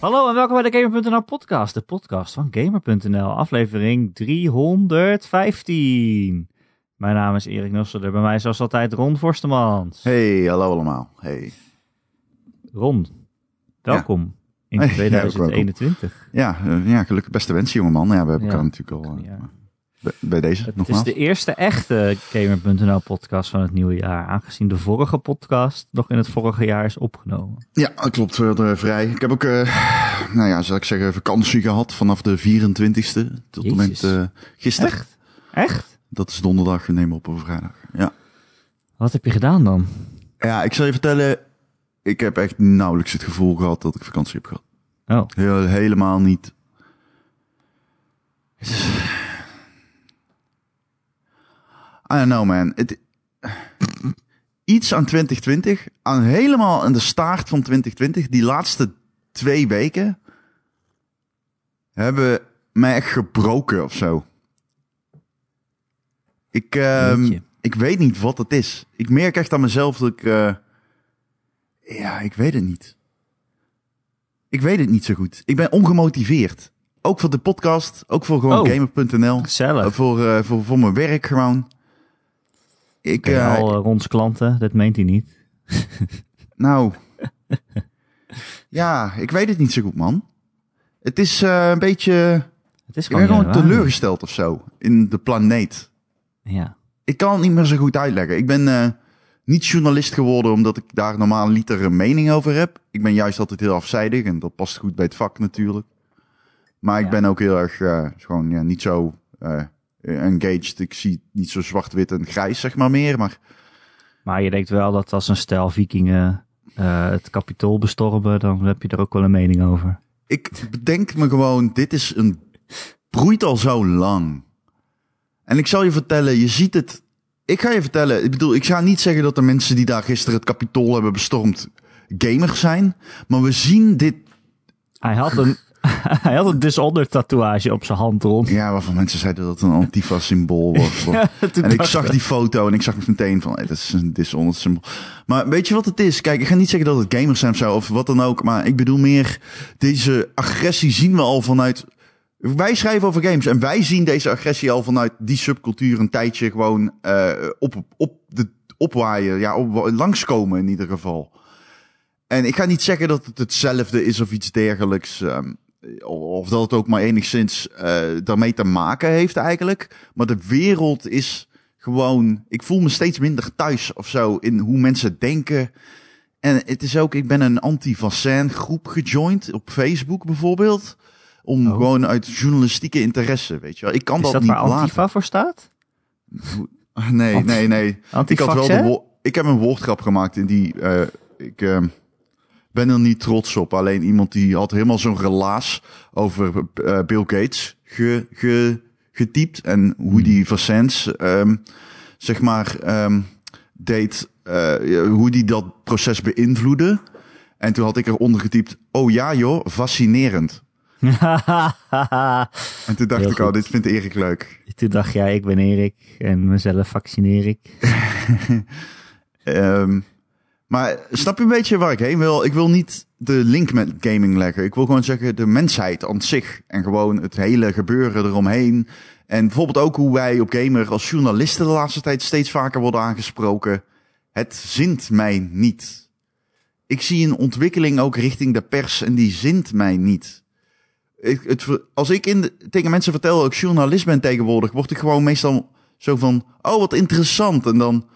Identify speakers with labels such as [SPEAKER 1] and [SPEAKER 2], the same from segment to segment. [SPEAKER 1] Hallo en welkom bij de Gamer.nl podcast, de podcast van Gamer.nl, aflevering 315. Mijn naam is Erik Nusselder, bij mij zoals altijd Ron Forstemans.
[SPEAKER 2] Hey, hallo allemaal. Hey.
[SPEAKER 1] Ron, welkom in
[SPEAKER 2] Hey, ja, ook
[SPEAKER 1] 2021.
[SPEAKER 2] Ja, eh, ja, gelukkig beste wensen, jongeman. Ja, we hebben
[SPEAKER 1] Ja,
[SPEAKER 2] elkaar natuurlijk al
[SPEAKER 1] kan
[SPEAKER 2] eh,
[SPEAKER 1] niet, ja.
[SPEAKER 2] bij- bij deze
[SPEAKER 1] Het is
[SPEAKER 2] nogmaals.
[SPEAKER 1] de eerste echte Gamer.nl podcast van het nieuwe jaar, aangezien de vorige podcast nog in het vorige jaar is opgenomen.
[SPEAKER 2] Ja, dat klopt. We hadden vrij. Ik heb ook, eh, nou ja, zal ik zeggen, vakantie gehad vanaf de 24e tot en met
[SPEAKER 1] Jezus.
[SPEAKER 2] eh, gisteren.
[SPEAKER 1] Echt? Echt?
[SPEAKER 2] Dat is donderdag. We nemen op op vrijdag. Ja.
[SPEAKER 1] Wat heb je gedaan dan?
[SPEAKER 2] ja, ik zal je vertellen. Ik heb echt nauwelijks het gevoel gehad dat ik vakantie heb gehad.
[SPEAKER 1] Oh,
[SPEAKER 2] Heel, helemaal niet. Het is- I don't know, man. Het- Iets aan 2020, aan helemaal aan de staart van 2020, die laatste twee weken, hebben mij echt gebroken of zo. Ik, ehm,
[SPEAKER 1] Jeetje.
[SPEAKER 2] ik weet niet wat het is. Ik merk echt aan mezelf dat ik. eh, ja, ik weet het niet. Ik weet het niet zo goed. Ik ben ongemotiveerd. Ook voor de podcast, ook voor gewoon
[SPEAKER 1] Oh.
[SPEAKER 2] gamer.nl.
[SPEAKER 1] gezellig.
[SPEAKER 2] Voor, eh, voor, voor mijn werk gewoon. Ik,
[SPEAKER 1] Ik
[SPEAKER 2] eh,
[SPEAKER 1] al eh, Rons klanten, dat meent hij niet.
[SPEAKER 2] nou. ja, ik weet het niet zo goed, man. Het is eh, een beetje.
[SPEAKER 1] Het is
[SPEAKER 2] Ik ben
[SPEAKER 1] gewoon
[SPEAKER 2] gewoon
[SPEAKER 1] januari.
[SPEAKER 2] teleurgesteld of zo. In de planeet.
[SPEAKER 1] Ja.
[SPEAKER 2] Ik kan het niet meer zo goed uitleggen. Ik ben eh, niet journalist geworden omdat ik daar normaal liter een mening over heb. Ik ben juist altijd heel afzijdig en dat past goed bij het vak natuurlijk. Maar ik
[SPEAKER 1] Ja.
[SPEAKER 2] ben ook heel erg eh, gewoon ja, niet zo eh, engaged. Ik zie niet zo zwart-wit en grijs, zeg maar meer. Maar
[SPEAKER 1] Maar je denkt wel dat als een stel vikingen eh, het kapitool bestormen, dan heb je er ook wel een mening over.
[SPEAKER 2] ik bedenk me gewoon, dit is een. broeit al zo lang. En ik zal je vertellen, je ziet het. Ik ga je vertellen, ik bedoel, ik ga niet zeggen dat de mensen die daar gisteren het kapitool hebben bestormd. gamers zijn. Maar we zien dit.
[SPEAKER 1] Hij had een, hij had een Dishonor tatoeage op zijn hand rond.
[SPEAKER 2] Ja, waarvan mensen zeiden dat het een Antifa-symbool was. en ik zag die foto en ik zag meteen van, hey, dat is een dishonest symbool. Maar weet je wat het is? Kijk, ik ga niet zeggen dat het gamers zijn of zo, of wat dan ook. Maar ik bedoel meer, deze agressie zien we al vanuit... Wij schrijven over games en wij zien deze agressie al vanuit die subcultuur een tijdje gewoon eh, op, op de, opwaaien. Ja, op, langskomen in ieder geval. En ik ga niet zeggen dat het hetzelfde is of iets dergelijks. ehm, of dat het ook maar enigszins eh, daarmee te maken heeft eigenlijk. Maar de wereld is gewoon... Ik voel me steeds minder thuis of zo in hoe mensen denken. En het is ook... Ik ben een anti-vaccin groep gejoind op Facebook bijvoorbeeld. Om
[SPEAKER 1] Oh.
[SPEAKER 2] gewoon uit journalistieke interesse, weet je wel. Ik kan
[SPEAKER 1] Is
[SPEAKER 2] dat,
[SPEAKER 1] dat
[SPEAKER 2] niet
[SPEAKER 1] waar
[SPEAKER 2] laten.
[SPEAKER 1] Antifa voor staat?
[SPEAKER 2] Nee,
[SPEAKER 1] Anti-
[SPEAKER 2] nee, nee. Ik, had wel de
[SPEAKER 1] Antifax,
[SPEAKER 2] wo- ik heb een woordgrap gemaakt in die. eh, ik eh, ben er niet trots op. Alleen iemand die had helemaal zo'n relaas over eh, Bill Gates ge, ge, getypt. En hoe
[SPEAKER 1] Hmm.
[SPEAKER 2] die vaccins, ehm, zeg maar, ehm, deed. eh, hoe die dat proces beïnvloedde. En toen had ik eronder getypt. Oh ja, joh, fascinerend.
[SPEAKER 1] hè?
[SPEAKER 2] En toen dacht
[SPEAKER 1] Heel
[SPEAKER 2] ik, oh,
[SPEAKER 1] goed.
[SPEAKER 2] dit vindt Erik leuk.
[SPEAKER 1] Toen dacht jij, ik ben Erik en mezelf vaccineer ik.
[SPEAKER 2] Ehm, maar snap je een beetje waar ik heen wil? Ik wil niet de link met gaming leggen. Ik wil gewoon zeggen de mensheid aan zich. En gewoon het hele gebeuren eromheen. En bijvoorbeeld ook hoe wij op Gamer als journalisten de laatste tijd steeds vaker worden aangesproken. Het zint mij niet. Ik zie een ontwikkeling ook richting de pers en die zint mij niet. Ik, het, ver- als ik in de- tegen mensen vertel dat ik journalist ben tegenwoordig, word ik gewoon meestal zo van, oh wat interessant. En dan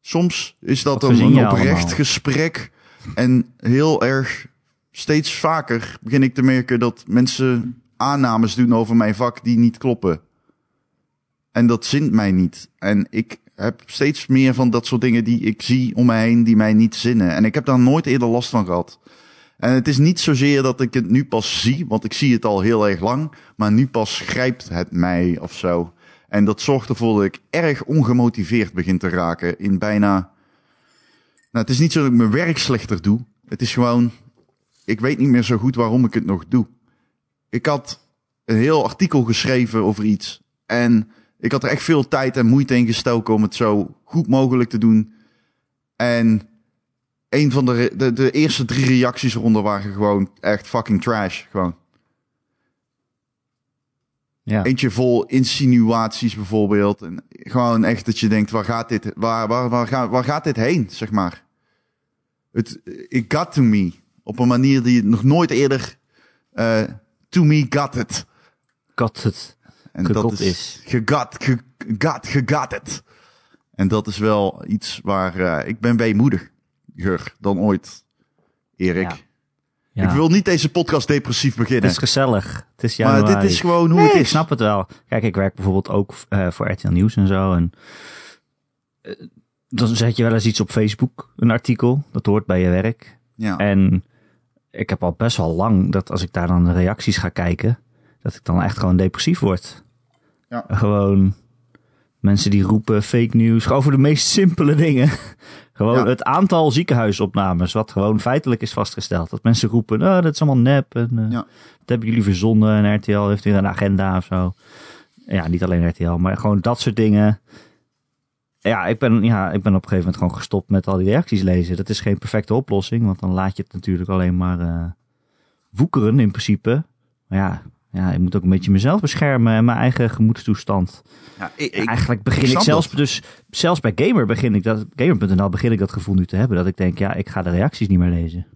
[SPEAKER 2] soms is dat
[SPEAKER 1] Wat
[SPEAKER 2] een,
[SPEAKER 1] verzin je
[SPEAKER 2] een oprecht
[SPEAKER 1] allemaal?
[SPEAKER 2] gesprek. En heel erg, steeds vaker begin ik te merken dat mensen aannames doen over mijn vak die niet kloppen. En dat zint mij niet. En ik heb steeds meer van dat soort dingen die ik zie om mij heen, die mij niet zinnen. En ik heb daar nooit eerder last van gehad. En het is niet zozeer dat ik het nu pas zie, want ik zie het al heel erg lang. Maar nu pas grijpt het mij of zo. En dat zorgt ervoor dat ik erg ongemotiveerd begin te raken in bijna... Nou, het is niet zo dat ik mijn werk slechter doe. Het is gewoon, ik weet niet meer zo goed waarom ik het nog doe. Ik had een heel artikel geschreven over iets. En ik had er echt veel tijd en moeite in gestoken om het zo goed mogelijk te doen. En een van de, re- de, de eerste drie reacties eronder waren gewoon echt fucking trash. Gewoon.
[SPEAKER 1] Ja.
[SPEAKER 2] Eentje vol insinuaties bijvoorbeeld. En gewoon echt dat je denkt, waar gaat dit, waar, waar, waar, gaat, waar gaat dit heen, zeg maar. Het, it got to me. Op een manier die het nog nooit eerder eh, to me got it.
[SPEAKER 1] Got het.
[SPEAKER 2] En
[SPEAKER 1] Gegot
[SPEAKER 2] dat
[SPEAKER 1] is.
[SPEAKER 2] is. Gegat, ge- got, gegat het. En dat is wel iets waar eh, ik ben weemoediger dan ooit, Erik.
[SPEAKER 1] Ja. Ja.
[SPEAKER 2] Ik wil niet deze podcast depressief
[SPEAKER 1] Het
[SPEAKER 2] beginnen.
[SPEAKER 1] is gezellig. Het is
[SPEAKER 2] maar
[SPEAKER 1] januari.
[SPEAKER 2] dit is gewoon hoe
[SPEAKER 1] Nee,
[SPEAKER 2] het
[SPEAKER 1] ik
[SPEAKER 2] is.
[SPEAKER 1] snap het wel. Kijk, ik werk bijvoorbeeld ook eh, voor RTL Nieuws en zo. En eh, dan zet je wel eens iets op Facebook, een artikel. Dat hoort bij je werk.
[SPEAKER 2] Ja.
[SPEAKER 1] En ik heb al best wel lang dat als ik daar dan de reacties ga kijken, dat ik dan echt gewoon depressief word.
[SPEAKER 2] Ja.
[SPEAKER 1] Gewoon mensen die roepen fake news, gewoon voor de meest simpele dingen. Gewoon
[SPEAKER 2] Ja.
[SPEAKER 1] het aantal ziekenhuisopnames, wat gewoon feitelijk is vastgesteld. Dat mensen roepen, oh, dat is allemaal nep en eh,
[SPEAKER 2] Ja.
[SPEAKER 1] dat hebben jullie verzonnen en RTL heeft weer een agenda of zo. Ja, niet alleen RTL, maar gewoon dat soort dingen. Ja ik, ben, ja, ik ben op een gegeven moment gewoon gestopt met al die reacties lezen. Dat is geen perfecte oplossing, want dan laat je het natuurlijk alleen maar eh, woekeren in principe. Maar ja, ja, ik moet ook een beetje mezelf beschermen en mijn eigen gemoedstoestand.
[SPEAKER 2] Ja, ik-
[SPEAKER 1] Ja,
[SPEAKER 2] ik-
[SPEAKER 1] Eigenlijk begin
[SPEAKER 2] ik
[SPEAKER 1] ik,
[SPEAKER 2] snap
[SPEAKER 1] zelfs, dus, zelfs bij Gamer begin ik dat, Gamer.nl begin ik dat gevoel nu te hebben. Dat ik denk, ja, ik ga de reacties niet meer lezen.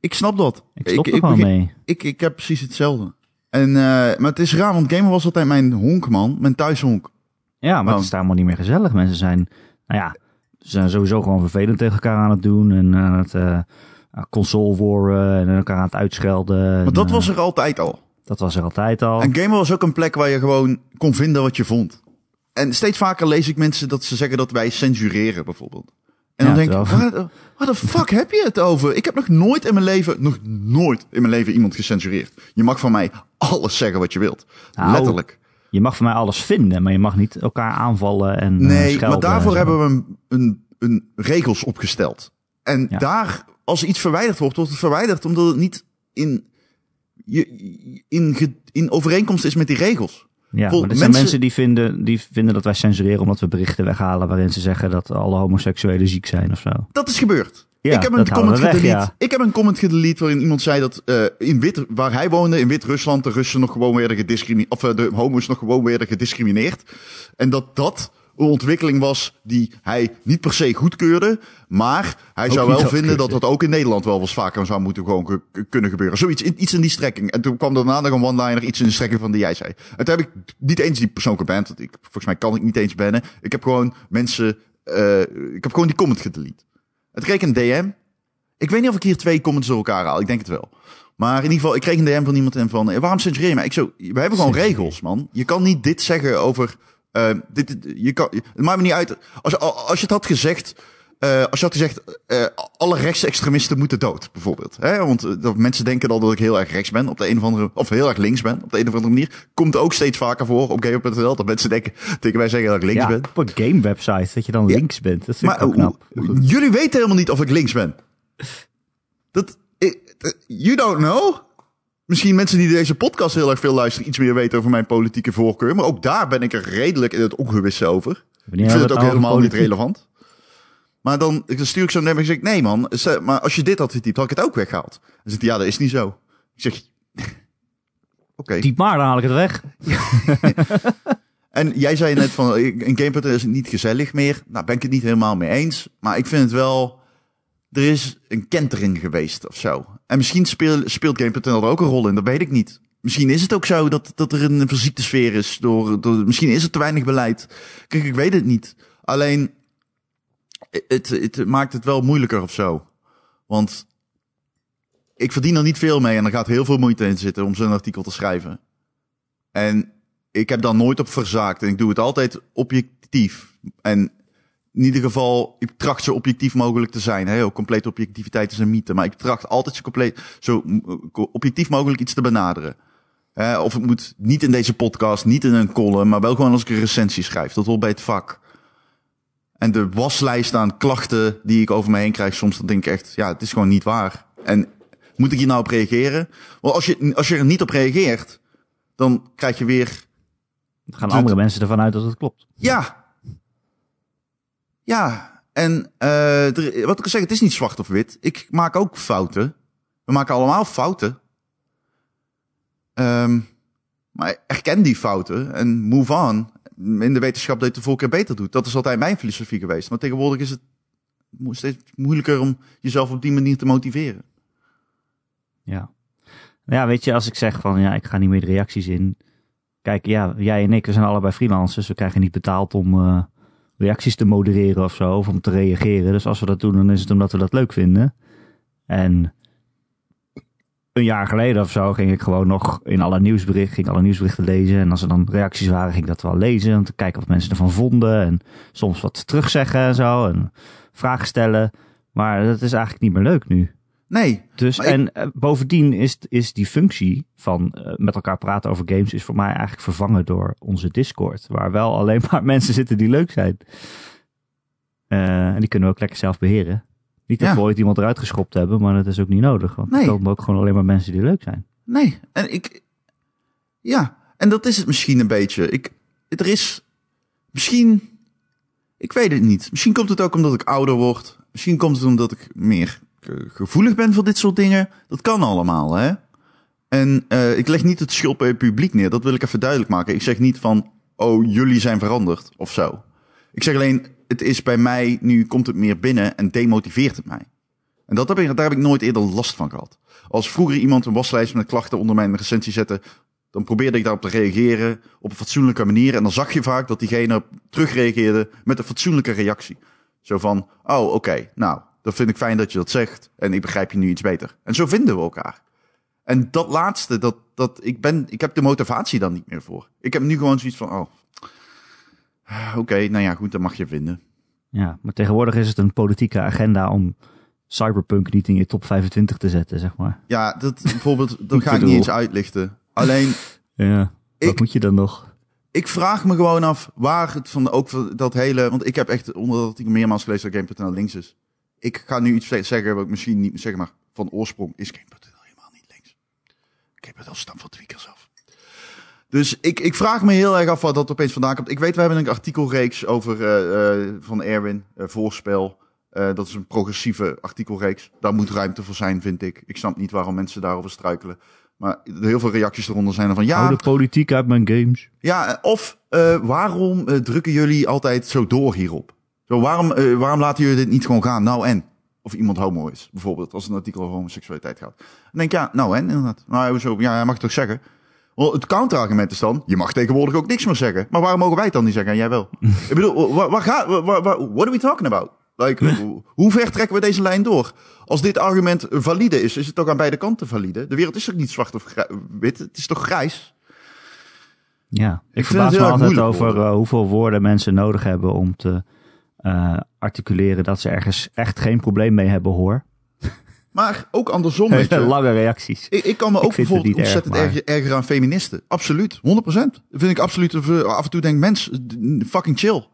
[SPEAKER 2] ik snap dat.
[SPEAKER 1] Ik stop
[SPEAKER 2] ik,
[SPEAKER 1] er gewoon
[SPEAKER 2] begin-
[SPEAKER 1] mee.
[SPEAKER 2] Ik, ik heb precies hetzelfde. En, eh, maar het is raar, want gamer was altijd mijn honk, man. Mijn thuishonk.
[SPEAKER 1] Ja, maar het is daar allemaal niet meer gezellig. Mensen zijn, nou ja, ze zijn sowieso gewoon vervelend tegen elkaar aan het doen. En aan het eh console warren en elkaar aan het uitschelden. eh,
[SPEAKER 2] Maar dat was er altijd al.
[SPEAKER 1] dat was er altijd al.
[SPEAKER 2] En gamer was ook een plek waar je gewoon kon vinden wat je vond. En steeds vaker lees ik mensen dat ze zeggen dat wij censureren, bijvoorbeeld. En
[SPEAKER 1] Ja,
[SPEAKER 2] dan denk ik,
[SPEAKER 1] terwijl-
[SPEAKER 2] waar, waar de fuck heb je het over? Ik heb nog nooit in mijn leven, nog nooit in mijn leven iemand gecensureerd. Je mag van mij alles zeggen wat je wilt.
[SPEAKER 1] Nou,
[SPEAKER 2] Letterlijk.
[SPEAKER 1] Je mag van mij alles vinden, maar je mag niet elkaar aanvallen en eh,
[SPEAKER 2] Nee,
[SPEAKER 1] schelden
[SPEAKER 2] maar
[SPEAKER 1] en
[SPEAKER 2] daarvoor
[SPEAKER 1] zo.
[SPEAKER 2] hebben we een, een, een regels opgesteld. En
[SPEAKER 1] Ja.
[SPEAKER 2] daar, als iets verwijderd wordt, wordt het verwijderd omdat het niet in, je- in, ge- in overeenkomst is met die regels.
[SPEAKER 1] Ja,
[SPEAKER 2] Vol-
[SPEAKER 1] maar er zijn
[SPEAKER 2] mensen-
[SPEAKER 1] mensen die vinden, die vinden dat wij censureren omdat we berichten weghalen waarin ze zeggen dat alle homoseksuelen ziek zijn of zo.
[SPEAKER 2] Dat is gebeurd.
[SPEAKER 1] Ja,
[SPEAKER 2] ik, heb
[SPEAKER 1] dat
[SPEAKER 2] een
[SPEAKER 1] houden
[SPEAKER 2] comment
[SPEAKER 1] we weg,
[SPEAKER 2] gedelete.
[SPEAKER 1] ja.
[SPEAKER 2] ik heb een comment gedelete waarin iemand zei dat eh, in Wit, waar hij woonde, in Wit-Rusland, de Russen nog gewoon werden gediscrimineerd. Of eh, de homo's nog gewoon werden gediscrimineerd. En dat dat een ontwikkeling was die hij niet per se goedkeurde. Maar hij
[SPEAKER 1] Ook
[SPEAKER 2] zou
[SPEAKER 1] niet
[SPEAKER 2] wel vinden dat
[SPEAKER 1] afkeurde.
[SPEAKER 2] dat ook in Nederland wel eens vaker zou moeten gewoon ge- kunnen gebeuren. Zoiets, i- iets in die strekking. En toen kwam daarna nog een one-liner, iets in de strekking van die jij zei. En toen heb ik niet eens die persoon geband. Want ik, volgens mij kan ik niet eens bannen. Ik heb gewoon mensen, eh, ik heb gewoon die comment gedelete. Het kreeg een DM. Ik weet niet of ik hier twee comments door elkaar haal. Ik denk het wel. Maar in ieder geval, ik kreeg een DM van iemand en van... eh, Waarom censureer je mij? Ik zo, we hebben gewoon regels, man. Je kan niet dit zeggen over... eh, dit, dit- je kan, het maakt me niet uit. Als, als je het had gezegd... eh, als je had gezegd, eh, alle rechtsextremisten moeten dood, bijvoorbeeld. Hè? Want eh, dat mensen denken dan dat ik heel erg rechts ben, op de een of andere, of heel erg links ben, op de een of andere manier. Komt ook steeds vaker voor op gamer.nl dat mensen denken, tegen wij zeggen dat ik links
[SPEAKER 1] Ja,
[SPEAKER 2] ben.
[SPEAKER 1] op een game website dat je dan links bent. Dat vind ik
[SPEAKER 2] Maar eh,
[SPEAKER 1] ook knap.
[SPEAKER 2] hoe- jullie weten helemaal niet of ik links ben. Dat, ik- dat- you don't know. Misschien mensen die deze podcast heel erg veel luisteren iets meer weten over mijn politieke voorkeur. Maar ook daar ben ik er redelijk in het ongewisse over.
[SPEAKER 1] Wanneer
[SPEAKER 2] ik
[SPEAKER 1] hebben
[SPEAKER 2] vind
[SPEAKER 1] we
[SPEAKER 2] het ook
[SPEAKER 1] nou over
[SPEAKER 2] helemaal niet
[SPEAKER 1] politiek?
[SPEAKER 2] relevant. Maar dan, ik- dan stuur ik zo'n DM en ik zeg, nee man, ze- maar als je dit had getypt, had ik het ook weggehaald. Dan zegt hij, ja, dat is niet zo. Ik zeg, oké.
[SPEAKER 1] Diep maar, dan haal ik het weg.
[SPEAKER 2] En jij zei net van, eh, een gameputter is niet gezellig meer. Nou, ben ik het niet helemaal mee eens. Maar ik vind het wel, er is een kentering geweest of zo. En misschien speel, speelt Game.nl er ook een rol in, dat weet ik niet. Misschien is het ook zo dat, dat er een verziekte sfeer is. Door, door, misschien is er te weinig beleid. Kijk, ik weet het niet. Alleen, het, het maakt het wel moeilijker of zo. Want ik verdien er niet veel mee en er gaat heel veel moeite in zitten om zo'n artikel te schrijven. En ik heb daar nooit op verzaakt. En ik doe het altijd objectief. En in ieder geval, ik tracht zo objectief mogelijk te zijn. Heel, complete objectiviteit is een mythe. Maar ik tracht altijd zo, compleet, zo mm, objectief mogelijk iets te benaderen. Hè, of het moet niet in deze podcast, niet in een column, maar wel gewoon als ik een recensie schrijf. Dat hoort bij het vak. En de waslijst aan klachten die ik over me heen krijg, soms dan denk ik echt, ja, het is gewoon niet waar. En moet ik hier nou op reageren? Want als je, als je er niet op reageert, dan krijg je weer
[SPEAKER 1] Dan gaan andere mensen ervan uit dat het klopt.
[SPEAKER 2] ja. Ja. En eh, er- wat ik al zeg, het is niet zwart of wit. Ik maak ook fouten. We maken allemaal fouten. Ehm, maar erken die fouten en move on. In de wetenschap dat je het de volgende keer beter doet. Dat is altijd mijn filosofie geweest. Maar tegenwoordig is het mo- steeds moeilijker om jezelf op die manier te motiveren.
[SPEAKER 1] Ja. Nou Ja, weet je, als ik zeg van ja, ik ga niet meer de reacties in. Kijk, ja, jij en ik, we zijn allebei freelancers. We krijgen niet betaald om eh, reacties te modereren of zo, of om te reageren. Dus als we dat doen, dan is het omdat we dat leuk vinden. En een jaar geleden of zo ging ik gewoon nog in alle nieuwsberichten, ging alle nieuwsberichten lezen. En als er dan reacties waren, ging ik dat wel lezen. Om te kijken wat mensen ervan vonden. En soms wat terugzeggen en zo. En vragen stellen. Maar dat is eigenlijk niet meer leuk nu.
[SPEAKER 2] Nee,
[SPEAKER 1] Dus
[SPEAKER 2] Maar ik-
[SPEAKER 1] en eh, bovendien is, is die functie van eh, met elkaar praten over games is voor mij eigenlijk vervangen door onze Discord, waar wel alleen maar mensen zitten die leuk zijn. Eh, en die kunnen we ook lekker zelf beheren. Niet dat
[SPEAKER 2] Ja.
[SPEAKER 1] we ooit iemand eruit geschopt hebben, maar dat is ook niet nodig. Want
[SPEAKER 2] Nee.
[SPEAKER 1] er komen ook gewoon alleen maar mensen die leuk zijn.
[SPEAKER 2] Nee, en ik. Ja, en dat is het misschien een beetje. Ik, er is. Misschien. Ik weet het niet. Misschien komt het ook omdat ik ouder word. Misschien komt het omdat ik meer ge- gevoelig ben voor dit soort dingen. Dat kan allemaal, hè? En eh, ik leg niet het schuld bij het publiek neer. Dat wil ik even duidelijk maken. Ik zeg niet van. Oh, jullie zijn veranderd of zo. Ik zeg alleen. Het is bij mij. Nu komt het meer binnen en demotiveert het mij. En dat heb ik, daar heb ik nooit eerder last van gehad. Als vroeger iemand een waslijst met klachten onder mijn recensie zette, dan probeerde ik daarop te reageren op een fatsoenlijke manier. En dan zag je vaak dat diegene terugreageerde met een fatsoenlijke reactie. Zo van, oh oké, nou, dat vind ik fijn dat je dat zegt en ik begrijp je nu iets beter. En zo vinden we elkaar. En dat laatste, dat, dat, ik, ben, ik heb de motivatie dan niet meer voor. Ik heb nu gewoon zoiets van, oh, oké, nou ja, goed, dat mag je vinden.
[SPEAKER 1] Ja, maar tegenwoordig is het een politieke agenda om cyberpunk niet in je top 25 te zetten, zeg maar.
[SPEAKER 2] Ja, dat, bijvoorbeeld, dan
[SPEAKER 1] Ik
[SPEAKER 2] ga ik niet
[SPEAKER 1] bedoel-
[SPEAKER 2] eens uitlichten. Alleen,
[SPEAKER 1] Ja,
[SPEAKER 2] Ik-
[SPEAKER 1] wat moet je dan nog?
[SPEAKER 2] ik vraag me gewoon af waar het van ook van dat hele. Want ik heb echt onder dat ik meermaals gelezen dat Game.nl links is. Ik ga nu iets zeggen wat ik misschien niet moet zeggen, maar van oorsprong is Game.nl helemaal niet links. Game.nl stamt van tweakers af. Dus ik, ik vraag me heel erg af wat dat opeens vandaan komt. Ik weet, we hebben een artikelreeks over eh, eh, van Erwin, eh, voorspel. Eh, dat is een progressieve artikelreeks. Daar moet ruimte voor zijn, vind ik. Ik snap niet waarom mensen daarover struikelen. Maar heel veel reacties eronder zijn er van ja.
[SPEAKER 1] Hou de politiek uit mijn games.
[SPEAKER 2] Ja, of eh, waarom eh, drukken jullie altijd zo door hierop? Zo, waarom, eh, waarom laten jullie dit niet gewoon gaan? Nou en? Of iemand homo is, bijvoorbeeld, als het een artikel over homoseksualiteit gaat. Dan denk ik, ja, nou en, inderdaad. Nou, hoezo? ja, hij mag het toch zeggen? Wel, het counterargument is dan, je mag tegenwoordig ook niks meer zeggen. Maar waarom mogen wij het dan niet zeggen en jij wel? ik bedoel, waar, waar gaat, wa- wa- wa- what are we talking about? Like, hoe- hoe ver trekken we deze lijn door? Als dit argument valide is, is het ook aan beide kanten valide? De wereld is toch niet zwart of grij- wit? Het is toch grijs?
[SPEAKER 1] Ja, ik,
[SPEAKER 2] vind
[SPEAKER 1] verbaas
[SPEAKER 2] het
[SPEAKER 1] me
[SPEAKER 2] heel
[SPEAKER 1] altijd
[SPEAKER 2] erg moeilijk
[SPEAKER 1] over
[SPEAKER 2] worden.
[SPEAKER 1] eh, hoeveel woorden mensen nodig hebben om te eh, articuleren dat ze ergens echt geen probleem mee hebben, hoor.
[SPEAKER 2] Maar ook andersom, weet je.
[SPEAKER 1] Lange reacties.
[SPEAKER 2] Ik, ik kan me ook
[SPEAKER 1] vind het
[SPEAKER 2] bijvoorbeeld
[SPEAKER 1] niet erg,
[SPEAKER 2] ontzettend
[SPEAKER 1] maar-
[SPEAKER 2] erger, erger aan feministen. Absoluut, 100%. Dat vind ik absoluut. eh, Af en toe denk ik, mens, d- fucking chill.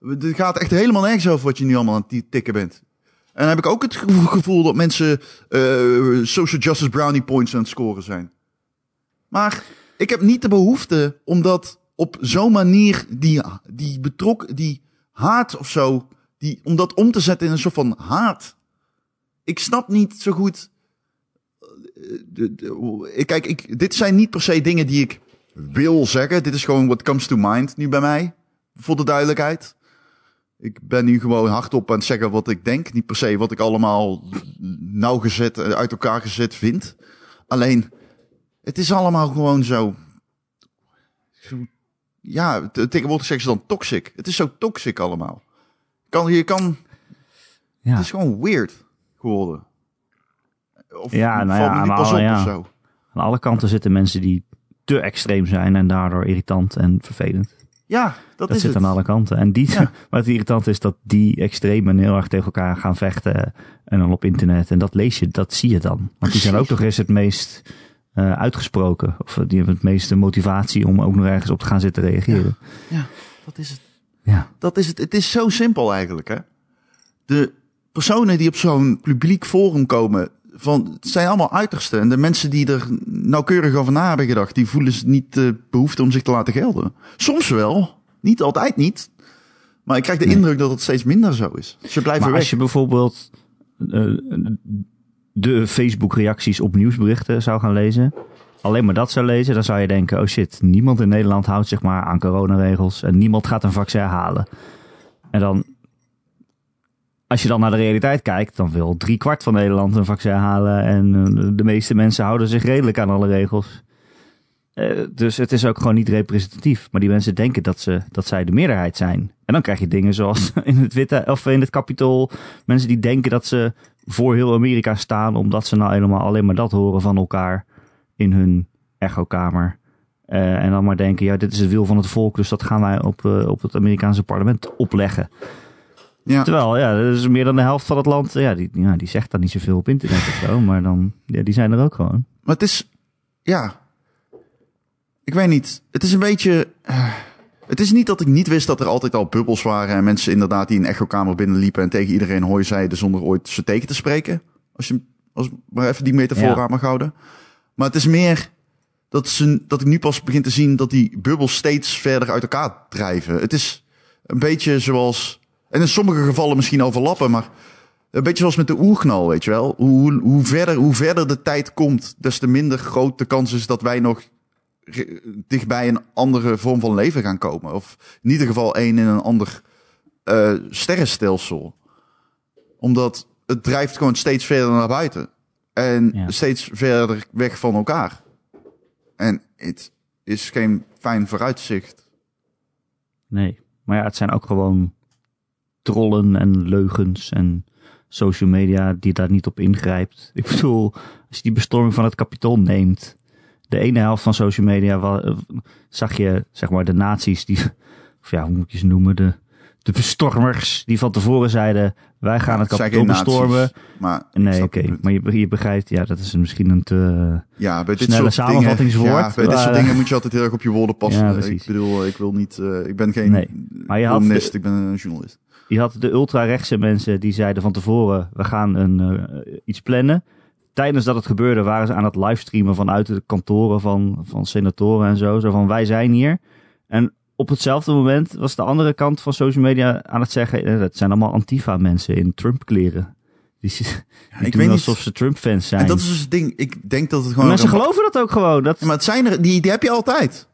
[SPEAKER 2] Het gaat echt helemaal nergens over wat je nu allemaal aan het tikken bent. En dan heb ik ook het gevo- gevoel dat mensen eh, social justice brownie points aan het scoren zijn. Maar ik heb niet de behoefte om dat op zo'n manier die, die betrok, die haat of zo, die, om dat om te zetten in een soort van haat. Ik snap niet zo goed de- de- ik- kijk, ik, dit zijn niet per se dingen die ik wil zeggen. Dit is gewoon what comes to mind nu bij mij. Voor de duidelijkheid. Ik ben nu gewoon hardop aan het zeggen wat ik denk. Niet per se wat ik allemaal nauwgezet, eh, uit elkaar gezet vind. Alleen, het is allemaal gewoon zo. zo- ja, te- tegenwoordig zeggen ze dan toxic. Het is zo toxic allemaal. Kan, je kan,
[SPEAKER 1] Ja,
[SPEAKER 2] Het is gewoon weird geworden. Of
[SPEAKER 1] Ja, nou ja,
[SPEAKER 2] valt me niet
[SPEAKER 1] aan
[SPEAKER 2] pas op
[SPEAKER 1] alle- ja.
[SPEAKER 2] of zo.
[SPEAKER 1] aan alle kanten zitten mensen die te extreem zijn en daardoor irritant en vervelend.
[SPEAKER 2] Ja, dat,
[SPEAKER 1] Dat,
[SPEAKER 2] is
[SPEAKER 1] zit
[SPEAKER 2] het.
[SPEAKER 1] aan alle kanten. En die,
[SPEAKER 2] Ja.
[SPEAKER 1] wat irritant is, dat die extremen heel erg tegen elkaar gaan vechten en dan op internet. En dat lees je, dat zie je dan. Want die zijn ook
[SPEAKER 2] Precies.
[SPEAKER 1] nog eens het meest eh, uitgesproken. Of eh, die hebben het meeste motivatie om ook nog ergens op te gaan zitten reageren.
[SPEAKER 2] Ja, dat is het.
[SPEAKER 1] Ja.
[SPEAKER 2] Dat is het. Het is zo simpel eigenlijk, hè? De personen die op zo'n publiek forum komen, van, het zijn allemaal uitersten. En de mensen die er nauwkeurig over na hebben gedacht, die eh, voelen ze niet de behoefte om zich te laten gelden. Soms wel, niet altijd niet. Maar ik krijg de indruk dat het steeds minder zo is. Ze blijven
[SPEAKER 1] Maar
[SPEAKER 2] weg.
[SPEAKER 1] als je bijvoorbeeld eh, de Facebook-reacties op nieuwsberichten zou gaan lezen, alleen maar dat zou lezen, dan zou je denken: oh shit, niemand in Nederland houdt zich maar aan coronaregels en niemand gaat een vaccin halen. En dan, als je dan naar de realiteit kijkt, dan wil driekwart van Nederland een vaccin halen en eh, de meeste mensen houden zich redelijk aan alle regels. Eh, dus het is ook gewoon niet representatief. Maar die mensen denken dat, ze, dat zij de meerderheid zijn. En dan krijg je dingen zoals in het Witte of in het Capitool. Mensen die denken dat ze voor heel Amerika staan, omdat ze nou helemaal alleen maar dat horen van elkaar in hun echokamer. Eh, en dan maar denken, ja, dit is de wil van het volk, dus dat gaan wij op, eh, op het Amerikaanse parlement opleggen.
[SPEAKER 2] Ja.
[SPEAKER 1] Terwijl, ja, dat is meer dan de helft van het land, ja, die, ja, die zegt dan niet zoveel op internet of zo, maar dan, ja, die zijn er ook gewoon.
[SPEAKER 2] Maar het is, ja. Ik weet niet. Het is een beetje. eh, Het is niet dat ik niet wist dat er altijd al bubbels waren. En mensen inderdaad die een echokamer binnenliepen. en tegen iedereen hooi zeiden zonder ooit ze tegen te spreken. Als je als maar even die metafoor
[SPEAKER 1] Ja.
[SPEAKER 2] aan mag houden. Maar het is meer dat, ze, dat ik nu pas begin te zien dat die bubbels steeds verder uit elkaar drijven. Het is een beetje zoals. En in sommige gevallen misschien overlappen, maar een beetje zoals met de oerknal, weet je wel. Hoe, hoe- hoe, verder, hoe verder de tijd komt, des te minder groot de kans is dat wij nog re- dichtbij een andere vorm van leven gaan komen. Of in ieder geval één in een ander eh, sterrenstelsel. Omdat het drijft gewoon steeds verder naar buiten. En
[SPEAKER 1] Ja.
[SPEAKER 2] steeds verder weg van elkaar. En het is geen fijn vooruitzicht.
[SPEAKER 1] Nee. Maar ja, het zijn ook gewoon trollen en leugens en social media die daar niet op ingrijpt. Ik bedoel, als je die bestorming van het kapitool neemt. De ene helft van social media wa- eh, zag je, zeg maar, de nazi's die, of ja, hoe moet je ze noemen, de, de bestormers die van tevoren zeiden, wij gaan het
[SPEAKER 2] Het zijn
[SPEAKER 1] kapitool
[SPEAKER 2] geen nazi's,
[SPEAKER 1] bestormen.
[SPEAKER 2] Maar ik
[SPEAKER 1] Nee,
[SPEAKER 2] snap
[SPEAKER 1] oké,
[SPEAKER 2] het.
[SPEAKER 1] maar je, je begrijpt, ja, dat is misschien een te...
[SPEAKER 2] Ja, bij dit
[SPEAKER 1] Snelle
[SPEAKER 2] soort
[SPEAKER 1] samenvattingswoord,
[SPEAKER 2] Dingen, ja, bij dit
[SPEAKER 1] maar,
[SPEAKER 2] soort
[SPEAKER 1] eh,
[SPEAKER 2] dingen moet je altijd heel erg op je woorden passen.
[SPEAKER 1] Ja,
[SPEAKER 2] ik
[SPEAKER 1] precies.
[SPEAKER 2] bedoel, ik wil niet. eh, ik ben geen
[SPEAKER 1] Nee, maar je had
[SPEAKER 2] columnist,
[SPEAKER 1] de-
[SPEAKER 2] ik ben een journalist.
[SPEAKER 1] Je had de ultra-rechtse mensen die zeiden van tevoren: we gaan een, eh, iets plannen. Tijdens dat het gebeurde waren ze aan het livestreamen vanuit de kantoren van, van senatoren en zo. Zo van wij zijn hier. En op hetzelfde moment was de andere kant van social media aan het zeggen: eh, dat zijn allemaal Antifa-mensen in Trump-kleren. Die, die
[SPEAKER 2] ik
[SPEAKER 1] doen
[SPEAKER 2] weet niet.
[SPEAKER 1] alsof ze Trump-fans zijn.
[SPEAKER 2] En dat is dus het ding. Ik denk dat het
[SPEAKER 1] En
[SPEAKER 2] gewoon.
[SPEAKER 1] mensen
[SPEAKER 2] een-
[SPEAKER 1] geloven dat ook gewoon. Dat,
[SPEAKER 2] Ja, maar het zijn er, die, die heb je altijd.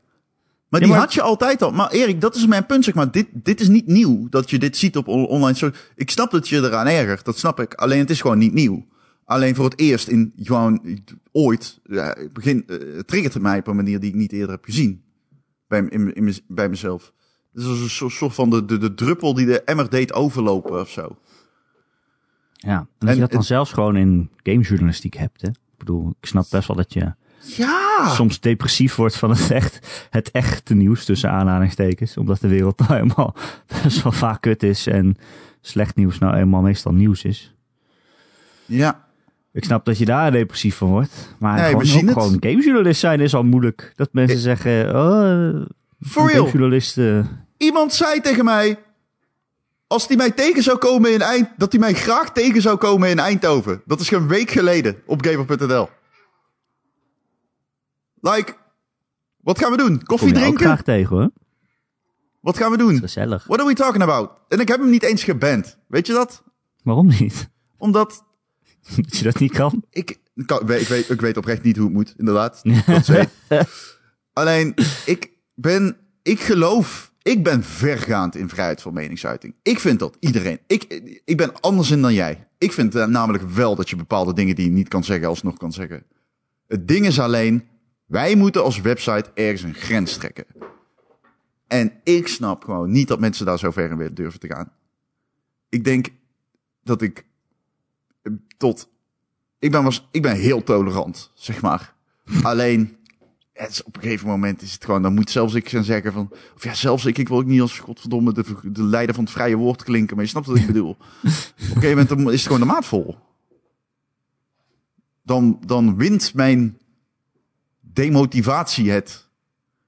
[SPEAKER 2] Maar
[SPEAKER 1] Ja,
[SPEAKER 2] die
[SPEAKER 1] maar-
[SPEAKER 2] had je altijd al. Maar Erik, dat is mijn punt, zeg maar. Dit, dit is niet nieuw, dat je dit ziet op on- online social. Ik snap dat je eraan ergert, dat snap ik. Alleen het is gewoon niet nieuw. Alleen voor het eerst in gewoon ooit, ja, het begin, eh, het triggert het mij op een manier die ik niet eerder heb gezien. Bij, m- in, in mez- bij mezelf. Het is als een soort- soort van de, de, de druppel die de emmer deed overlopen of zo.
[SPEAKER 1] ja. en dat
[SPEAKER 2] En
[SPEAKER 1] je dat dan
[SPEAKER 2] het-
[SPEAKER 1] zelfs gewoon in gamejournalistiek hebt. Hè? Ik bedoel, ik snap best wel dat je.
[SPEAKER 2] Ja!
[SPEAKER 1] soms depressief wordt van het, echt, het echte nieuws tussen aanhalingstekens. Omdat de wereld nou helemaal best wel vaak kut is en slecht nieuws nou eenmaal meestal nieuws is.
[SPEAKER 2] Ja.
[SPEAKER 1] Ik snap dat je daar depressief van wordt. Maar
[SPEAKER 2] Nee, we
[SPEAKER 1] gewoon,
[SPEAKER 2] zien
[SPEAKER 1] ook
[SPEAKER 2] het.
[SPEAKER 1] gewoon gamejournalist zijn is al moeilijk. Dat mensen
[SPEAKER 2] Ik-
[SPEAKER 1] zeggen, oh, een
[SPEAKER 2] For real.
[SPEAKER 1] gamejournalist... eh,
[SPEAKER 2] Iemand zei tegen mij. Als hij mij tegen zou komen in Eind, dat hij mij graag tegen zou komen in Eindhoven. Dat is een week geleden op Gamer.nl. Like, wat gaan we doen?
[SPEAKER 1] kom
[SPEAKER 2] Koffie
[SPEAKER 1] je ook
[SPEAKER 2] drinken? Hm.
[SPEAKER 1] graag tegen hoor.
[SPEAKER 2] Wat gaan we doen?
[SPEAKER 1] Gezellig.
[SPEAKER 2] What are we talking about? En ik heb hem niet eens geband. Weet je dat?
[SPEAKER 1] Waarom niet?
[SPEAKER 2] Omdat
[SPEAKER 1] dat je dat niet kan?
[SPEAKER 2] ik, ik, kan- ik weet, ik, weet, ik weet oprecht niet hoe het moet, inderdaad. Dat weet. Alleen, ik ben, ik geloof, ik ben vergaand in vrijheid van meningsuiting. Ik vind dat iedereen, ik, ik ben anders in dan jij. Ik vind eh, namelijk wel dat je bepaalde dingen die je niet kan zeggen, alsnog kan zeggen. Het ding is alleen, wij moeten als website ergens een grens trekken. En ik snap gewoon niet dat mensen daar zo ver in willen durven te gaan. Ik denk dat ik eh, tot. Ik ben, was, ik ben heel tolerant, zeg maar. Alleen, het is op een gegeven moment is het gewoon, dan moet zelfs ik gaan zeggen van. Of ja, zelfs ik, ik wil ook niet als godverdomme de, de leider van het vrije woord klinken, maar je snapt wat ik bedoel. op een gegeven moment dan is het gewoon de maat vol. Dan, dan wint mijn demotivatie het.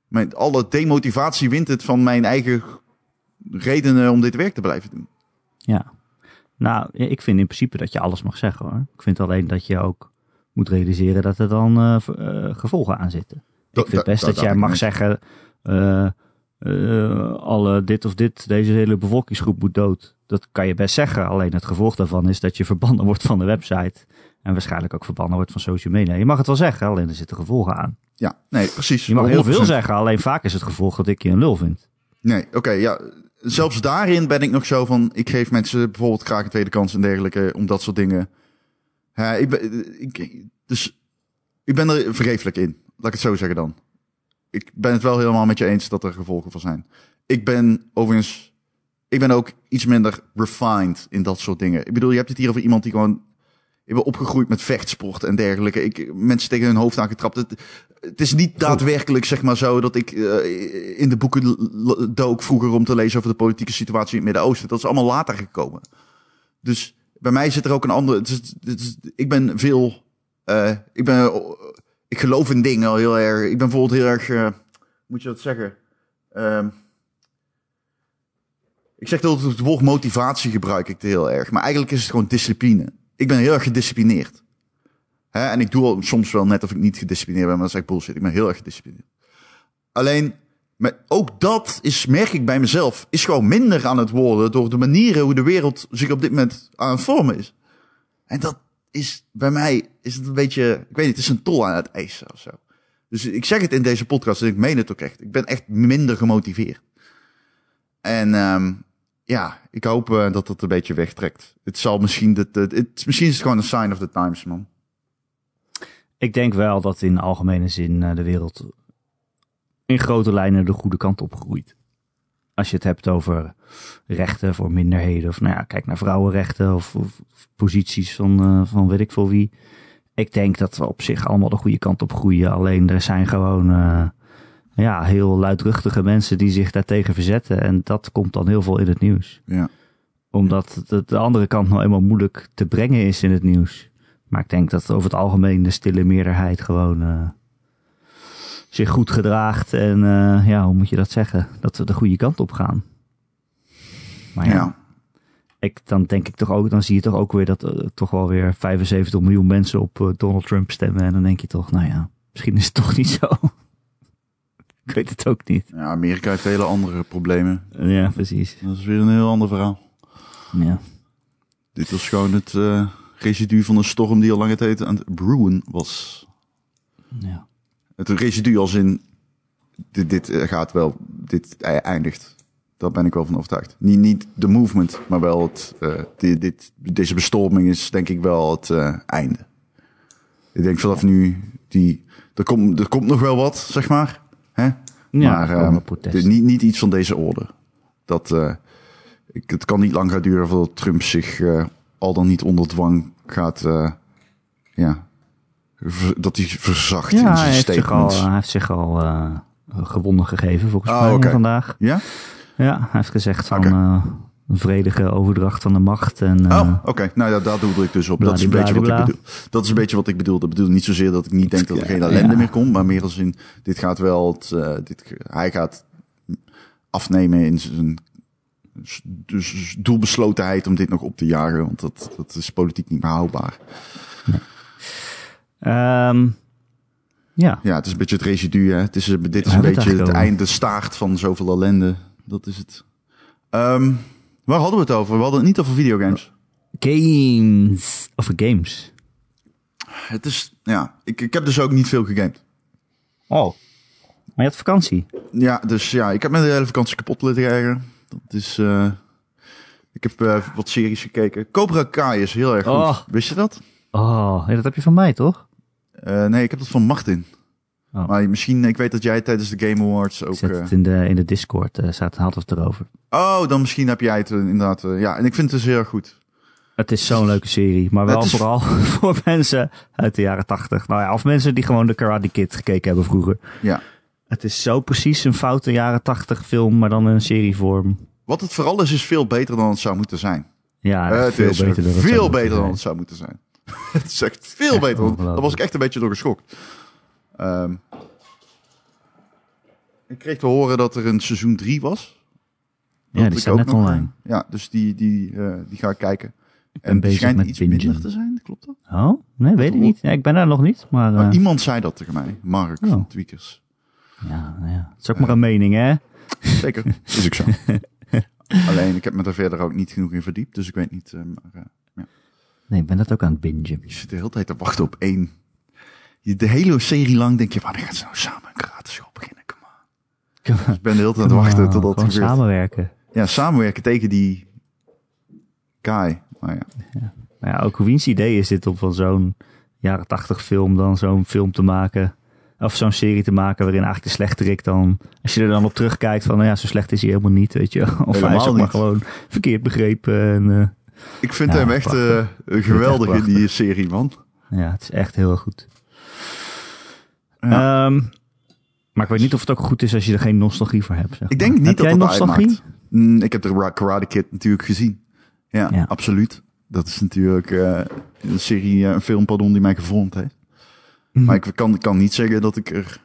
[SPEAKER 2] Mijn, alle demotivatie wint het van mijn eigen redenen om dit werk te blijven doen.
[SPEAKER 1] Ja. Nou, ik vind in principe dat je alles mag zeggen hoor. Ik vind alleen dat je ook moet realiseren dat er dan eh, v- eh, gevolgen aan zitten.
[SPEAKER 2] Dat-
[SPEAKER 1] ik vind
[SPEAKER 2] dat-
[SPEAKER 1] best
[SPEAKER 2] dat
[SPEAKER 1] dat, jij
[SPEAKER 2] dacht ik
[SPEAKER 1] mag
[SPEAKER 2] net.
[SPEAKER 1] zeggen, eh, eh, alle dit of dit, deze hele bevolkingsgroep moet dood. Dat kan je best zeggen. Alleen het gevolg daarvan is dat je verbannen wordt van de website. En waarschijnlijk ook verbannen wordt van social media. Je mag het wel zeggen, alleen er zitten gevolgen aan.
[SPEAKER 2] Ja, nee, precies.
[SPEAKER 1] Je mag heel veel
[SPEAKER 2] 100%.
[SPEAKER 1] zeggen, alleen vaak is het gevolg dat ik je een lul vind.
[SPEAKER 2] Nee, oké, ja. Zelfs daarin ben ik nog zo van, ik geef mensen bijvoorbeeld graag een tweede kans en dergelijke, om dat soort dingen. Hè, ik ben, ik, dus ik ben er vergeeflijk in, laat ik het zo zeggen dan. Ik ben het wel helemaal met je eens dat er gevolgen van zijn. Ik ben overigens, ik ben ook iets minder refined in dat soort dingen. Ik bedoel, je hebt het hier over iemand die gewoon, ik ben opgegroeid met vechtsport en dergelijke. Ik, mensen tegen hun hoofd aangetrapt. Het, het is niet daadwerkelijk zeg maar zo dat ik eh, in de boeken l- l- dook vroeger om te lezen over de politieke situatie in het Midden-Oosten. Dat is allemaal later gekomen. Dus bij mij zit er ook een andere. het is- het is- ik ben veel. eh, ik ben. Ik geloof in dingen al heel erg. Ik ben bijvoorbeeld heel erg. eh, moet je dat zeggen? Ehm, ik zeg altijd het woord motivatie gebruik ik heel erg. Maar eigenlijk is het gewoon discipline. Ik ben heel erg gedisciplineerd. Hè, en ik doe al soms wel net of ik niet gedisciplineerd ben, maar dat is echt bullshit. Ik ben heel erg gedisciplineerd. Alleen, maar ook dat is, merk ik bij mezelf, is gewoon minder aan het worden door de manieren hoe de wereld zich op dit moment aan het vormen is. En dat is bij mij, is het een beetje, ik weet niet, het is een tol aan het eisen of zo. Dus ik zeg het in deze podcast en ik meen het ook echt. Ik ben echt minder gemotiveerd. En ehm, ja, ik hoop eh, dat dat een beetje wegtrekt. Het zal misschien, dat, dat- het, misschien is het gewoon een sign of the times, man.
[SPEAKER 1] Ik denk wel dat in algemene zin eh, de wereld in grote lijnen de goede kant op groeit. Als je het hebt over rechten voor minderheden. Of nou ja, kijk naar vrouwenrechten of, of- of posities van, eh, van weet ik voor wie. Ik denk dat we op zich allemaal de goede kant op groeien. Alleen er zijn gewoon eh, ja, heel luidruchtige mensen die zich daartegen verzetten. En dat komt dan heel veel in het nieuws.
[SPEAKER 2] Ja.
[SPEAKER 1] Omdat de, de andere kant nou eenmaal moeilijk te brengen is in het nieuws. Maar ik denk dat over het algemeen de stille meerderheid gewoon eh, zich goed gedraagt. En eh, ja, hoe moet je dat zeggen? Dat we de goede kant op gaan. Maar ja,
[SPEAKER 2] ja.
[SPEAKER 1] Ik, dan denk ik toch ook, dan zie je toch ook weer dat eh, toch wel weer 75 miljoen mensen op eh, Donald Trump stemmen. En dan denk je toch, nou ja, misschien is het toch niet zo. ik weet het ook niet.
[SPEAKER 2] Ja, Amerika heeft hele andere problemen.
[SPEAKER 1] Ja, precies.
[SPEAKER 2] Dat is weer een heel ander verhaal.
[SPEAKER 1] Ja.
[SPEAKER 2] Dit was gewoon het eh, residu van een storm die al lang het heet aan het brewen was.
[SPEAKER 1] ja.
[SPEAKER 2] Het residu als in, dit, dit eh, gaat wel, dit eh, eindigt. Daar ben ik wel van overtuigd. Niet, niet de movement, maar wel het, eh, dit, dit, deze bestorming is denk ik wel het eh, einde. Ik denk vanaf nu, die, er, komt er komt nog wel wat, zeg maar. Hè?
[SPEAKER 1] Ja,
[SPEAKER 2] maar
[SPEAKER 1] er komen
[SPEAKER 2] eh,
[SPEAKER 1] protesten.
[SPEAKER 2] dit- niet, niet iets van deze orde. Dat, eh, ik, het kan niet lang gaan duren voordat Trump zich eh, al dan niet onder dwang gaat... eh, ja, ver- dat hij verzacht
[SPEAKER 1] Ja,
[SPEAKER 2] in
[SPEAKER 1] hij
[SPEAKER 2] zijn
[SPEAKER 1] heeft zich al,
[SPEAKER 2] statements.
[SPEAKER 1] hij heeft zich al eh, gewonnen gegeven, volgens
[SPEAKER 2] eh, Oh,
[SPEAKER 1] mij,
[SPEAKER 2] oké.
[SPEAKER 1] vandaag.
[SPEAKER 2] Ja?
[SPEAKER 1] Ja, hij heeft gezegd van
[SPEAKER 2] Oké.
[SPEAKER 1] eh, een vredige overdracht van de macht. En, eh,
[SPEAKER 2] oh, oké. Nou ja, daar doelde ik dus op. Dat is, een beetje wat ik
[SPEAKER 1] Bladibladibla.
[SPEAKER 2] bedoel. dat is een beetje wat ik bedoel. Dat bedoel niet zozeer dat ik niet denk dat er geen ellende
[SPEAKER 1] Ja.
[SPEAKER 2] meer komt. Maar meer als in, dit gaat wel... Het, eh, dit, ge- hij gaat afnemen in zijn s- dus doelbeslotenheid om dit nog op te jagen. Want dat, dat is politiek niet meer houdbaar.
[SPEAKER 1] ehm, ja.
[SPEAKER 2] Ja, het is een beetje het residu. Hè? Het is, een- dit is
[SPEAKER 1] Waar
[SPEAKER 2] een
[SPEAKER 1] hebben we het
[SPEAKER 2] beetje
[SPEAKER 1] eigenlijk
[SPEAKER 2] het
[SPEAKER 1] over?
[SPEAKER 2] einde, de staart van zoveel ellende. Dat is het. Ehm, waar hadden we het over? We hadden het niet over videogames.
[SPEAKER 1] Games. Of games.
[SPEAKER 2] Het is, ja, ik, ik heb dus ook niet veel gegamed.
[SPEAKER 1] Oh. Maar je had vakantie.
[SPEAKER 2] Ja, dus ja, ik heb mijn hele vakantie kapot laten krijgen. Dat is, eh, ik heb eh, wat series gekeken. Cobra Kai is heel erg goed.
[SPEAKER 1] Oh.
[SPEAKER 2] Wist je dat?
[SPEAKER 1] Oh, ja, dat heb je van mij, toch?
[SPEAKER 2] Eh, nee, ik heb dat van Martin.
[SPEAKER 1] Oh.
[SPEAKER 2] Maar misschien, ik weet dat jij tijdens de Game Awards ook...
[SPEAKER 1] Ik zet
[SPEAKER 2] eh,
[SPEAKER 1] het in de, in de Discord. eh staat, hadden we het erover.
[SPEAKER 2] oh, dan misschien heb jij het eh, inderdaad... eh, ja, en ik vind het dus heel erg goed.
[SPEAKER 1] Het is zo'n leuke serie. Maar wel
[SPEAKER 2] Het is-
[SPEAKER 1] vooral voor mensen uit de jaren tachtig. Nou ja, of mensen die gewoon de Karate Kid gekeken hebben vroeger.
[SPEAKER 2] Ja.
[SPEAKER 1] Het is zo precies een foute jaren tachtig film, maar dan in een serievorm.
[SPEAKER 2] Wat het vooral is, is veel beter dan het zou moeten zijn.
[SPEAKER 1] Ja,
[SPEAKER 2] Eh,
[SPEAKER 1] dat is
[SPEAKER 2] het
[SPEAKER 1] Ah, veel
[SPEAKER 2] is
[SPEAKER 1] beter dan dat
[SPEAKER 2] veel
[SPEAKER 1] zou
[SPEAKER 2] beter dan het
[SPEAKER 1] moeten
[SPEAKER 2] zou moeten zijn. het is echt veel beter. want Daar was ik
[SPEAKER 1] ongelooflijk.
[SPEAKER 2] echt een beetje door geschokt. Ehm, ik kreeg te horen dat er een seizoen 3 was.
[SPEAKER 1] zijn. Ja,
[SPEAKER 2] Dat
[SPEAKER 1] die
[SPEAKER 2] ik
[SPEAKER 1] staat
[SPEAKER 2] ook
[SPEAKER 1] net
[SPEAKER 2] nog,
[SPEAKER 1] online.
[SPEAKER 2] eh, Ja, dus die, die, eh, die ga ik kijken.
[SPEAKER 1] ben
[SPEAKER 2] En die
[SPEAKER 1] bezig
[SPEAKER 2] schijnt
[SPEAKER 1] met
[SPEAKER 2] iets
[SPEAKER 1] bingen.
[SPEAKER 2] minder te zijn, klopt dat? Oh,
[SPEAKER 1] Oh, nee, weet ik niet. Ja, ik ben daar nog niet, maar... eh,
[SPEAKER 2] Maar iemand zei dat tegen mij, Mark
[SPEAKER 1] Oh.
[SPEAKER 2] van Tweakers.
[SPEAKER 1] nou ja, ja. Het is ook maar een mening, hè?
[SPEAKER 2] Zeker, is ook zo. Alleen, ik heb me daar verder ook niet genoeg in verdiept, dus ik weet niet. eh, maar, eh,
[SPEAKER 1] Nee, ik ben dat ook aan het bingen.
[SPEAKER 2] je zit de hele tijd te wachten op één. Je- De hele serie lang denk je, wanneer gaan ze nou samen een karateschool beginnen? Come on. Dus ik ben de hele tijd aan het wachten
[SPEAKER 1] tot
[SPEAKER 2] totdat
[SPEAKER 1] Oh,
[SPEAKER 2] het
[SPEAKER 1] Gewoon
[SPEAKER 2] gebeurt.
[SPEAKER 1] samenwerken.
[SPEAKER 2] Ja, samenwerken tegen die guy. Maar ja.
[SPEAKER 1] Maar Nou ja, ook wiens idee is dit om van zo'n jaren tachtig film dan zo'n film te maken. Of zo'n serie te maken waarin eigenlijk de slechterik dan... Als je er dan op terugkijkt van, nou ja, zo slecht is hij helemaal niet, weet je. wel. Of hij is
[SPEAKER 2] Helemaal
[SPEAKER 1] ook maar
[SPEAKER 2] niet.
[SPEAKER 1] gewoon verkeerd begrepen. En, eh,
[SPEAKER 2] Ik vind
[SPEAKER 1] Ja,
[SPEAKER 2] hem echt eh
[SPEAKER 1] prachtig.
[SPEAKER 2] geweldig in
[SPEAKER 1] prachtig.
[SPEAKER 2] die serie, man.
[SPEAKER 1] nou ja, het is echt heel erg goed.
[SPEAKER 2] Ja.
[SPEAKER 1] Ehm, maar ik weet niet of het ook goed is als je er geen nostalgie voor hebt. zeg
[SPEAKER 2] Ik denk
[SPEAKER 1] maar.
[SPEAKER 2] niet
[SPEAKER 1] Heb
[SPEAKER 2] dat
[SPEAKER 1] jij
[SPEAKER 2] dat
[SPEAKER 1] nostalgie?
[SPEAKER 2] uitmaakt. Mm, ik heb de Ra- Karate Kid natuurlijk gezien. Ja,
[SPEAKER 1] Ja.
[SPEAKER 2] absoluut. Dat is natuurlijk eh, een serie, eh, een film, pardon, die mij gevormd heeft.
[SPEAKER 1] Mhm.
[SPEAKER 2] Maar ik kan, ik kan niet zeggen dat ik er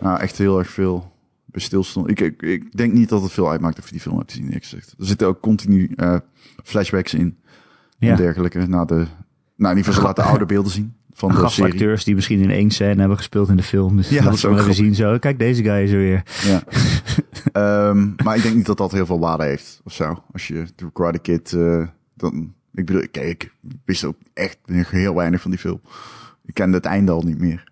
[SPEAKER 2] nou, echt heel erg veel bij stilstond. Ik, ik, ik denk niet dat het veel uitmaakt of je die film hebt gezien, eerlijk gezegd. Er zitten ook continu eh, flashbacks in en
[SPEAKER 1] Ja.
[SPEAKER 2] dergelijke. Na de, nou, in ieder geval ze laten oude beelden zien van de serie.
[SPEAKER 1] Gastacteurs die misschien in één scène hebben gespeeld in de film. Dus
[SPEAKER 2] Ja,
[SPEAKER 1] ja,
[SPEAKER 2] dat
[SPEAKER 1] dat
[SPEAKER 2] is
[SPEAKER 1] we
[SPEAKER 2] ook
[SPEAKER 1] maar even zien zo. Kijk, deze guy is er weer.
[SPEAKER 2] Ja. Ehm, maar ik denk niet dat dat heel veel waarde heeft of zo. Als je de Karate Kid, eh, dan, ik bedoel, kijk, ik wist ook echt heel weinig van die film. Ik kende het einde al niet meer.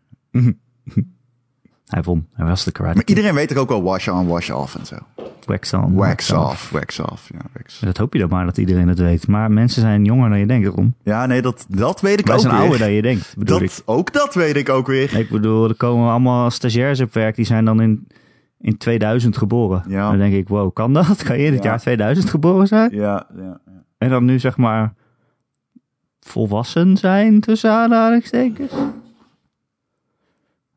[SPEAKER 1] Hij won. Hij was de karate.
[SPEAKER 2] Maar iedereen weet er ook al wash on, wash off en zo.
[SPEAKER 1] kid. wax on.
[SPEAKER 2] Wax off, wax off. Ja, wax.
[SPEAKER 1] Dat hoop je dan maar dat iedereen het weet. Maar mensen zijn jonger dan je denkt, Ron.
[SPEAKER 2] ja nee, dat, dat weet ik
[SPEAKER 1] Wij
[SPEAKER 2] ook
[SPEAKER 1] zijn
[SPEAKER 2] weer.
[SPEAKER 1] ouder dan je denkt, bedoel
[SPEAKER 2] dat,
[SPEAKER 1] ik.
[SPEAKER 2] Ook dat weet ik ook weer.
[SPEAKER 1] Ik bedoel, er komen allemaal stagiairs op werk. Die zijn dan in, in 2000 geboren.
[SPEAKER 2] Ja.
[SPEAKER 1] Dan denk ik, wow, kan dat? Kan je in het
[SPEAKER 2] Ja.
[SPEAKER 1] jaar 2000 geboren zijn?
[SPEAKER 2] Ja, ja, ja.
[SPEAKER 1] En dan nu zeg maar volwassen zijn tussen aanhalingstekens.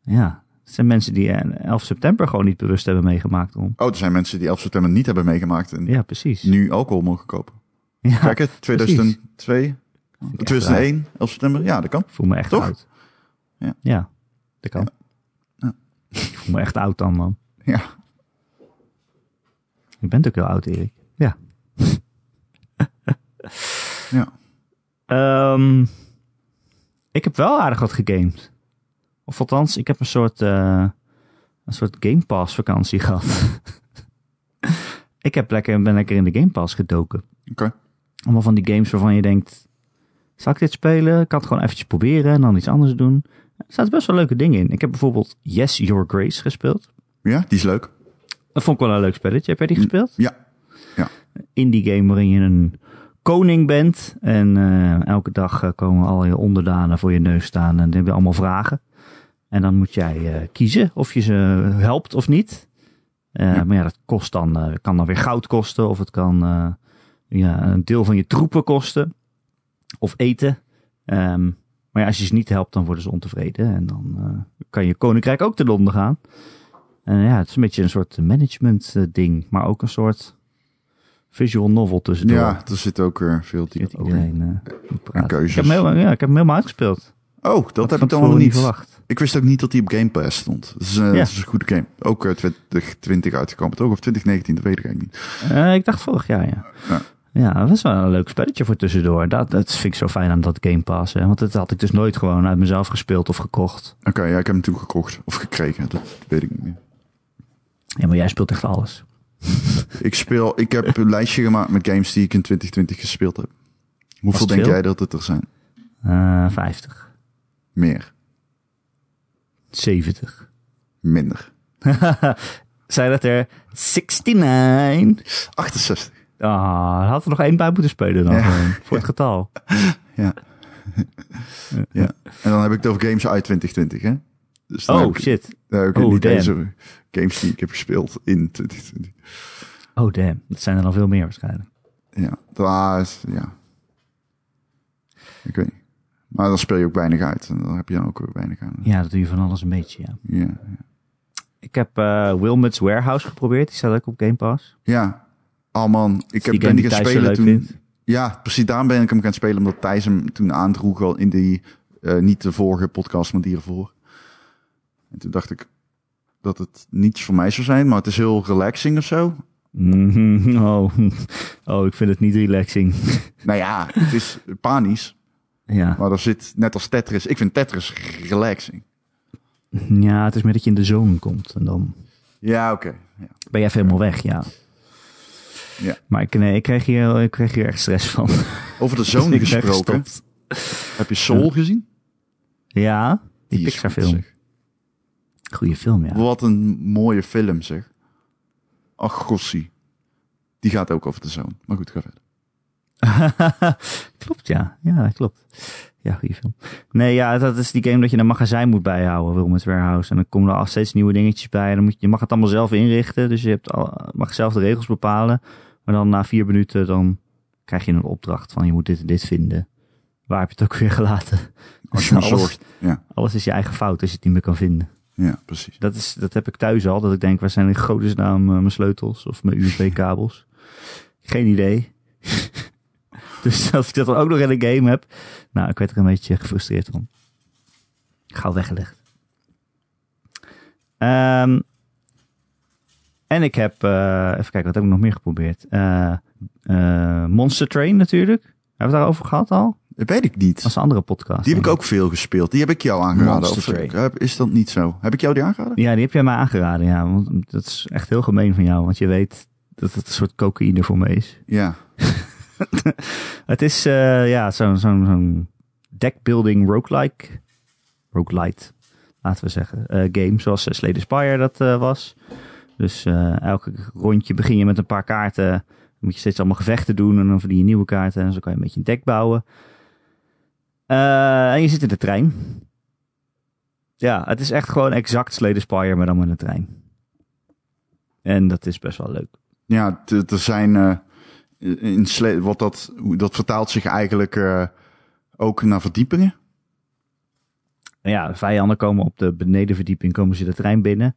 [SPEAKER 1] Ja, het zijn mensen die eh, 11 september gewoon niet bewust hebben meegemaakt. Om.
[SPEAKER 2] Oh, er zijn mensen die 11 september niet hebben meegemaakt en
[SPEAKER 1] Ja, precies.
[SPEAKER 2] nu alcohol mogen kopen.
[SPEAKER 1] Ja,
[SPEAKER 2] Kijk het, 2002,
[SPEAKER 1] vind ik echt raar.
[SPEAKER 2] 2001, 11 september. Ja, dat kan.
[SPEAKER 1] Ik voel me echt
[SPEAKER 2] Toch?
[SPEAKER 1] oud.
[SPEAKER 2] Ja.
[SPEAKER 1] dat kan.
[SPEAKER 2] Ja.
[SPEAKER 1] Ik voel me echt oud dan, man.
[SPEAKER 2] Ja.
[SPEAKER 1] Je bent ook heel oud, Erik. Ja.
[SPEAKER 2] Ja.
[SPEAKER 1] Ehm, ik heb wel aardig wat gegamed. Of althans, ik heb een soort, eh, een soort Game Pass vakantie gehad. ik heb lekker, ben lekker in de Game Pass gedoken.
[SPEAKER 2] Oké.
[SPEAKER 1] Allemaal van die games waarvan je denkt... Zal ik dit spelen? Ik kan het gewoon eventjes proberen en dan iets anders doen. Er zaten best wel leuke dingen in. Ik heb bijvoorbeeld Yes, Your Grace gespeeld.
[SPEAKER 2] Ja, die is leuk.
[SPEAKER 1] Dat vond ik wel een leuk spelletje. Heb jij die gespeeld?
[SPEAKER 2] Ja.
[SPEAKER 1] indie game waarin je een koning bent. En eh, elke dag eh, komen al je onderdanen voor je neus staan en die hebben allemaal vragen. En dan moet jij eh, kiezen of je ze helpt of niet. Eh,
[SPEAKER 2] Ja.
[SPEAKER 1] Maar ja, dat kost dan, eh, kan dan weer goud kosten of het kan eh, ja, een deel van je troepen kosten. Of eten. Ehm, maar ja, als je ze niet helpt, dan worden ze ontevreden. En dan eh, kan je koninkrijk ook te Londen gaan. En ja, het is een beetje een soort management eh, ding. Maar ook een soort visual novel tussendoor.
[SPEAKER 2] Ja, er zit ook eh, veel die
[SPEAKER 1] Dat iedereen eh, moet praten.
[SPEAKER 2] keuzes.
[SPEAKER 1] Ik heb hem helemaal, ja, ik heb hem helemaal uitgespeeld.
[SPEAKER 2] Oh, dat,
[SPEAKER 1] had van
[SPEAKER 2] heb ik dan wel
[SPEAKER 1] tevoren
[SPEAKER 2] niet.
[SPEAKER 1] verwacht.
[SPEAKER 2] ik wist ook niet dat die op Game Pass stond. Het is, eh,
[SPEAKER 1] Ja.
[SPEAKER 2] het is een goede game. Ook eh, 2020 uitgekomen, toch? Of 2019, dat weet ik eigenlijk niet.
[SPEAKER 1] Eh, ik dacht vorig jaar, ja.
[SPEAKER 2] Ja.
[SPEAKER 1] Ja, dat was wel een leuk spelletje voor tussendoor. Dat, dat vind ik zo fijn aan dat Game Pass. Hè? Want dat had ik dus nooit gewoon uit mezelf gespeeld of gekocht.
[SPEAKER 2] Oké, ja, ik heb hem toen gekocht. Of gekregen, dat weet ik niet meer.
[SPEAKER 1] Ja, maar jij speelt echt alles.
[SPEAKER 2] Ik, speel, ik heb een lijstje gemaakt met games die ik in 2020 gespeeld heb. Hoeveel
[SPEAKER 1] het
[SPEAKER 2] denk
[SPEAKER 1] veel?
[SPEAKER 2] jij dat het er zijn?
[SPEAKER 1] Eh 50,
[SPEAKER 2] Meer,
[SPEAKER 1] 70.
[SPEAKER 2] minder.
[SPEAKER 1] Zijn dat er 69?
[SPEAKER 2] 68.
[SPEAKER 1] Ah, daar had er nog één bij moeten spelen dan.
[SPEAKER 2] Ja.
[SPEAKER 1] gewoon, Voor het getal.
[SPEAKER 2] Ja. ja. En dan heb ik het over games uit 2020, hè? Dus dan heb
[SPEAKER 1] Oh,
[SPEAKER 2] ik-
[SPEAKER 1] shit.
[SPEAKER 2] dan heb ik
[SPEAKER 1] Oh,
[SPEAKER 2] niet
[SPEAKER 1] damn.
[SPEAKER 2] eens over games die ik heb gespeeld in 2020.
[SPEAKER 1] Oh, damn. Dat zijn er al veel meer waarschijnlijk.
[SPEAKER 2] Ja, daar is, ja. Ik weet niet. Maar dan speel je ook weinig uit. En dan heb je dan ook weer weinig aan.
[SPEAKER 1] Ja, dat doe je van alles een beetje, ja.
[SPEAKER 2] Ja, ja.
[SPEAKER 1] Ik heb eh, Wilmot's Warehouse geprobeerd. Die staat ook op Game Pass.
[SPEAKER 2] ja. Oh man, ik heb
[SPEAKER 1] Dus Die
[SPEAKER 2] ben
[SPEAKER 1] game
[SPEAKER 2] die
[SPEAKER 1] die
[SPEAKER 2] gaan
[SPEAKER 1] Thijs zo
[SPEAKER 2] spelen
[SPEAKER 1] leuk
[SPEAKER 2] toen.
[SPEAKER 1] vindt.
[SPEAKER 2] Ja, precies daarom ben ik hem gaan spelen. Omdat Thijs hem toen aandroeg al in die, eh, niet de vorige podcast, maar die ervoor. En toen dacht ik dat het niets voor mij zou zijn. Maar het is heel relaxing of zo.
[SPEAKER 1] Mhm, oh. oh, ik vind het niet relaxing.
[SPEAKER 2] Nou ja, het is panisch.
[SPEAKER 1] ja.
[SPEAKER 2] Maar er zit, net als Tetris, ik vind Tetris relaxing.
[SPEAKER 1] ja, het is meer dat je in de zone komt. En dan
[SPEAKER 2] Ja, oké. Ja.
[SPEAKER 1] ben je even helemaal weg, ja.
[SPEAKER 2] Ja.
[SPEAKER 1] Maar ik, nee, ik, kreeg hier, ik kreeg hier echt stress van.
[SPEAKER 2] Over de zoon
[SPEAKER 1] Ik ben
[SPEAKER 2] gesproken.
[SPEAKER 1] gestopt.
[SPEAKER 2] Heb je Soul gezien?
[SPEAKER 1] Ja, die,
[SPEAKER 2] is
[SPEAKER 1] Pixar
[SPEAKER 2] goed,
[SPEAKER 1] film.
[SPEAKER 2] zeg.
[SPEAKER 1] Goeie film, ja.
[SPEAKER 2] Wat een mooie film, zeg. Ach, gossie. Die gaat ook over de zoon. Maar goed, ga verder.
[SPEAKER 1] klopt, ja. Ja, klopt. Ja, goede film. Nee, ja, dat is die game dat je een magazijn moet bijhouden, Wilmot Warehouse. En dan komen er al steeds nieuwe dingetjes bij. En dan moet je, je mag het allemaal zelf inrichten. Dus je hebt al, mag zelf de regels bepalen. Maar dan na vier minuten dan krijg je een opdracht van je moet dit en dit vinden. Waar heb je het ook weer gelaten?
[SPEAKER 2] Als je me
[SPEAKER 1] Alles.
[SPEAKER 2] zorgt. Ja,
[SPEAKER 1] Alles is je eigen fout als je het niet meer kan vinden.
[SPEAKER 2] ja, precies.
[SPEAKER 1] Dat, is, dat heb ik thuis al. Dat ik denk, waar zijn in godesnaam eh, mijn sleutels of mijn USB-kabels? Geen idee. dus als ik dat dan ook nog in een game heb. Nou, ik werd er een beetje gefrustreerd van. Gauw weggelegd. Ehm, en ik heb, eh, even kijken, wat heb ik nog meer geprobeerd? Eh, eh, Monster Train natuurlijk. Hebben we het daarover gehad al?
[SPEAKER 2] Dat weet ik
[SPEAKER 1] Dat was
[SPEAKER 2] niet.
[SPEAKER 1] een andere podcast.
[SPEAKER 2] Die heb
[SPEAKER 1] denk
[SPEAKER 2] ik ook veel gespeeld. Die heb ik jou aangeraden.
[SPEAKER 1] Monster
[SPEAKER 2] Of eh,
[SPEAKER 1] Train.
[SPEAKER 2] heb- is dat niet zo? Heb ik jou die aangeraden?
[SPEAKER 1] Ja, die heb jij mij aangeraden, ja. Want dat is echt heel gemeen van jou, want je weet dat het een soort cocaïne voor me is.
[SPEAKER 2] Ja.
[SPEAKER 1] Het is eh, ja, zo'n zo'n zo'n deckbuilding roguelike, roguelite, laten we zeggen, eh, game. Zoals eh, Slay the Spire dat eh, was. Dus eh, elke rondje begin je met een paar kaarten. Dan moet je steeds allemaal gevechten doen en dan verdien je nieuwe kaarten. En zo kan je een beetje een deck bouwen. Eh, en je zit in de trein. Ja, het is echt gewoon exact Slay the Spire, maar dan met een trein. En dat is best wel leuk.
[SPEAKER 2] Ja, t- er zijn. eh, in sle- wat dat, hoe- dat vertaalt zich eigenlijk eh, ook naar verdiepingen.
[SPEAKER 1] Nou ja, vijanden komen op de benedenverdieping, komen ze de trein binnen.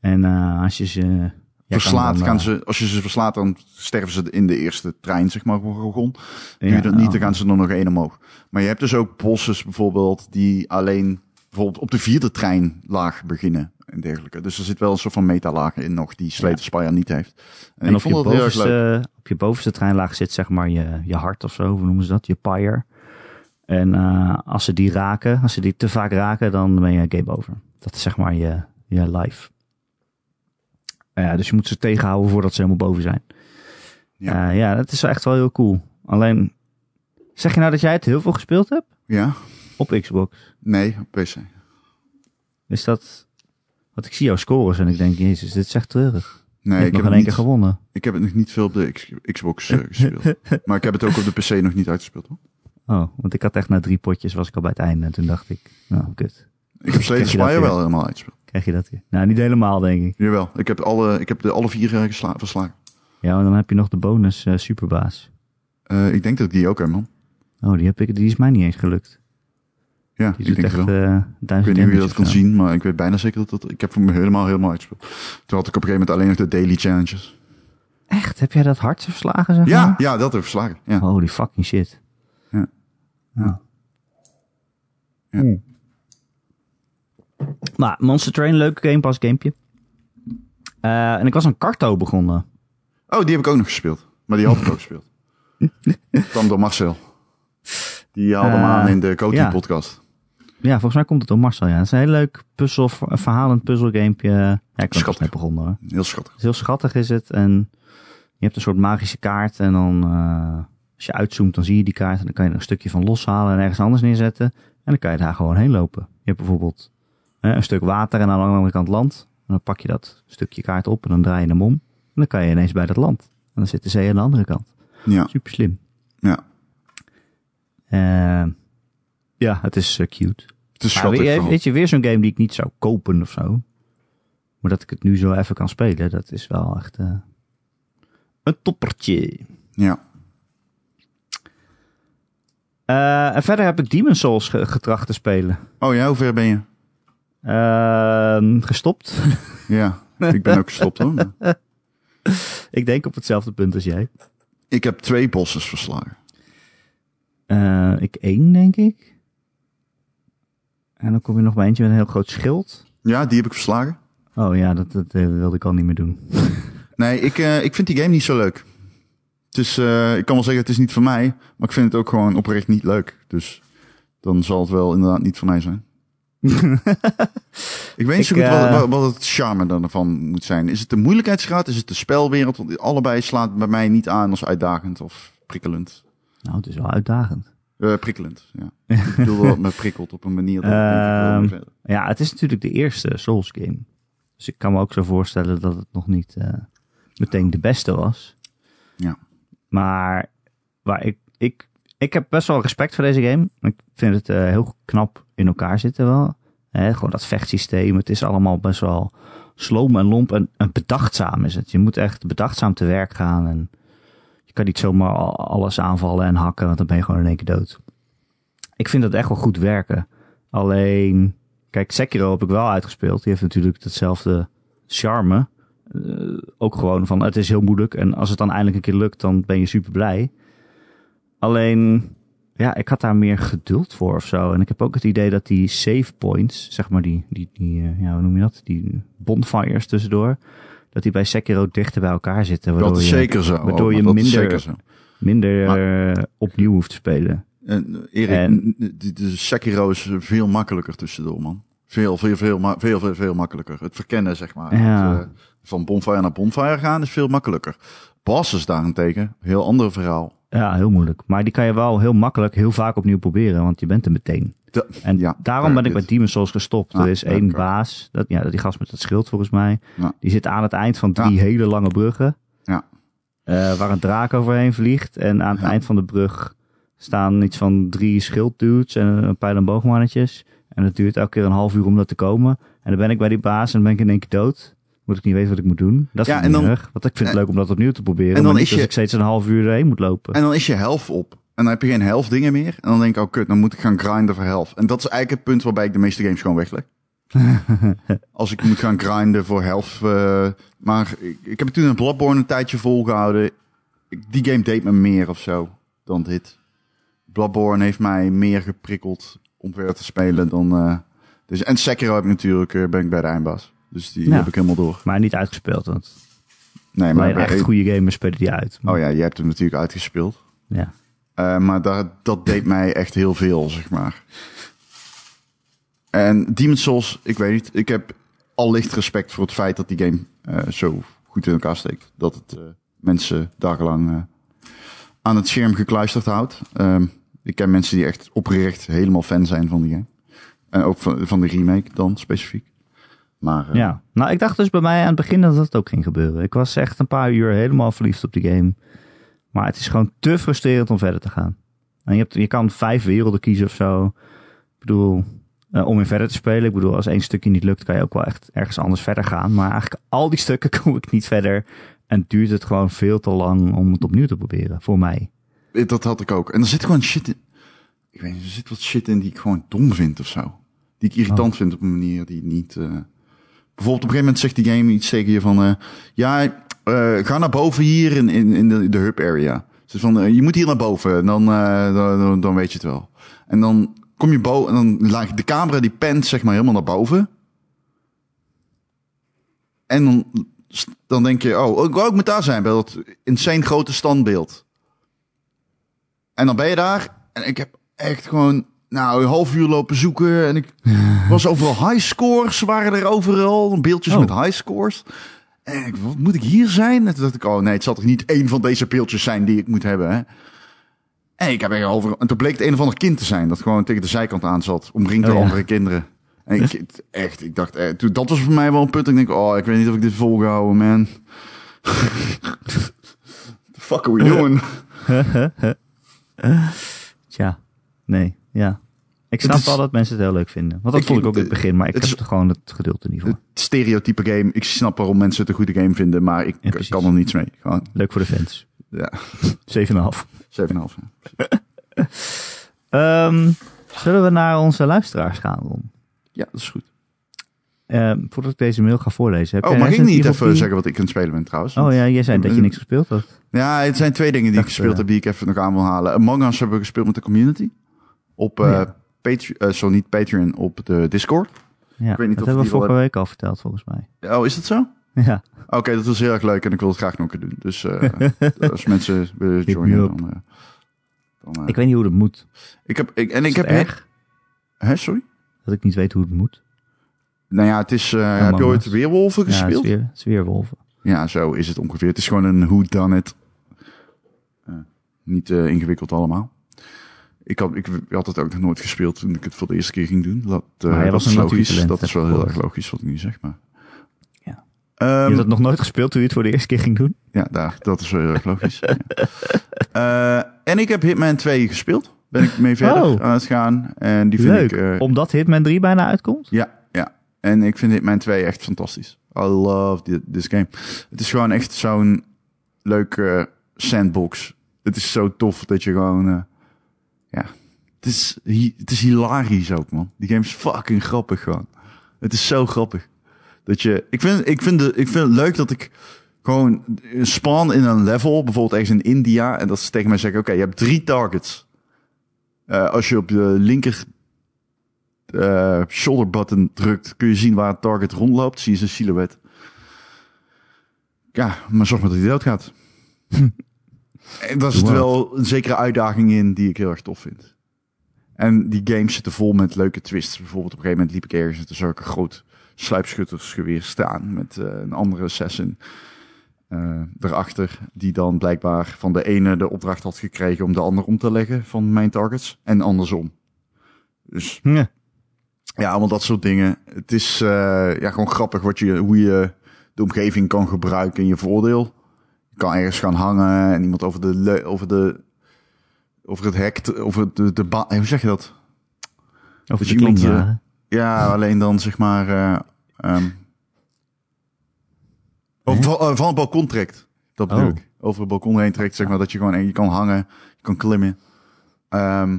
[SPEAKER 1] En eh, als je ze... jij kan
[SPEAKER 2] Verslaat,
[SPEAKER 1] dan,
[SPEAKER 2] gaan
[SPEAKER 1] eh,
[SPEAKER 2] ze, als je ze verslaat, dan sterven ze in de eerste trein, zeg maar, wagon. Doe je
[SPEAKER 1] Ja,
[SPEAKER 2] dat niet, dan
[SPEAKER 1] oh.
[SPEAKER 2] gaan ze er nog één omhoog. Maar je hebt dus ook bosses bijvoorbeeld, die alleen bijvoorbeeld op de vierde treinlaag beginnen en dergelijke. Dus er zit wel een soort van metalaag in nog, die Slate Spire niet heeft. En,
[SPEAKER 1] En
[SPEAKER 2] ik
[SPEAKER 1] op
[SPEAKER 2] vond
[SPEAKER 1] je,
[SPEAKER 2] dat heel erg leuk.
[SPEAKER 1] bovenste, op je bovenste treinlaag zit zeg maar je, je hart of zo, hoe noemen ze dat? Je pyre. En eh, als ze die raken, als ze die te vaak raken, dan ben je game over. Dat is zeg maar je, je life. Eh, dus je moet ze tegenhouden voordat ze helemaal boven zijn.
[SPEAKER 2] Ja.
[SPEAKER 1] Ja, ja dat is wel echt wel heel cool. Alleen, zeg je nou dat jij het heel veel gespeeld hebt?
[SPEAKER 2] Ja?
[SPEAKER 1] Op Xbox?
[SPEAKER 2] Nee, op PC.
[SPEAKER 1] Is dat. Want ik zie jouw scores en ik denk, Jezus, dit is echt treurig.
[SPEAKER 2] Nee,
[SPEAKER 1] je
[SPEAKER 2] ik
[SPEAKER 1] hebt nog in
[SPEAKER 2] heb,
[SPEAKER 1] één
[SPEAKER 2] het
[SPEAKER 1] keer
[SPEAKER 2] niet,
[SPEAKER 1] gewonnen.
[SPEAKER 2] ik heb het nog niet veel op de X- Xbox eh, gespeeld. maar ik heb het ook op de PC nog niet uitgespeeld. Hoor.
[SPEAKER 1] Oh, want ik had echt na drie potjes was ik al bij het einde. En toen dacht ik, nou, kut.
[SPEAKER 2] Ik heb Slate
[SPEAKER 1] Krijg je dat
[SPEAKER 2] Spire
[SPEAKER 1] weer?
[SPEAKER 2] wel helemaal uitgespeeld.
[SPEAKER 1] Krijg je dat weer? Nou, niet helemaal, denk ik.
[SPEAKER 2] Jawel, ik heb, alle, ik heb de alle vier eh, gesla- verslagen.
[SPEAKER 1] Ja, maar dan heb je nog de bonus eh, superbaas.
[SPEAKER 2] Eh, ik denk dat ik die ook heb, man.
[SPEAKER 1] Oh, die, heb ik, die is mij niet eens gelukt.
[SPEAKER 2] Ja,
[SPEAKER 1] Die
[SPEAKER 2] ik
[SPEAKER 1] doet
[SPEAKER 2] denk het
[SPEAKER 1] echt
[SPEAKER 2] wel.
[SPEAKER 1] eh
[SPEAKER 2] Ik weet
[SPEAKER 1] duizend
[SPEAKER 2] niet hoe
[SPEAKER 1] damage
[SPEAKER 2] je dat
[SPEAKER 1] of
[SPEAKER 2] kon
[SPEAKER 1] zo.
[SPEAKER 2] zien, maar ik weet bijna zeker dat dat... Ik heb hem helemaal, helemaal uitgespeeld. Toen had ik op een gegeven moment alleen nog de daily challenges.
[SPEAKER 1] Echt? Heb jij dat hart verslagen, zeg
[SPEAKER 2] Ja,
[SPEAKER 1] maar?
[SPEAKER 2] ja, dat heb ik verslagen. Ja.
[SPEAKER 1] Holy fucking shit.
[SPEAKER 2] Ja.
[SPEAKER 1] Ja.
[SPEAKER 2] Ja.
[SPEAKER 1] Oeh. Maar Monster Train, leuk Game Pass gamepje. Eh, en ik was aan Carto begonnen.
[SPEAKER 2] Oh, die heb ik ook nog gespeeld. Maar die had ik ook gespeeld. Kwam door Marcel. Die haalde hem
[SPEAKER 1] Eh,
[SPEAKER 2] aan in de coaching
[SPEAKER 1] ja.
[SPEAKER 2] podcast.
[SPEAKER 1] Ja, volgens mij komt het door Marcel. Ja. Het is een heel leuk puzzel, een verhalend puzzelgamepje. Ja, ik ben er pas
[SPEAKER 2] Schattig.
[SPEAKER 1] mee begonnen hoor.
[SPEAKER 2] Heel schattig.
[SPEAKER 1] Het is Dus heel schattig is het. En je hebt een soort magische kaart. En dan eh, als je uitzoomt, dan zie je die kaart. En dan kan je er een stukje van loshalen en ergens anders neerzetten. En dan kan je daar gewoon heen lopen. Je hebt bijvoorbeeld eh, een stuk water en aan de andere kant land. En dan pak je dat stukje kaart op en dan draai je hem om. En dan kan je ineens bij dat land. En dan zit de zee aan de andere kant.
[SPEAKER 2] Ja,
[SPEAKER 1] Super slim.
[SPEAKER 2] ja.
[SPEAKER 1] Eh, ja, het is eh, cute.
[SPEAKER 2] Het is
[SPEAKER 1] Maar
[SPEAKER 2] schattig.
[SPEAKER 1] weet, je,
[SPEAKER 2] vooral.
[SPEAKER 1] weet je, weer zo'n game die ik niet zou kopen of zo. Maar dat ik het nu zo even kan spelen, dat is wel echt eh, een toppertje.
[SPEAKER 2] Ja.
[SPEAKER 1] Eh, en verder heb ik Demon Souls ge- getracht te spelen.
[SPEAKER 2] Oh ja, hoe ver ben je?
[SPEAKER 1] Ehm, gestopt.
[SPEAKER 2] Ja, ik ben ook gestopt hoor.
[SPEAKER 1] ik denk op hetzelfde punt als jij.
[SPEAKER 2] Ik heb twee bosses verslagen.
[SPEAKER 1] Eh, ik één, denk ik. En dan kom je nog bij eentje met een heel groot schild.
[SPEAKER 2] Ja, die heb ik verslagen.
[SPEAKER 1] Oh ja, dat, dat eh, wilde ik al niet meer doen.
[SPEAKER 2] Nee, ik, eh, ik vind die game niet zo leuk. Het is, eh, ik kan wel zeggen, het is niet van mij. Maar ik vind het ook gewoon oprecht niet leuk. Dus dan zal het wel inderdaad niet van mij zijn. Ik weet niet zo
[SPEAKER 1] Ik,
[SPEAKER 2] goed wat,
[SPEAKER 1] eh,
[SPEAKER 2] wat- wat het charme dan ervan moet zijn. Is het de moeilijkheidsgraad? Is het de spelwereld? Want allebei slaat bij mij niet aan als uitdagend of prikkelend.
[SPEAKER 1] Nou, het is wel uitdagend.
[SPEAKER 2] Eh, prikkelend, ja. Ik bedoel dat het me prikkelt op een manier dat ik denk, ik wil
[SPEAKER 1] Ehm,
[SPEAKER 2] weer verder.
[SPEAKER 1] Ja, het is natuurlijk de eerste Souls game. Dus ik kan me ook zo voorstellen dat het nog niet eh, meteen de beste was.
[SPEAKER 2] Ja.
[SPEAKER 1] Maar waar ik, ik, ik heb best wel respect voor deze game. Ik vind het eh, heel knap in elkaar zitten wel. Hè, gewoon dat vechtsysteem. Het is allemaal best wel sloom en lomp en, en bedachtzaam is het. Je moet echt bedachtzaam te werk gaan. En je kan niet zomaar al- alles aanvallen en hakken, want dan ben je gewoon in één keer dood. Ik vind dat echt wel goed werken. Alleen, kijk, Sekiro heb ik wel uitgespeeld. Die heeft natuurlijk hetzelfde charme. Eh, ook gewoon van het is heel moeilijk. En als het dan eindelijk een keer lukt, dan ben je super blij. Alleen, ja, ik had daar meer geduld voor of zo. En ik heb ook het idee dat die save points, zeg maar die, die, die eh, ja, hoe noem je dat? Die bonfires tussendoor. Dat die bij Sekiro dichter bij elkaar zitten. waardoor
[SPEAKER 2] Dat is
[SPEAKER 1] je-
[SPEAKER 2] zeker zo.
[SPEAKER 1] waardoor
[SPEAKER 2] Alma,
[SPEAKER 1] je
[SPEAKER 2] dat is
[SPEAKER 1] minder-
[SPEAKER 2] zeker zo.
[SPEAKER 1] minder eh, opnieuw hoeft te spelen.
[SPEAKER 2] En, eh, Erik,
[SPEAKER 1] En-
[SPEAKER 2] n- n- de, de Sekiro is veel makkelijker tussendoor, man. Veel, veel, veel, ma- veel, veel, veel makkelijker. Het verkennen, zeg maar.
[SPEAKER 1] Ja.
[SPEAKER 2] Het, eh, van bonfire naar bonfire gaan is veel makkelijker. Bosses daarentegen, heel ander verhaal.
[SPEAKER 1] Ja, heel moeilijk. Maar die kan je wel heel makkelijk, heel vaak opnieuw proberen, want je bent er meteen.
[SPEAKER 2] Da-
[SPEAKER 1] En
[SPEAKER 2] ja,
[SPEAKER 1] daarom ben ik
[SPEAKER 2] dit.
[SPEAKER 1] met Demon's Souls gestopt.
[SPEAKER 2] Ah,
[SPEAKER 1] er is
[SPEAKER 2] ja,
[SPEAKER 1] één
[SPEAKER 2] oké.
[SPEAKER 1] baas, dat, ja, die gast met dat schild volgens mij,
[SPEAKER 2] Ja.
[SPEAKER 1] die zit aan het eind van drie
[SPEAKER 2] Ja.
[SPEAKER 1] hele lange bruggen.
[SPEAKER 2] Ja.
[SPEAKER 1] Eh, waar een draak overheen vliegt. En aan het
[SPEAKER 2] Ja.
[SPEAKER 1] eind van de brug staan iets van drie schilddudes en een pijl- en boogmannetjes. En het duurt elke keer een half uur om dat te komen. En dan ben ik bij die baas en dan ben ik in één keer dood. Moet ik niet weten wat ik moet doen. Dat
[SPEAKER 2] Ja,
[SPEAKER 1] vind ik
[SPEAKER 2] en
[SPEAKER 1] niet
[SPEAKER 2] dan-
[SPEAKER 1] erg. Want ik vind het leuk om dat opnieuw te proberen.
[SPEAKER 2] en dan
[SPEAKER 1] maar niet
[SPEAKER 2] is je-
[SPEAKER 1] als ik steeds een half uur erheen moet lopen.
[SPEAKER 2] En dan is je helft op. En dan heb je geen helft dingen meer. En dan denk ik, oh kut, dan moet ik gaan grinden voor helft. En dat is eigenlijk het punt waarbij ik de meeste games gewoon wegleg. Als ik moet gaan grinden voor helft. eh, maar ik, ik heb toen een Bloodborne een tijdje volgehouden. Ik- die game deed me meer of zo dan dit. Bloodborne heeft mij meer geprikkeld om verder te spelen dan... eh, dus, en Sekiro heb ik natuurlijk, eh, ben ik bij de eindbaas. Dus die
[SPEAKER 1] Ja.
[SPEAKER 2] heb ik helemaal door.
[SPEAKER 1] Maar niet uitgespeeld, want
[SPEAKER 2] Nee,
[SPEAKER 1] alleen
[SPEAKER 2] maar...
[SPEAKER 1] echt goede gamers spelen die uit. Maar-
[SPEAKER 2] oh ja, jij hebt hem natuurlijk uitgespeeld.
[SPEAKER 1] ja.
[SPEAKER 2] Eh, maar daar, dat deed mij echt heel veel, zeg maar. En Demon's Souls, ik weet niet. Ik heb allicht respect voor het feit dat die game eh, zo goed in elkaar steekt. Dat het eh, mensen dagenlang eh, aan het scherm gekluisterd houdt. Ehm, ik ken mensen die echt oprecht helemaal fan zijn van die game. En ook van, van de remake dan specifiek. Maar eh,
[SPEAKER 1] ja. Nou, ik dacht dus bij mij aan het begin dat dat ook ging gebeuren. Ik was echt een paar uur helemaal verliefd op die game. Maar het is gewoon te frustrerend om verder te gaan. En je, hebt, je kan vijf werelden kiezen of zo. Ik bedoel, eh, om in verder te spelen. Ik bedoel, als één stukje niet lukt, kan je ook wel echt ergens anders verder gaan. Maar eigenlijk al die stukken kom ik niet verder. En duurt het gewoon veel te lang om het opnieuw te proberen, voor mij.
[SPEAKER 2] eh, dat had ik ook. En er zit gewoon shit in. Ik weet niet, er zit wat shit in die ik gewoon dom vind of zo. Die ik irritant vind op een manier die niet. eh, Bijvoorbeeld op een gegeven moment zegt die game iets tegen je van... eh, ja, eh, ga naar boven hier in, in, in de, de hub area. Dus van, eh, je moet hier naar boven, en dan, eh, dan, dan, dan weet je het wel. En dan kom je boven en dan laat de camera die pent zeg maar helemaal naar boven. En dan, dan denk je, oh, ik, oh, ik moet daar zijn bij dat insane grote standbeeld. En dan ben je daar en ik heb echt gewoon... Nou, een half uur lopen zoeken en ik was overal high scores, waren er overal. Beeldjes
[SPEAKER 1] Oh.
[SPEAKER 2] met high scores. En ik, wat moet ik hier zijn? En toen dacht ik, oh nee, het zal toch niet één van deze beeldjes zijn die ik moet hebben, hè? En ik heb er over. En toen bleek het een of ander kind te zijn. Dat gewoon tegen de zijkant aan zat. Omringd
[SPEAKER 1] Oh,
[SPEAKER 2] door
[SPEAKER 1] ja.
[SPEAKER 2] andere kinderen. En ik, het- echt, ik dacht, eh, toen, dat was voor mij wel een punt. Ik denk, oh, ik weet niet of ik dit vol ga houden, man. The fuck are we doing?
[SPEAKER 1] Tja, nee, ja. Ik snap
[SPEAKER 2] is-
[SPEAKER 1] wel dat mensen het heel leuk vinden. Want dat
[SPEAKER 2] Ik-
[SPEAKER 1] vond ik ook in het
[SPEAKER 2] het-
[SPEAKER 1] begin, maar ik
[SPEAKER 2] het
[SPEAKER 1] heb
[SPEAKER 2] is-
[SPEAKER 1] er gewoon het geduld er niet voor.
[SPEAKER 2] Stereotype game. Ik snap waarom mensen het een goede game vinden, maar ik
[SPEAKER 1] Ja,
[SPEAKER 2] ik
[SPEAKER 1] precies.
[SPEAKER 2] kan er niets mee. Gewoon,
[SPEAKER 1] Leuk voor de fans.
[SPEAKER 2] ja,
[SPEAKER 1] 7,5.
[SPEAKER 2] 7,5. ja.
[SPEAKER 1] Ehm zullen we naar onze luisteraars gaan, Ron?
[SPEAKER 2] Ja, dat is goed.
[SPEAKER 1] Ehm, voordat ik deze mail ga voorlezen. Heb
[SPEAKER 2] Oh,
[SPEAKER 1] jij
[SPEAKER 2] mag ik
[SPEAKER 1] Resident
[SPEAKER 2] niet
[SPEAKER 1] Evil
[SPEAKER 2] even
[SPEAKER 1] 10?
[SPEAKER 2] zeggen Mm. wat ik aan het spelen ben trouwens?
[SPEAKER 1] Oh ja, jij zei dat je niks gespeeld had.
[SPEAKER 2] Ja, het zijn twee dingen die ik
[SPEAKER 1] Dacht,
[SPEAKER 2] gespeeld
[SPEAKER 1] eh,
[SPEAKER 2] heb die ik even nog aan wil halen. Among Us hebben we gespeeld met de community. Op eh
[SPEAKER 1] Oh ja.
[SPEAKER 2] Patre- eh, zo niet Patreon, op de Discord.
[SPEAKER 1] Ja,
[SPEAKER 2] Ik weet niet
[SPEAKER 1] dat
[SPEAKER 2] of
[SPEAKER 1] hebben we
[SPEAKER 2] die wel
[SPEAKER 1] vorige week al verteld, volgens mij.
[SPEAKER 2] Oh, is dat zo?
[SPEAKER 1] Ja,
[SPEAKER 2] Oké, dat was heel erg leuk en ik wil het graag nog een keer doen. Dus eh, als mensen willen
[SPEAKER 1] Hit me
[SPEAKER 2] joinen,
[SPEAKER 1] up.
[SPEAKER 2] dan... eh, dan eh,
[SPEAKER 1] ik
[SPEAKER 2] ik,
[SPEAKER 1] weet niet hoe dat moet.
[SPEAKER 2] heb, ik, en
[SPEAKER 1] Is
[SPEAKER 2] ik
[SPEAKER 1] het
[SPEAKER 2] heb...
[SPEAKER 1] erg?
[SPEAKER 2] Hè, sorry?
[SPEAKER 1] Dat ik niet weet hoe het moet.
[SPEAKER 2] Nou ja, het is. eh, heb
[SPEAKER 1] Among
[SPEAKER 2] je ooit
[SPEAKER 1] Us.
[SPEAKER 2] Weerwolven
[SPEAKER 1] Ja, het is,
[SPEAKER 2] gespeeld? Ja,
[SPEAKER 1] weer, het is weer wolven.
[SPEAKER 2] zo is het ongeveer. Het is gewoon een hoe dan het. niet eh, ingewikkeld allemaal. Ik had, ik had het ook nog nooit gespeeld toen ik het voor de eerste keer ging doen. Dat, eh,
[SPEAKER 1] Maar jij
[SPEAKER 2] dat
[SPEAKER 1] was
[SPEAKER 2] is
[SPEAKER 1] een
[SPEAKER 2] logisch.
[SPEAKER 1] natuurtalent,
[SPEAKER 2] Dat is
[SPEAKER 1] heb
[SPEAKER 2] wel
[SPEAKER 1] ik
[SPEAKER 2] heel erg
[SPEAKER 1] gehoord.
[SPEAKER 2] logisch wat ik nu zeg. Maar.
[SPEAKER 1] Ja.
[SPEAKER 2] Ehm,
[SPEAKER 1] je hebt dat nog nooit gespeeld toen je het voor de eerste keer ging doen?
[SPEAKER 2] Ja, daar, dat is wel heel erg logisch. ja. Eh, en ik heb Hitman 2 gespeeld. Ben ik mee verder
[SPEAKER 1] Oh.
[SPEAKER 2] aan het gaan. En die vind
[SPEAKER 1] Leuk.
[SPEAKER 2] ik... eh,
[SPEAKER 1] Omdat Hitman 3 bijna uitkomt?
[SPEAKER 2] ja, ja. En ik vind Hitman 2 echt fantastisch. I love thi- this game. Het is gewoon echt zo'n leuke sandbox. Het is zo tof dat je gewoon... eh, ja. Het is, hi- het is hilarisch ook, man. Die game is fucking grappig gewoon. Het is zo grappig. Dat je, ik, vind, ik, vind de, ik vind het leuk dat ik gewoon spawn in een level, bijvoorbeeld ergens in India, en dat ze tegen mij zeggen: Oké, je hebt drie targets. Eh, als je op de linker eh, shoulder button drukt, kun je zien waar het target rondloopt. Zie je zijn silhouet. Ja, maar zorg maar dat hij doodgaat. en daar zit
[SPEAKER 1] Wow.
[SPEAKER 2] wel een zekere uitdaging in die ik heel erg tof vind. En die games zitten vol met leuke twists. Bijvoorbeeld op een gegeven moment liep ik ergens en toen zag ik een groot sluipschuttersgeweer staan met eh, een andere assassin eh erachter. Die dan blijkbaar van de ene de opdracht had gekregen om de ander om te leggen van mijn targets. En andersom. Dus
[SPEAKER 1] Ja.
[SPEAKER 2] ja, allemaal dat soort dingen. Het is eh, ja, gewoon grappig wat je, hoe je de omgeving kan gebruiken in je voordeel. Je kan ergens gaan hangen en iemand over, de, le- over, de, over het hek, te- over de, de ba- eh, Hoe zeg je dat?
[SPEAKER 1] Of
[SPEAKER 2] Dus
[SPEAKER 1] de
[SPEAKER 2] iemand, eh,
[SPEAKER 1] klimwagen?
[SPEAKER 2] Ja, alleen dan zeg maar. eh, ehm,
[SPEAKER 1] Hè?
[SPEAKER 2] of van, eh, van het balkon trekt. Dat bedoel
[SPEAKER 1] Oh.
[SPEAKER 2] ik. Over het balkon heen trekt, zeg maar. Dat je gewoon en je kan hangen, je kan klimmen. Ehm,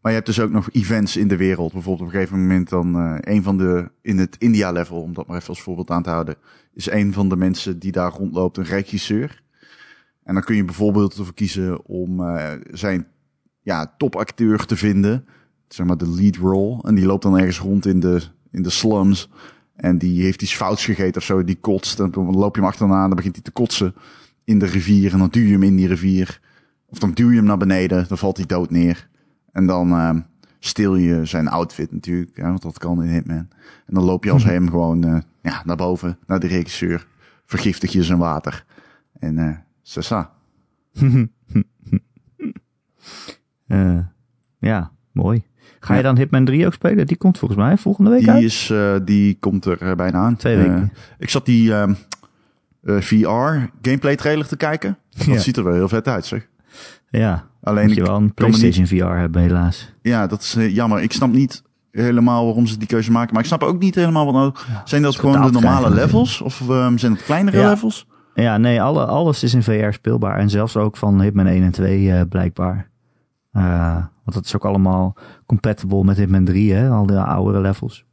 [SPEAKER 2] maar je hebt dus ook nog events in de wereld. Bijvoorbeeld op een gegeven moment dan eh, een van de. In het India-level, om dat maar even als voorbeeld aan te houden. Is een van de mensen die daar rondloopt een regisseur. En dan kun je bijvoorbeeld ervoor kiezen om eh, zijn ja, topacteur te vinden zeg maar de lead role. En die loopt dan ergens rond in de, in de slums. En die heeft iets fouts gegeten of zo. Die kotst. En dan loop je hem achterna en dan begint hij te kotsen in de rivier. En dan duw je hem in die rivier. Of dan duw je hem naar beneden. Dan valt hij dood neer. En dan ehm steel je zijn outfit natuurlijk. Ja, want dat kan in Hitman. En dan loop je als hem gewoon eh, ja, naar boven, naar de regisseur. Vergiftig je zijn water. En eh sasa.
[SPEAKER 1] Eh, ja, mooi. Ga je
[SPEAKER 2] Ja.
[SPEAKER 1] dan Hitman 3 ook spelen? Die komt volgens mij volgende week uit.
[SPEAKER 2] Die, is, eh, die komt er eh, bijna aan.
[SPEAKER 1] Twee weken.
[SPEAKER 2] Eh, ik zat die ehm, eh, VR gameplay trailer te kijken. Dat
[SPEAKER 1] Ja.
[SPEAKER 2] ziet er wel heel vet uit, zeg.
[SPEAKER 1] Ja,
[SPEAKER 2] Alleen,
[SPEAKER 1] moet je
[SPEAKER 2] ik,
[SPEAKER 1] wel een
[SPEAKER 2] kan me niet-
[SPEAKER 1] PlayStation VR hebben helaas.
[SPEAKER 2] ja, dat is eh, jammer. Ik snap niet helemaal waarom ze die keuze maken. Maar ik snap ook niet helemaal wat nou... Zijn dat gewoon de
[SPEAKER 1] betaald
[SPEAKER 2] normale
[SPEAKER 1] krijgen
[SPEAKER 2] levels? Of ehm, zijn het kleinere
[SPEAKER 1] Ja.
[SPEAKER 2] levels?
[SPEAKER 1] Ja, nee, alle, alles is in VR speelbaar. En zelfs ook van Hitman 1 en 2 eh, blijkbaar. Eh, want dat is ook allemaal compatible met Hitman 3, hè? al de oudere levels.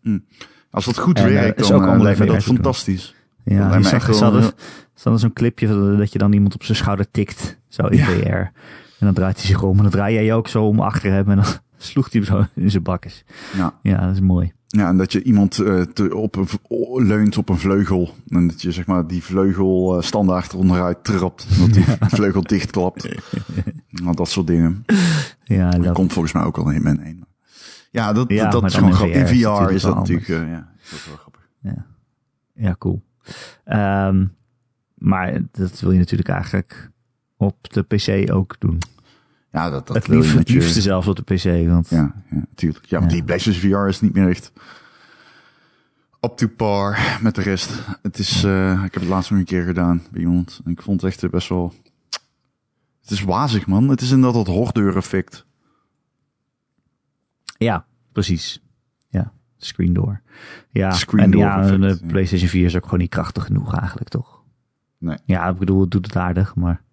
[SPEAKER 2] Als dat goed
[SPEAKER 1] En, eh,
[SPEAKER 2] werkt,
[SPEAKER 1] is
[SPEAKER 2] dan
[SPEAKER 1] ook
[SPEAKER 2] eh,
[SPEAKER 1] allemaal
[SPEAKER 2] lijkt me
[SPEAKER 1] VR
[SPEAKER 2] dat
[SPEAKER 1] te doen.
[SPEAKER 2] fantastisch. lijkt
[SPEAKER 1] Ja,
[SPEAKER 2] me
[SPEAKER 1] die zag,
[SPEAKER 2] echt wel
[SPEAKER 1] zat
[SPEAKER 2] een
[SPEAKER 1] er zat er zo'n clipje van dat je dan iemand op zijn schouder tikt, zo in
[SPEAKER 2] Ja.
[SPEAKER 1] VR. En dan draait hij zich om en dan draai jij je ook zo om achter hem en dan sloeg hij hem zo in zijn bakkes.
[SPEAKER 2] Ja.
[SPEAKER 1] Ja, dat is mooi.
[SPEAKER 2] Ja, en dat je iemand eh, te, op een, v- o- leunt op een vleugel. En dat je zeg maar die vleugel eh, standaard eronderuit trapt. Dat die vleugel dichtklapt. Nou, dat soort dingen.
[SPEAKER 1] Ja,
[SPEAKER 2] Dat
[SPEAKER 1] dat,
[SPEAKER 2] komt volgens mij ook al in Hitman 1. Ja, dat,
[SPEAKER 1] Ja,
[SPEAKER 2] dat
[SPEAKER 1] maar
[SPEAKER 2] is
[SPEAKER 1] dan
[SPEAKER 2] gewoon
[SPEAKER 1] in
[SPEAKER 2] grappig.
[SPEAKER 1] VR is het
[SPEAKER 2] In VR
[SPEAKER 1] natuurlijk
[SPEAKER 2] is dat
[SPEAKER 1] wel
[SPEAKER 2] natuurlijk... eh, ja, dat is wel grappig.
[SPEAKER 1] ja cool. Ehm, maar dat wil je natuurlijk eigenlijk op de PC ook doen.
[SPEAKER 2] Ja, dat, dat
[SPEAKER 1] het
[SPEAKER 2] wil
[SPEAKER 1] liefst,
[SPEAKER 2] je
[SPEAKER 1] het
[SPEAKER 2] natuurlijk.
[SPEAKER 1] liefste zelfs op de PC. Want
[SPEAKER 2] Ja, ja, tuurlijk. Ja, want
[SPEAKER 1] Ja.
[SPEAKER 2] die PlayStation VR is niet meer echt up to par met de rest. Het is, eh, ik heb het laatst nog een keer gedaan bij iemand. En ik vond het echt eh, best wel... Het is wazig, man. Het is inderdaad dat hordeur effect.
[SPEAKER 1] Ja, precies. Ja, screen door. Ja,
[SPEAKER 2] Screen
[SPEAKER 1] en
[SPEAKER 2] door
[SPEAKER 1] ja,
[SPEAKER 2] effect,
[SPEAKER 1] de
[SPEAKER 2] ja.
[SPEAKER 1] PlayStation 4 is ook gewoon niet krachtig genoeg eigenlijk, toch?
[SPEAKER 2] Nee.
[SPEAKER 1] Ja, ik bedoel, het doet het aardig, maar...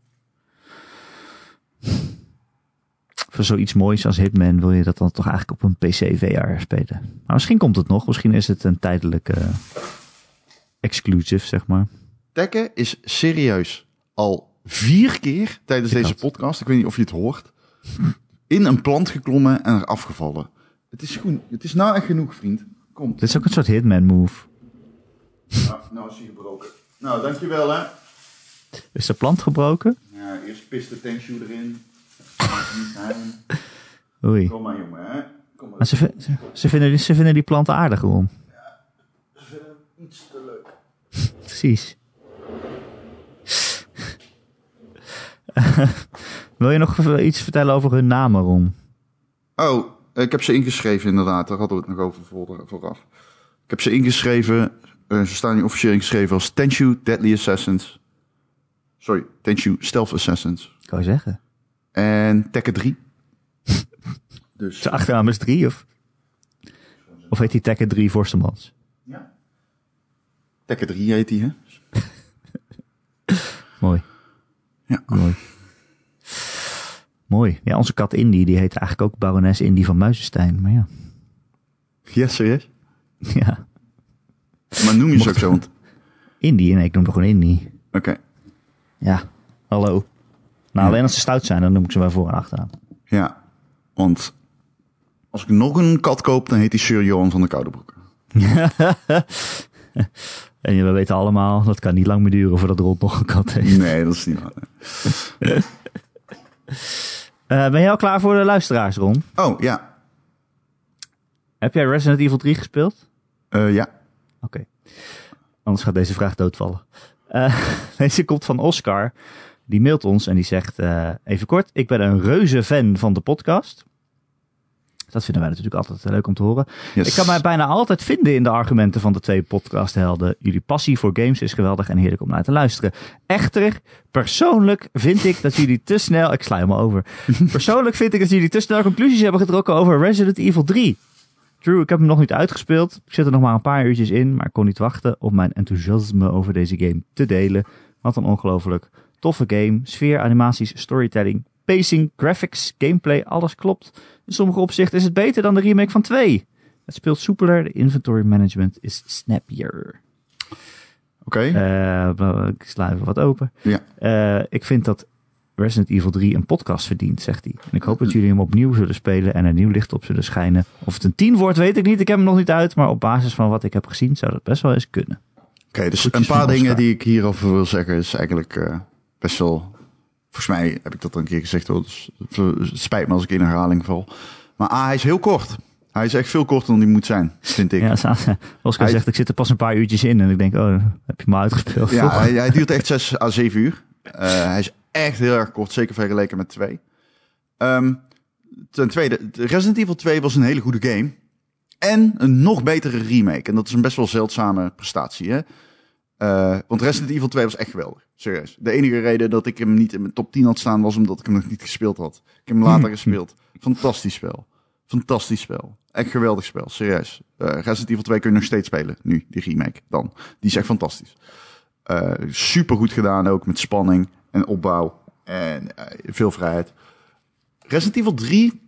[SPEAKER 1] Voor zoiets moois als Hitman wil je dat dan toch eigenlijk op een PC VR spelen. Maar misschien komt het nog. Misschien is het een tijdelijke exclusive, zeg maar.
[SPEAKER 2] Tekken is serieus al vier keer tijdens deze
[SPEAKER 1] had-
[SPEAKER 2] podcast, ik weet niet of je het hoort, in een plant geklommen en er afgevallen. Het is, goed, het is nou echt genoeg, vriend. Kom.
[SPEAKER 1] Dit is ook een soort Hitman move.
[SPEAKER 2] Ah, nou is hij gebroken. Nou, dankjewel hè.
[SPEAKER 1] Is de plant gebroken?
[SPEAKER 2] Ja, eerst pist de tenshoe erin. Niet zijn.
[SPEAKER 1] Oei.
[SPEAKER 2] Kom maar jongen hè.
[SPEAKER 3] kom
[SPEAKER 1] Maar ze, vi- ze, ze vinden, die- ze vinden die planten aardig gewoon.
[SPEAKER 3] Ik vind hem iets te leuk.
[SPEAKER 1] Precies. Wil je nog v- iets vertellen over hun namen, Ron?
[SPEAKER 2] Oh, ik heb ze ingeschreven inderdaad. Daar hadden we het nog over voor- vooraf. Ik heb ze ingeschreven. eh, ze staan nu officieel ingeschreven als Tenshu Deadly Assassins. Sorry, Tenshu Stealth Assassins.
[SPEAKER 1] Kan je zeggen.
[SPEAKER 2] En Tekken 3. dus
[SPEAKER 1] Zijn achternaam is 3 of? Of heet die Tekken 3 Forstemans?
[SPEAKER 2] ja. Tekken 3 heet die, hè?
[SPEAKER 1] Mooi.
[SPEAKER 2] Ja.
[SPEAKER 1] Mooi. Mooi. Ja, onze kat Indy, die heet eigenlijk ook barones Indy van Muizenstein. Maar ja.
[SPEAKER 2] Ja, serieus?
[SPEAKER 1] ja.
[SPEAKER 2] Maar noem je ze ook zo, want...
[SPEAKER 1] Indy, nee, ik noem er gewoon Indy.
[SPEAKER 2] Oké.
[SPEAKER 1] Ja. Hallo. Nou, alleen als ze stout zijn, dan noem ik ze bij voor en achteraan.
[SPEAKER 2] Ja, want als ik nog een kat koop, dan heet die Sir Johan van de Koudebroek.
[SPEAKER 1] En we weten allemaal, dat kan niet lang meer duren voordat Rond nog een kat heeft.
[SPEAKER 2] Nee, dat is niet waar.
[SPEAKER 1] Eh, ben jij al klaar voor de luisteraars, Ron?
[SPEAKER 2] Oh, ja.
[SPEAKER 1] Heb jij Resident Evil 3 gespeeld?
[SPEAKER 2] Eh, ja.
[SPEAKER 1] Oké. Anders gaat deze vraag doodvallen. Eh, deze komt van Oscar. Die mailt ons en die zegt: eh, Even kort, ik ben een reuze fan van de podcast. Dat vinden wij natuurlijk altijd eh, leuk om te horen.
[SPEAKER 2] Yes.
[SPEAKER 1] Ik kan mij bijna altijd vinden in de argumenten van de twee podcasthelden. Jullie passie voor games is geweldig en heerlijk om naar te luisteren. Echter, persoonlijk vind ik dat jullie te snel. Ik sla hem al over. Persoonlijk vind ik dat jullie te snel conclusies hebben getrokken over Resident Evil 3. True, ik heb hem nog niet uitgespeeld. Ik zit er nog maar een paar uurtjes in, maar ik kon niet wachten om mijn enthousiasme over deze game te delen. Wat een ongelooflijk toffe game. Sfeer, animaties, storytelling, pacing, graphics, gameplay, alles klopt. In sommige opzichten is het beter dan de remake van 2. Het speelt soepeler, de inventory management is snappier.
[SPEAKER 2] Oké.
[SPEAKER 1] Eh, ik sla even wat open.
[SPEAKER 2] Ja.
[SPEAKER 1] Eh, ik vind dat Resident Evil 3 een podcast verdient, zegt hij. En ik hoop dat jullie hem opnieuw zullen spelen en er nieuw licht op zullen schijnen. Of het een 10 wordt, weet ik niet. Ik heb hem nog niet uit. Maar op basis van wat ik heb gezien, zou dat best wel eens kunnen.
[SPEAKER 2] Oké, dus
[SPEAKER 1] Goedjes
[SPEAKER 2] een paar
[SPEAKER 1] van
[SPEAKER 2] dingen
[SPEAKER 1] Oscar.
[SPEAKER 2] die ik hierover wil zeggen is eigenlijk eh, best wel... Volgens mij heb ik dat al een keer gezegd, hoor. Dus het spijt me als ik in herhaling val. Maar A, hij is heel kort. Hij is echt veel korter dan hij moet zijn, vind ik.
[SPEAKER 1] Ja, Sa- Oscar
[SPEAKER 2] Hij-
[SPEAKER 1] zegt, ik zit er pas een paar uurtjes in. En ik denk, oh, dan heb je me uitgespeeld.
[SPEAKER 2] Ja,
[SPEAKER 1] toch?
[SPEAKER 2] hij, hij duurt echt 6 à 7 uur. Eh, hij is echt heel erg kort, zeker vergeleken met 2. Ehm, ten tweede, de Resident Evil 2 was een hele goede game. En een nog betere remake. En dat is een best wel zeldzame prestatie. Hè? Eh, want Resident Evil 2 was echt geweldig. Serieus. De enige reden dat ik hem niet in mijn top 10 had staan was omdat ik hem nog niet gespeeld had. Ik heb hem later gespeeld. Fantastisch spel. Fantastisch spel. Echt geweldig spel. Serieus. Eh, Resident Evil 2 kun je nog steeds spelen. Nu, die remake dan. Die is echt fantastisch super goed gedaan ook met spanning en opbouw en eh, veel vrijheid. Resident Evil 3.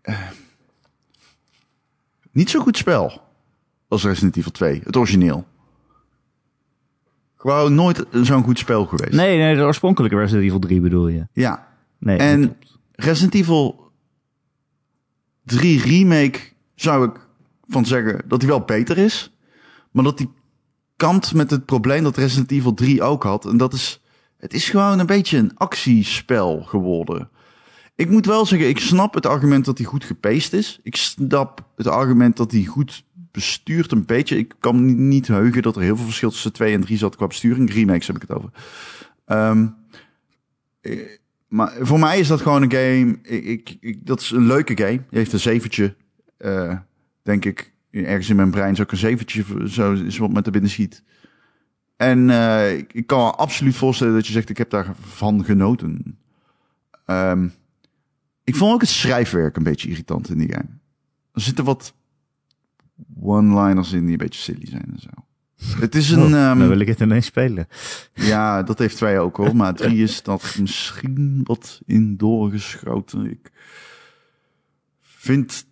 [SPEAKER 2] eh, niet zo goed spel als Resident Evil 2, het origineel. Gewoon nooit zo'n goed spel geweest.
[SPEAKER 1] Nee, nee, de oorspronkelijke Resident Evil 3 bedoel je.
[SPEAKER 2] Ja,
[SPEAKER 1] Nee, dat
[SPEAKER 2] en
[SPEAKER 1] klopt.
[SPEAKER 2] Resident Evil 3 Remake zou ik van zeggen dat hij wel beter is. Maar dat hij kampt met het probleem dat Resident Evil 3 ook had. En dat is, het is gewoon een beetje een actiespel geworden. Ik moet wel zeggen, ik snap het argument dat hij goed gepaced is. Ik snap het argument dat hij goed bestuurt een beetje. Ik kan me niet- niet heugen dat er heel veel verschil tussen 2 en 3 zat qua besturing. Remakes heb ik het over. Ehm, maar voor mij is dat gewoon een game. Ik, ik, ik- dat is een leuke game. Die heeft een zeventje. eh, denk ik. Ergens in mijn brein zou ik een zeventje. voor- Zo is wat met de binnen schiet. En eh, ik, ik kan me absoluut voorstellen dat je zegt: Ik heb daarvan genoten. Ehm, ik vond ook het schrijfwerk een beetje irritant in die game. Er zitten wat one-liners in die een beetje silly zijn en zo. Het is een.
[SPEAKER 1] Oh,
[SPEAKER 2] ehm,
[SPEAKER 1] dan wil ik het ineens spelen.
[SPEAKER 2] ja, dat heeft twee ook hoor. Maar drie is dat misschien wat in doorgeschoten. Ik vind.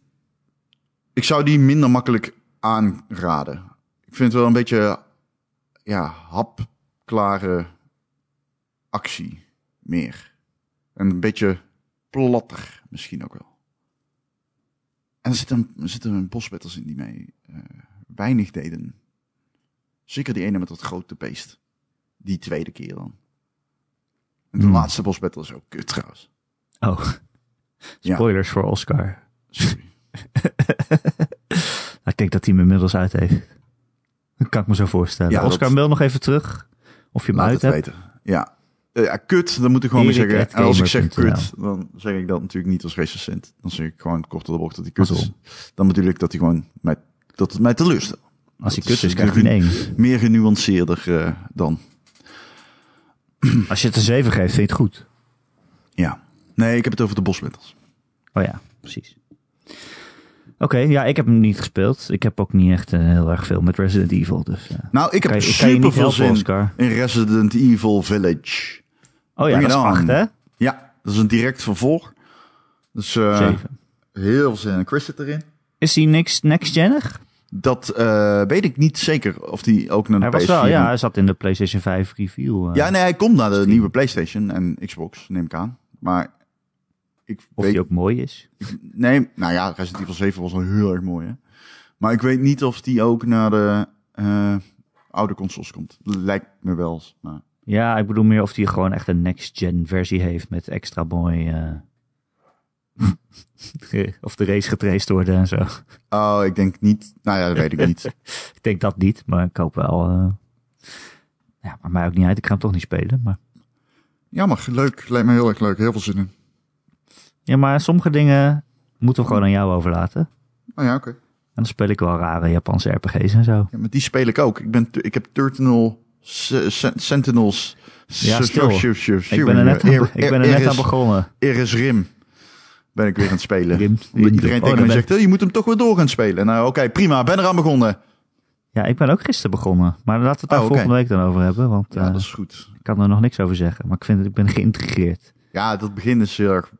[SPEAKER 2] Ik zou die minder makkelijk aanraden. Ik vind het wel een beetje. Ja, hapklare actie meer. En een beetje platter misschien ook wel. En er zitten, er zitten bosbetters in die mij eh, weinig deden. Zeker die ene met dat grote beest. Die tweede keer dan. En de
[SPEAKER 1] Hmm.
[SPEAKER 2] laatste bosbattle is ook kut trouwens.
[SPEAKER 1] Oh.
[SPEAKER 2] Ja.
[SPEAKER 1] Spoilers voor Oscar.
[SPEAKER 2] Sorry.
[SPEAKER 1] Nou, ik denk dat hij hem inmiddels uit heeft. Dat kan ik me zo voorstellen.
[SPEAKER 2] Ja,
[SPEAKER 1] Oscar,
[SPEAKER 2] dat-
[SPEAKER 1] mail nog even terug of je hem
[SPEAKER 2] Laat
[SPEAKER 1] uit
[SPEAKER 2] het
[SPEAKER 1] hebt.
[SPEAKER 2] weten. Ja. Eh, ja, kut, dan moet ik gewoon weer
[SPEAKER 1] Erik
[SPEAKER 2] zeggen.
[SPEAKER 1] at
[SPEAKER 2] En als ik zeg
[SPEAKER 1] gamer.nl.
[SPEAKER 2] kut, dan zeg ik dat natuurlijk niet als recensent. Dan zeg ik gewoon kort door de bocht dat hij kut
[SPEAKER 1] Alsof.
[SPEAKER 2] is. Dan natuurlijk dat hij gewoon mij, dat het mij teleurstelt.
[SPEAKER 1] Als hij
[SPEAKER 2] Dat
[SPEAKER 1] kut is,
[SPEAKER 2] is
[SPEAKER 1] krijg je een één.
[SPEAKER 2] Meer genuanceerder eh, dan.
[SPEAKER 1] Als je het een 7 geeft, vind je het goed.
[SPEAKER 2] Ja. Nee, ik heb het over de boswittels.
[SPEAKER 1] Oh ja, precies. Oké, ja, ik heb hem niet gespeeld. Ik heb ook niet echt eh, heel erg veel met Resident Evil. Dus, eh,
[SPEAKER 2] Nou, ik heb
[SPEAKER 1] kan je- ik kan je
[SPEAKER 2] super
[SPEAKER 1] niet
[SPEAKER 2] veel
[SPEAKER 1] helpen,
[SPEAKER 2] zin
[SPEAKER 1] Oscar.
[SPEAKER 2] in Resident Evil Village.
[SPEAKER 1] Oh ja,
[SPEAKER 2] Bring
[SPEAKER 1] dat is
[SPEAKER 2] it on.
[SPEAKER 1] 8, hè?
[SPEAKER 2] Ja, dat is een direct vervolg. Dus eh,
[SPEAKER 1] 7.
[SPEAKER 2] heel veel zin in. Chris zit erin.
[SPEAKER 1] Is hij niks next-genig?
[SPEAKER 2] Dat eh, weet ik niet zeker of die ook naar de
[SPEAKER 1] Hij was
[SPEAKER 2] PS4
[SPEAKER 1] wel, ja.
[SPEAKER 2] moet.
[SPEAKER 1] Hij zat in de PlayStation 5 review. eh,
[SPEAKER 2] Ja, nee, hij komt naar de nieuwe PlayStation en Xbox, neem ik aan. Maar ik
[SPEAKER 1] of
[SPEAKER 2] weet...
[SPEAKER 1] die ook mooi is.
[SPEAKER 2] Nee, nou ja, Resident Evil 7 was al heel erg mooi, hè. Maar ik weet niet of die ook naar de eh, oude consoles komt. Lijkt me wel. Maar...
[SPEAKER 1] Ja, ik bedoel meer of hij gewoon echt een next-gen versie heeft met extra mooi... eh, of de race getraced worden en zo.
[SPEAKER 2] Oh, ik denk niet. Nou ja, dat weet ik niet.
[SPEAKER 1] Ik denk dat niet, maar ik hoop wel... eh, ja, maar mij ook niet uit. Ik ga hem toch niet spelen, maar...
[SPEAKER 2] Jammer, leuk. Lijkt me heel erg leuk. Heel veel zin in.
[SPEAKER 1] Ja, maar sommige dingen moeten we gewoon aan jou overlaten. En
[SPEAKER 2] Oh ja, oké.
[SPEAKER 1] dan speel ik wel rare Japanse RPG's en zo.
[SPEAKER 2] Ja, maar die speel ik ook. Ik, ben, ik heb Turtinal S- S- Sentinels.
[SPEAKER 1] Ja,
[SPEAKER 2] S-
[SPEAKER 1] stil.
[SPEAKER 2] S- S- S-
[SPEAKER 1] Ik ben er net aan,
[SPEAKER 2] Er-
[SPEAKER 1] ik ben er net
[SPEAKER 2] Eris-
[SPEAKER 1] aan begonnen.
[SPEAKER 2] Eris Rim. Ben ik weer aan het spelen.
[SPEAKER 1] Rim-
[SPEAKER 2] Omdat
[SPEAKER 1] Rim-
[SPEAKER 2] iedereen
[SPEAKER 1] oh, dan
[SPEAKER 2] tegen mij
[SPEAKER 1] ben-
[SPEAKER 2] zegt, "Hé, je moet hem toch weer door gaan spelen. Nou, oké, prima. Ben eraan begonnen.
[SPEAKER 1] Ja, ik ben ook gisteren begonnen. Maar laten we het daar
[SPEAKER 2] Oh, oké.
[SPEAKER 1] volgende week dan over hebben. Want
[SPEAKER 2] Ja,
[SPEAKER 1] eh,
[SPEAKER 2] dat is goed.
[SPEAKER 1] ik kan er nog niks over zeggen. Maar ik, vind, het- ik ben geïntrigeerd.
[SPEAKER 2] Ja, dat begin is heel erg
[SPEAKER 1] ik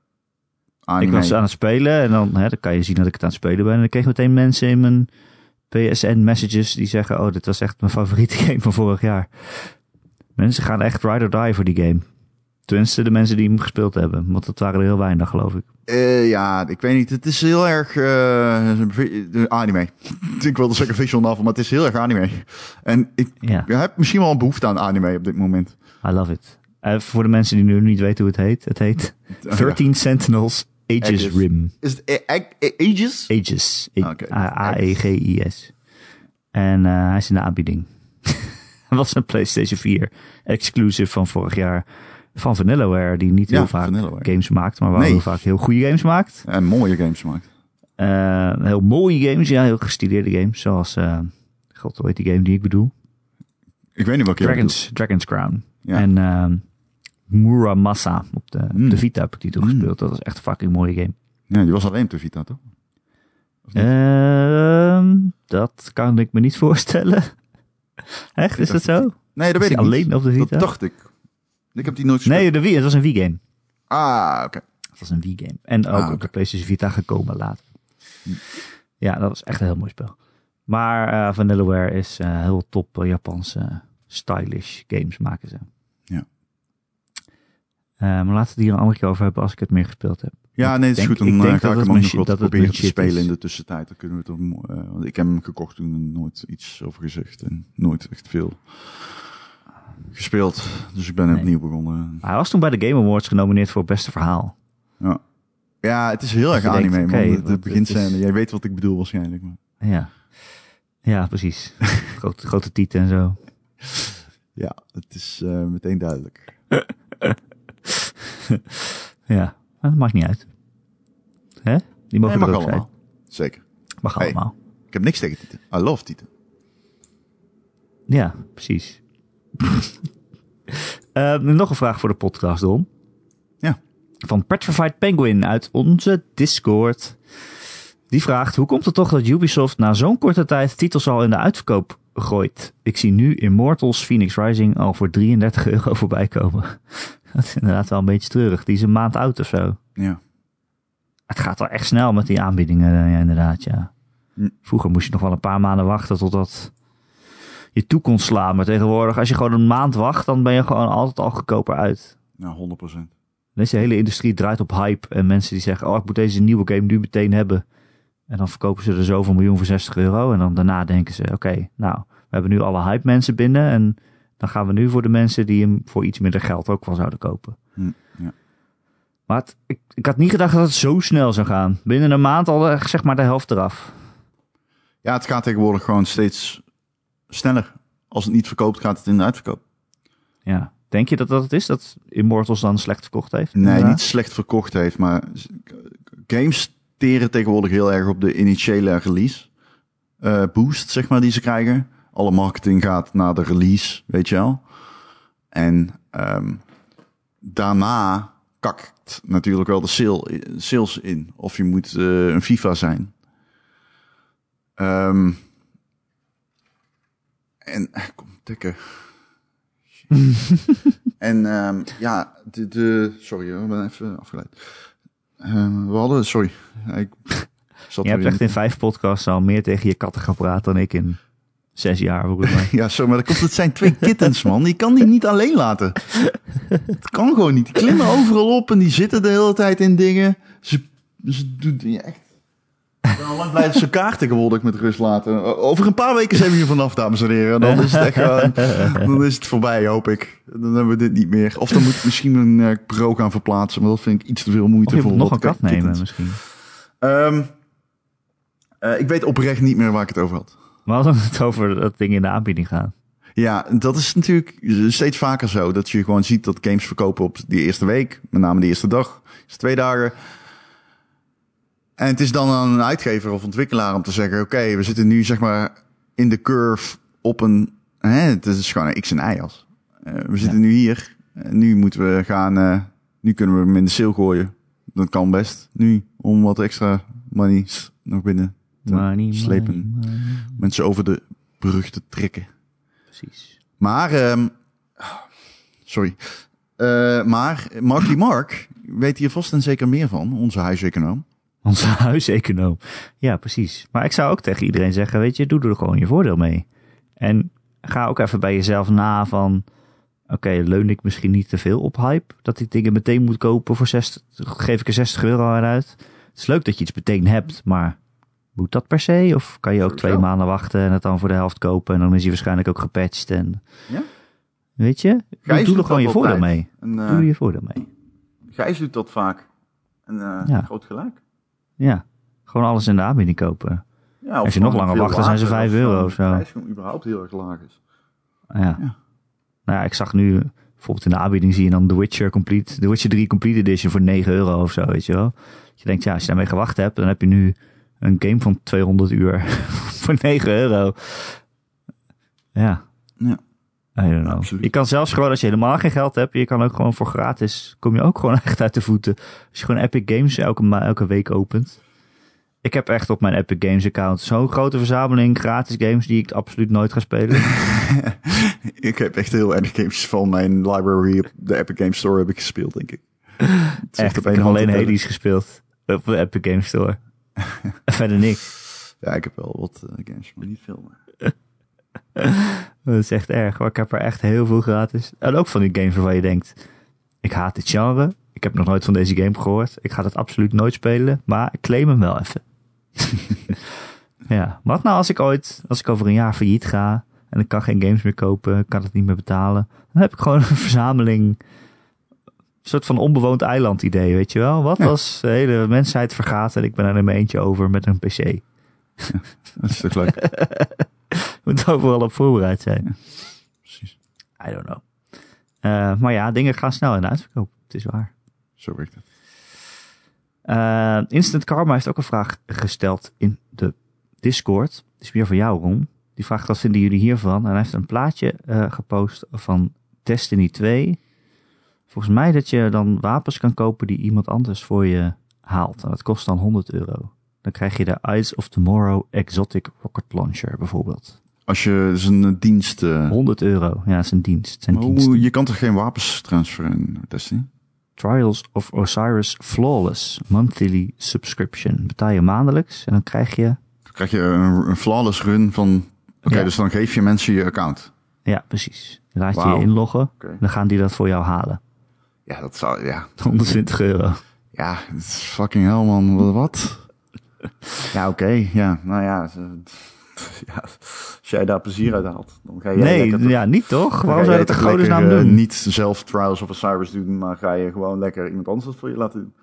[SPEAKER 2] anime.
[SPEAKER 1] was aan het spelen en dan, hè, dan kan je zien dat ik het aan het spelen ben. En dan kreeg ik meteen mensen in mijn PSN-messages die zeggen... Oh, dit was echt mijn favoriete game van vorig jaar. Mensen gaan echt ride or die voor die game. Tenminste, de mensen die hem gespeeld hebben. Want dat waren er heel weinig, geloof ik.
[SPEAKER 2] Eh, ja, ik weet niet. Het is heel erg eh, vi- anime. ik wilde zeggen visual novel, maar het is heel erg anime. En ik
[SPEAKER 1] Ja,
[SPEAKER 2] heb misschien wel een behoefte aan anime op dit moment.
[SPEAKER 1] I love it. Eh, voor de mensen die nu niet weten hoe het heet. Het heet 13 Sentinels Aegis
[SPEAKER 2] Aegis.
[SPEAKER 1] Rim.
[SPEAKER 2] Is het A- A- A- Aegis?
[SPEAKER 1] Aegis. A-
[SPEAKER 2] Oké.
[SPEAKER 1] A- E- A-E-G-I-S. En eh, hij is in de aanbieding. Hij was een PlayStation 4 exclusive van vorig jaar. Van Vanillaware, die niet heel
[SPEAKER 2] Ja,
[SPEAKER 1] vaak
[SPEAKER 2] Vanillaware.
[SPEAKER 1] games maakt, maar wel
[SPEAKER 2] Nee.
[SPEAKER 1] heel vaak heel goede games maakt.
[SPEAKER 2] En mooie games maakt.
[SPEAKER 1] Eh, heel mooie games, ja, heel gestileerde games. Zoals, eh god, hoe heet die game die ik bedoel?
[SPEAKER 2] Ik weet niet welke. je bedoelt.
[SPEAKER 1] Dragons, Dragons Crown.
[SPEAKER 2] Ja.
[SPEAKER 1] En ehm, Muramasa op de,
[SPEAKER 2] Mm.
[SPEAKER 1] de Vita heb ik die toen gespeeld. Dat was echt een fucking mooie game.
[SPEAKER 2] Ja, die was alleen op de Vita, toch? Hm.
[SPEAKER 1] Ehm, dat kan ik me niet voorstellen. Echt, is dat zo?
[SPEAKER 2] Nee, dat
[SPEAKER 1] Is
[SPEAKER 2] weet ik
[SPEAKER 1] die alleen
[SPEAKER 2] niet.
[SPEAKER 1] op de Vita?
[SPEAKER 2] Dat dacht ik. Ik heb die nooit gespeeld.
[SPEAKER 1] Nee, de Wii, het was een Wii-game.
[SPEAKER 2] Ah, oké.
[SPEAKER 1] Het was een Wii-game. En ook
[SPEAKER 2] Ah,
[SPEAKER 1] op
[SPEAKER 2] oké. Hm.
[SPEAKER 1] de PlayStation Vita gekomen later. Ja, dat was echt een heel mooi spel. Maar eh, Vanillaware is eh, heel top eh, Japanse stylish games maken ze.
[SPEAKER 2] Ja.
[SPEAKER 1] Eh, maar laten we het hier een andere keer over hebben als ik het meer gespeeld heb.
[SPEAKER 2] Ja, nee, dat is
[SPEAKER 1] denk-
[SPEAKER 2] goed. Dan
[SPEAKER 1] ik
[SPEAKER 2] eh,
[SPEAKER 1] denk
[SPEAKER 2] ga
[SPEAKER 1] dat
[SPEAKER 2] ik
[SPEAKER 1] het
[SPEAKER 2] hem ook
[SPEAKER 1] mijn
[SPEAKER 2] nog
[SPEAKER 1] shit-
[SPEAKER 2] wat
[SPEAKER 1] dat het
[SPEAKER 2] proberen
[SPEAKER 1] mijn
[SPEAKER 2] te
[SPEAKER 1] shit
[SPEAKER 2] spelen
[SPEAKER 1] is.
[SPEAKER 2] in de tussentijd. Dan kunnen we het om, eh, want ik heb hem gekocht toen en nooit iets over gezegd. En nooit echt veel gespeeld. Dus ik ben
[SPEAKER 1] Nee.
[SPEAKER 2] opnieuw begonnen.
[SPEAKER 1] Maar hij was toen bij de Game Awards genomineerd voor het beste verhaal.
[SPEAKER 2] Ja, ja het is heel erg
[SPEAKER 1] je
[SPEAKER 2] anime,
[SPEAKER 1] denkt,
[SPEAKER 2] man.
[SPEAKER 1] oké,
[SPEAKER 2] De-
[SPEAKER 1] wat-
[SPEAKER 2] de
[SPEAKER 1] het
[SPEAKER 2] beginscène.
[SPEAKER 1] is-
[SPEAKER 2] Jij weet wat ik bedoel waarschijnlijk. Maar.
[SPEAKER 1] Ja, ja precies. grote, grote tieten en zo.
[SPEAKER 2] Ja, het is eh, meteen duidelijk.
[SPEAKER 1] Ja, maar dat maakt niet uit. Hè? Die mogen
[SPEAKER 2] Nee,
[SPEAKER 1] er
[SPEAKER 2] mag
[SPEAKER 1] ook
[SPEAKER 2] allemaal. Zeker.
[SPEAKER 1] zijn. Mag
[SPEAKER 2] Hey.
[SPEAKER 1] allemaal.
[SPEAKER 2] Ik heb niks tegen Tieten. I love Tieten.
[SPEAKER 1] Ja, precies. Eh, nog een vraag voor de podcast, Don.
[SPEAKER 2] Ja.
[SPEAKER 1] Van Petrified Penguin uit onze Discord. Die vraagt, hoe komt het toch dat Ubisoft na zo'n korte tijd titels al in de uitverkoop gooit? Ik zie nu Immortals Phoenix Rising al voor 33 euro voorbij komen. Dat is inderdaad wel een beetje treurig. Die is een maand oud of zo.
[SPEAKER 2] Ja.
[SPEAKER 1] Het gaat wel echt snel met die aanbiedingen, eh, ja, inderdaad, ja.
[SPEAKER 2] Hm.
[SPEAKER 1] Vroeger moest je nog wel een paar maanden wachten totdat je toe kon slaan. Maar tegenwoordig, als je gewoon een maand wacht, dan ben je gewoon altijd al goedkoper uit.
[SPEAKER 2] Nou, 100%.
[SPEAKER 1] Deze hele industrie draait op hype en mensen die zeggen, oh, ik moet deze nieuwe game nu meteen hebben. En dan verkopen ze er zoveel miljoen voor 60 euro. En dan daarna denken ze, oké, nou, we hebben nu alle hype mensen binnen. En dan gaan we nu voor de mensen die hem voor iets minder geld ook wel zouden kopen.
[SPEAKER 2] Hm, ja.
[SPEAKER 1] Maar het- ik, ik had niet gedacht dat het zo snel zou gaan. Binnen een maand al eh, zeg maar de helft eraf.
[SPEAKER 2] Ja, het gaat tegenwoordig gewoon steeds sneller. Als het niet verkoopt, gaat het in de uitverkoop.
[SPEAKER 1] Ja. Denk je dat dat het is? Dat Immortals dan slecht verkocht heeft?
[SPEAKER 2] Nee,
[SPEAKER 1] Ja.
[SPEAKER 2] niet slecht verkocht heeft, maar z- games teren tegenwoordig heel erg op de initiële release eh, boost, zeg maar, die ze krijgen. Alle marketing gaat naar de release, weet je wel. En ehm, daarna kakt natuurlijk wel de sale, sales in. Of je moet eh, een FIFA zijn. Ehm, en, eh, kom, tikken. En ehm, ja, de, de- sorry hoor, ik ben even afgeleid. Ehm, we hadden, sorry, ik zat
[SPEAKER 1] Je
[SPEAKER 2] er
[SPEAKER 1] hebt
[SPEAKER 2] weer
[SPEAKER 1] echt in vijf podcasts al meer tegen je katten gepraat dan ik in zes jaar. volgens mij.
[SPEAKER 2] Ja, sorry, maar dat komt, het zijn twee kittens, man. Je kan die niet alleen laten. Het kan gewoon niet. Die klimmen overal op en die zitten de hele tijd in dingen. Ze, ze doen ja, echt... Ik ben al lang blij dat ze elkaar tegenwoordig met rust laten. O- Over een paar weken zijn we hier vanaf, dames en heren. Dan is het echt gewoon- Dan is het voorbij, hoop ik. Dan hebben we dit niet meer. Of dan moet ik misschien een eh, bureau gaan verplaatsen. Maar dat vind ik iets te veel
[SPEAKER 1] Of
[SPEAKER 2] moeite
[SPEAKER 1] Oh, je
[SPEAKER 2] voor.
[SPEAKER 1] moet nog een
[SPEAKER 2] wat
[SPEAKER 1] kat
[SPEAKER 2] kittens.
[SPEAKER 1] nemen misschien.
[SPEAKER 2] Ehm, eh, ik weet oprecht niet meer waar ik het over had.
[SPEAKER 1] We hadden het over dat ding in de aanbieding gaan.
[SPEAKER 2] Ja, dat is natuurlijk steeds vaker zo. Dat je gewoon ziet dat games verkopen op die eerste week. Met name de eerste dag, de eerste twee dagen. En het is dan aan een uitgever of ontwikkelaar om te zeggen... oké, we zitten nu zeg maar in de curve op een... Hè, het is gewoon een x en y-as. we zitten nu hier. En nu moeten we gaan... eh, nu kunnen we hem in de sale gooien. Dat kan best. Nu, om wat extra money nog binnen te
[SPEAKER 1] Money,
[SPEAKER 2] slepen.
[SPEAKER 1] money, money.
[SPEAKER 2] Mensen over de brug te trekken.
[SPEAKER 1] Precies.
[SPEAKER 2] Maar, ehm, sorry. Eh, maar Marky Mark weet hier vast en zeker meer van, onze huiseconoom.
[SPEAKER 1] Onze huiseconoom. Ja, precies. Maar ik zou ook tegen iedereen zeggen, weet je, doe er gewoon je voordeel mee. En ga ook even bij jezelf na van, oké, leun ik misschien niet te veel op hype? Dat ik dingen meteen moet kopen voor 60, geef ik er 60 euro aan uit? Het is leuk dat je iets meteen hebt, maar moet dat per se? Of kan je ook twee
[SPEAKER 2] Sowieso.
[SPEAKER 1] maanden wachten en het dan voor de helft kopen en dan is hij waarschijnlijk ook gepatcht en...
[SPEAKER 2] Ja.
[SPEAKER 1] Weet je? Doe,
[SPEAKER 2] Gijs
[SPEAKER 1] doe
[SPEAKER 2] doet
[SPEAKER 1] er gewoon je
[SPEAKER 2] dat
[SPEAKER 1] voordeel
[SPEAKER 2] altijd.
[SPEAKER 1] mee.
[SPEAKER 2] En, eh,
[SPEAKER 1] Doe er je voordeel mee.
[SPEAKER 2] Gijs doet dat vaak. En eh,
[SPEAKER 1] Ja.
[SPEAKER 2] groot gelijk.
[SPEAKER 1] Ja. Gewoon alles in de aanbieding kopen.
[SPEAKER 2] Ja,
[SPEAKER 1] Als je nog langer wacht, dan zijn ze vijf euro of zo.
[SPEAKER 2] überhaupt heel erg laag is.
[SPEAKER 1] Ja. Nou ja, ik zag nu bijvoorbeeld in de aanbieding zie je dan The Witcher Complete, The Witcher 3 Complete Edition voor 9 euro of zo, weet je wel. Dat je denkt, ja, als je daarmee gewacht hebt, dan heb je nu een game van 200 uur voor 9 euro. Ja.
[SPEAKER 2] Ja.
[SPEAKER 1] I don't know.
[SPEAKER 2] Absoluut.
[SPEAKER 1] Je kan zelfs gewoon, als je helemaal geen geld hebt, je kan ook gewoon voor gratis, kom je ook gewoon echt uit de voeten. Als je gewoon Epic Games elke, ma- elke week opent. Ik heb echt op mijn Epic Games account zo'n grote verzameling gratis games die ik absoluut nooit ga spelen.
[SPEAKER 2] Ik heb echt heel erg games van mijn library op de Epic Games Store heb ik gespeeld, denk ik. Het is
[SPEAKER 1] Echt,
[SPEAKER 2] op
[SPEAKER 1] ik
[SPEAKER 2] één
[SPEAKER 1] heb
[SPEAKER 2] hand te
[SPEAKER 1] alleen
[SPEAKER 2] tellen.
[SPEAKER 1] Hades gespeeld op de Epic Games Store. En Verder niks.
[SPEAKER 2] Ja, ik heb wel wat eh, games, maar niet veel. meer.
[SPEAKER 1] Dat is echt erg, maar ik heb er echt heel veel gratis. En ook van die games waarvan je denkt, ik haat dit genre. Ik heb nog nooit van deze game gehoord. Ik ga het absoluut nooit spelen, maar ik claim hem wel even. ja, wat nou als ik ooit, als ik over een jaar failliet ga en ik kan geen games meer kopen, ik kan het niet meer betalen. Dan heb ik gewoon een verzameling, een soort van onbewoond eiland idee, weet je wel. Wat als de hele mensheid vergaat en ik ben er in mijn eentje over met een pc. Ik
[SPEAKER 2] Dat is toch leuk.
[SPEAKER 1] moet overal op voorbereid zijn.
[SPEAKER 2] Precies.
[SPEAKER 1] I don't know. Eh, maar ja, dingen gaan snel in de uitverkoop. Het is waar.
[SPEAKER 2] Zo werkt het.
[SPEAKER 1] Eh, Instant Karma heeft ook een vraag gesteld in de Discord. Het is weer voor jou, Ron. Die vraagt, wat vinden jullie hiervan? En hij heeft een plaatje eh, gepost van Destiny 2. Volgens mij dat je dan wapens kan kopen die iemand anders voor je haalt. En dat kost dan 100 euro. Dan krijg je de Eyes of Tomorrow Exotic Rocket Launcher bijvoorbeeld.
[SPEAKER 2] Als je dus een eh, dienst... eh,
[SPEAKER 1] 100 euro. Ja, dat is een dienst. Het Zijn
[SPEAKER 2] Maar hoe-
[SPEAKER 1] diensten.
[SPEAKER 2] je kan toch geen wapens transferen in Destiny?
[SPEAKER 1] Trials of Osiris Flawless Monthly Subscription. Betaal je maandelijks en dan krijg je...
[SPEAKER 2] Dan krijg je een, een flawless run van... Oké,
[SPEAKER 1] Ja.
[SPEAKER 2] dus dan geef je mensen je account.
[SPEAKER 1] Ja, precies. Dan Laat je
[SPEAKER 2] Wauw.
[SPEAKER 1] je inloggen.
[SPEAKER 2] Oké.
[SPEAKER 1] Dan gaan die dat voor jou halen.
[SPEAKER 2] Ja, dat zou... Ja,
[SPEAKER 1] 120 euro.
[SPEAKER 2] ja dat is fucking hell, man. Wat? Ja, oké. Ja, nou ja. ze-
[SPEAKER 4] ja, als jij daar plezier uit haalt, dan ga je
[SPEAKER 1] Nee,
[SPEAKER 4] lekker...
[SPEAKER 1] ja, niet toch?
[SPEAKER 4] dan ga
[SPEAKER 1] Waarom zou
[SPEAKER 4] jij
[SPEAKER 1] je dat in
[SPEAKER 4] toch
[SPEAKER 1] godesnaam
[SPEAKER 4] lekker, eh,
[SPEAKER 1] doen?
[SPEAKER 4] niet zelf trials of service doen, maar ga je gewoon lekker iemand anders dat voor je laten doen.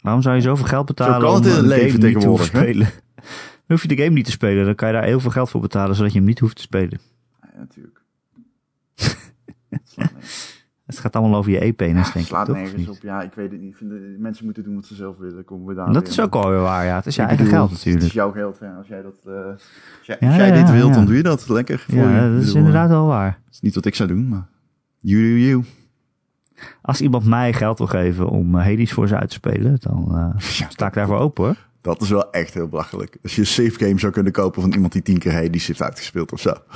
[SPEAKER 1] Waarom zou je zoveel geld betalen
[SPEAKER 2] kan
[SPEAKER 1] om
[SPEAKER 2] het in
[SPEAKER 1] een
[SPEAKER 2] het leven
[SPEAKER 1] game niet te hoeven
[SPEAKER 2] tegenwoordig, hè?
[SPEAKER 1] spelen? Dan hoef je de game niet te spelen. Dan kan je daar heel veel geld voor betalen, zodat je hem niet hoeft te spelen.
[SPEAKER 4] Ja, natuurlijk. Het slaat nergens,
[SPEAKER 1] Het gaat allemaal over je E e-penis,
[SPEAKER 4] het
[SPEAKER 1] denk ik,
[SPEAKER 4] slaat
[SPEAKER 1] toch?
[SPEAKER 4] nergens
[SPEAKER 1] Niet?
[SPEAKER 4] op. Ja, ik weet het niet. Ik vind, eh, mensen moeten doen wat ze zelf willen. Komen we daar
[SPEAKER 1] En Dat
[SPEAKER 4] weer.
[SPEAKER 1] is ook alweer waar, ja. Het is je
[SPEAKER 4] Ik
[SPEAKER 1] eigen
[SPEAKER 4] bedoel,
[SPEAKER 1] geld
[SPEAKER 4] Het is
[SPEAKER 1] natuurlijk.
[SPEAKER 4] jouw geld. Ja, als jij dat... eh, als jij-
[SPEAKER 1] Ja,
[SPEAKER 2] Als jij
[SPEAKER 1] ja,
[SPEAKER 2] dit wilt,
[SPEAKER 1] ja.
[SPEAKER 2] dan doe je dat lekker. Voor je.
[SPEAKER 1] Ja, dat
[SPEAKER 2] Ik
[SPEAKER 1] is
[SPEAKER 2] bedoel, eh,
[SPEAKER 1] inderdaad wel waar.
[SPEAKER 2] Het is niet wat ik zou doen, maar... You do you.
[SPEAKER 1] Als iemand mij geld wil geven om eh, Hades voor ze uit te spelen, dan eh, sta ik daarvoor open, hoor.
[SPEAKER 2] Dat is wel echt heel belachelijk. Als je een safe game zou kunnen kopen van iemand die tien keer Hades heeft uitgespeeld of zo. Oké,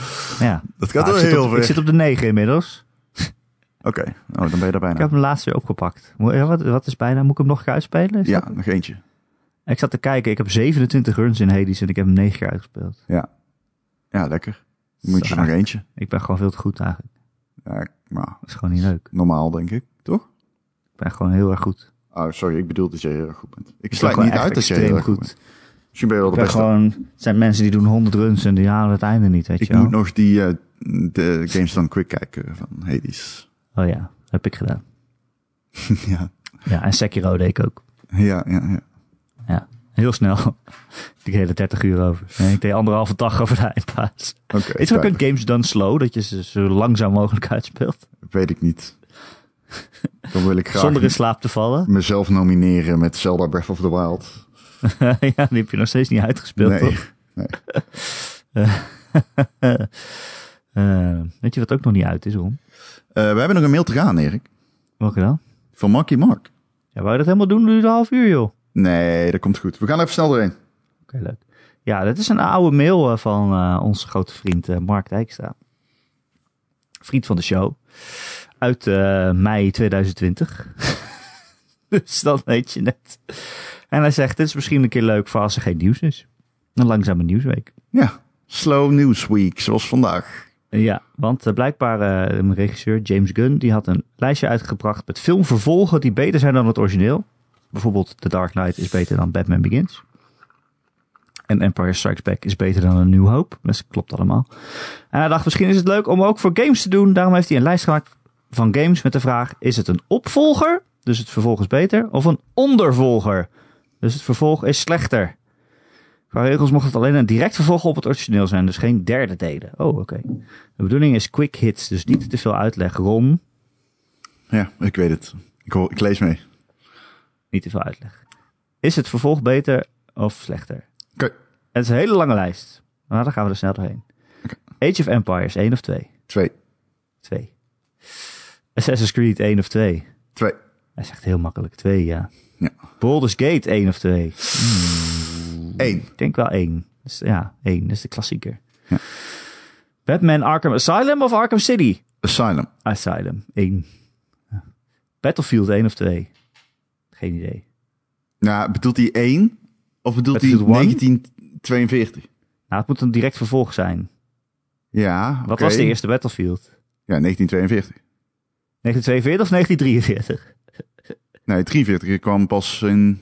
[SPEAKER 1] Ja.
[SPEAKER 2] Dat gaat
[SPEAKER 1] Nou,
[SPEAKER 2] wel
[SPEAKER 1] ik zit
[SPEAKER 2] heel
[SPEAKER 1] op-
[SPEAKER 2] ver.
[SPEAKER 1] Ik zit op de 9 inmiddels.
[SPEAKER 2] nou dan ben je daar
[SPEAKER 1] Ik
[SPEAKER 2] bijna.
[SPEAKER 1] heb hem laatst weer opgepakt. Moet- ja, Wat, wat is bijna? Moet ik hem nog een keer uitspelen? Is
[SPEAKER 2] nou. Ja,
[SPEAKER 1] dat-
[SPEAKER 2] nog eentje.
[SPEAKER 1] Ik zat te kijken. Ik heb 27 runs in Hades en ik heb hem 9 keer uitgespeeld.
[SPEAKER 2] Ja, lekker. Dan moet je er nog eentje.
[SPEAKER 1] Ik ben gewoon veel te goed eigenlijk.
[SPEAKER 2] Ja, nou,
[SPEAKER 1] Dat is gewoon niet leuk.
[SPEAKER 2] normaal denk ik, toch?
[SPEAKER 1] Ik ben gewoon heel erg goed.
[SPEAKER 2] Oh, sorry, ik bedoel dat je heel erg goed bent. Ik
[SPEAKER 1] Ik ben
[SPEAKER 2] sluit
[SPEAKER 1] gewoon
[SPEAKER 2] niet
[SPEAKER 1] echt
[SPEAKER 2] uit dat je heel
[SPEAKER 1] extreem
[SPEAKER 2] erg goed
[SPEAKER 1] goed.
[SPEAKER 2] bent. Misschien ben je wel
[SPEAKER 1] Ik
[SPEAKER 2] de
[SPEAKER 1] ben
[SPEAKER 2] beste.
[SPEAKER 1] gewoon, het zijn mensen die doen 100 runs en die halen het einde niet, weet
[SPEAKER 2] Ik
[SPEAKER 1] je wel.
[SPEAKER 2] moet nog die eh, de Games Done Quick kijken van Hades.
[SPEAKER 1] Oh ja, heb ik gedaan.
[SPEAKER 2] ja,
[SPEAKER 1] Ja, en Sekiro deed ik ook.
[SPEAKER 2] ja, ja. ja.
[SPEAKER 1] Ja, heel snel. Die hele 30 uur over. Nee, ik deed anderhalve dag over de eindbaas. Is
[SPEAKER 2] Oké,
[SPEAKER 1] er ook een
[SPEAKER 2] duidelijk.
[SPEAKER 1] games done slow, dat je ze zo langzaam mogelijk uitspeelt?
[SPEAKER 2] Weet ik niet. Dan wil ik graag
[SPEAKER 1] Zonder in slaap te vallen.
[SPEAKER 2] mezelf nomineren met Zelda Breath of the Wild.
[SPEAKER 1] ja, die heb je nog steeds niet uitgespeeld,
[SPEAKER 2] Nee.
[SPEAKER 1] toch?
[SPEAKER 2] nee.
[SPEAKER 1] Eh, weet je wat ook nog niet uit is, Ron?
[SPEAKER 2] Eh, we hebben nog een mail te gaan, Erik.
[SPEAKER 1] Welke dan?
[SPEAKER 2] Van Marky Mark.
[SPEAKER 1] Ja, wou je dat helemaal doen? Duurde een half uur, joh. Oké,
[SPEAKER 2] Nee, dat komt goed. We gaan er even snel doorheen.
[SPEAKER 1] leuk. Ja, dat is een oude mail eh, van eh, onze grote vriend eh, Mark Dijkstra. Vriend van de show. Uit eh, mei 2020. dus dan weet je net. En hij zegt, dit is misschien een keer leuk voor als er geen nieuws is. Een langzame nieuwsweek.
[SPEAKER 2] Ja, Slow News Week, zoals vandaag.
[SPEAKER 1] Ja, want eh, blijkbaar eh, een regisseur, James Gunn, die had een lijstje uitgebracht met filmvervolgen die beter zijn dan het origineel. Bijvoorbeeld The Dark Knight is beter dan Batman Begins. En Empire Strikes Back is beter dan A New Hope. Dat klopt allemaal. En hij dacht, misschien is het leuk om ook voor games te doen. Daarom heeft hij een lijst gemaakt van games met de vraag, is het een opvolger, dus het vervolg is beter, of een ondervolger, dus het vervolg is slechter. Qua regels mocht het alleen een direct vervolg op het origineel zijn, dus geen derde delen. Oh, oké. De bedoeling is quick hits, dus niet te veel uitleg. Ron,
[SPEAKER 2] Ja, ik weet het. Ik, hoor, ik lees mee.
[SPEAKER 1] niet te veel uitleg. Is het vervolg beter of slechter?
[SPEAKER 2] Oké,
[SPEAKER 1] Het is een hele lange lijst. Nou, dan gaan we er snel doorheen. Age of Empires 1 of 2?
[SPEAKER 2] twee,
[SPEAKER 1] 2. Assassin's Creed 1 of 2?
[SPEAKER 2] twee.
[SPEAKER 1] Hij zegt heel makkelijk 2, ja.
[SPEAKER 2] Ja.
[SPEAKER 1] Baldur's Gate 1 of 2?
[SPEAKER 2] Eén.
[SPEAKER 1] Ik denk wel 1. Dus, ja, 1. Dat is de klassieker. Batman Arkham Asylum of Arkham City?
[SPEAKER 2] Asylum.
[SPEAKER 1] Asylum 1. Battlefield 1 of 2? Geen idee.
[SPEAKER 2] Nou, bedoelt hij één of bedoelt hij
[SPEAKER 1] Battlefield one?
[SPEAKER 2] 1942?
[SPEAKER 1] Nou, het moet een direct vervolg zijn.
[SPEAKER 2] Ja,
[SPEAKER 1] Wat was de eerste Battlefield?
[SPEAKER 2] Ja, 1942.
[SPEAKER 1] 1942 of 1943?
[SPEAKER 2] Nee, 43 kwam pas in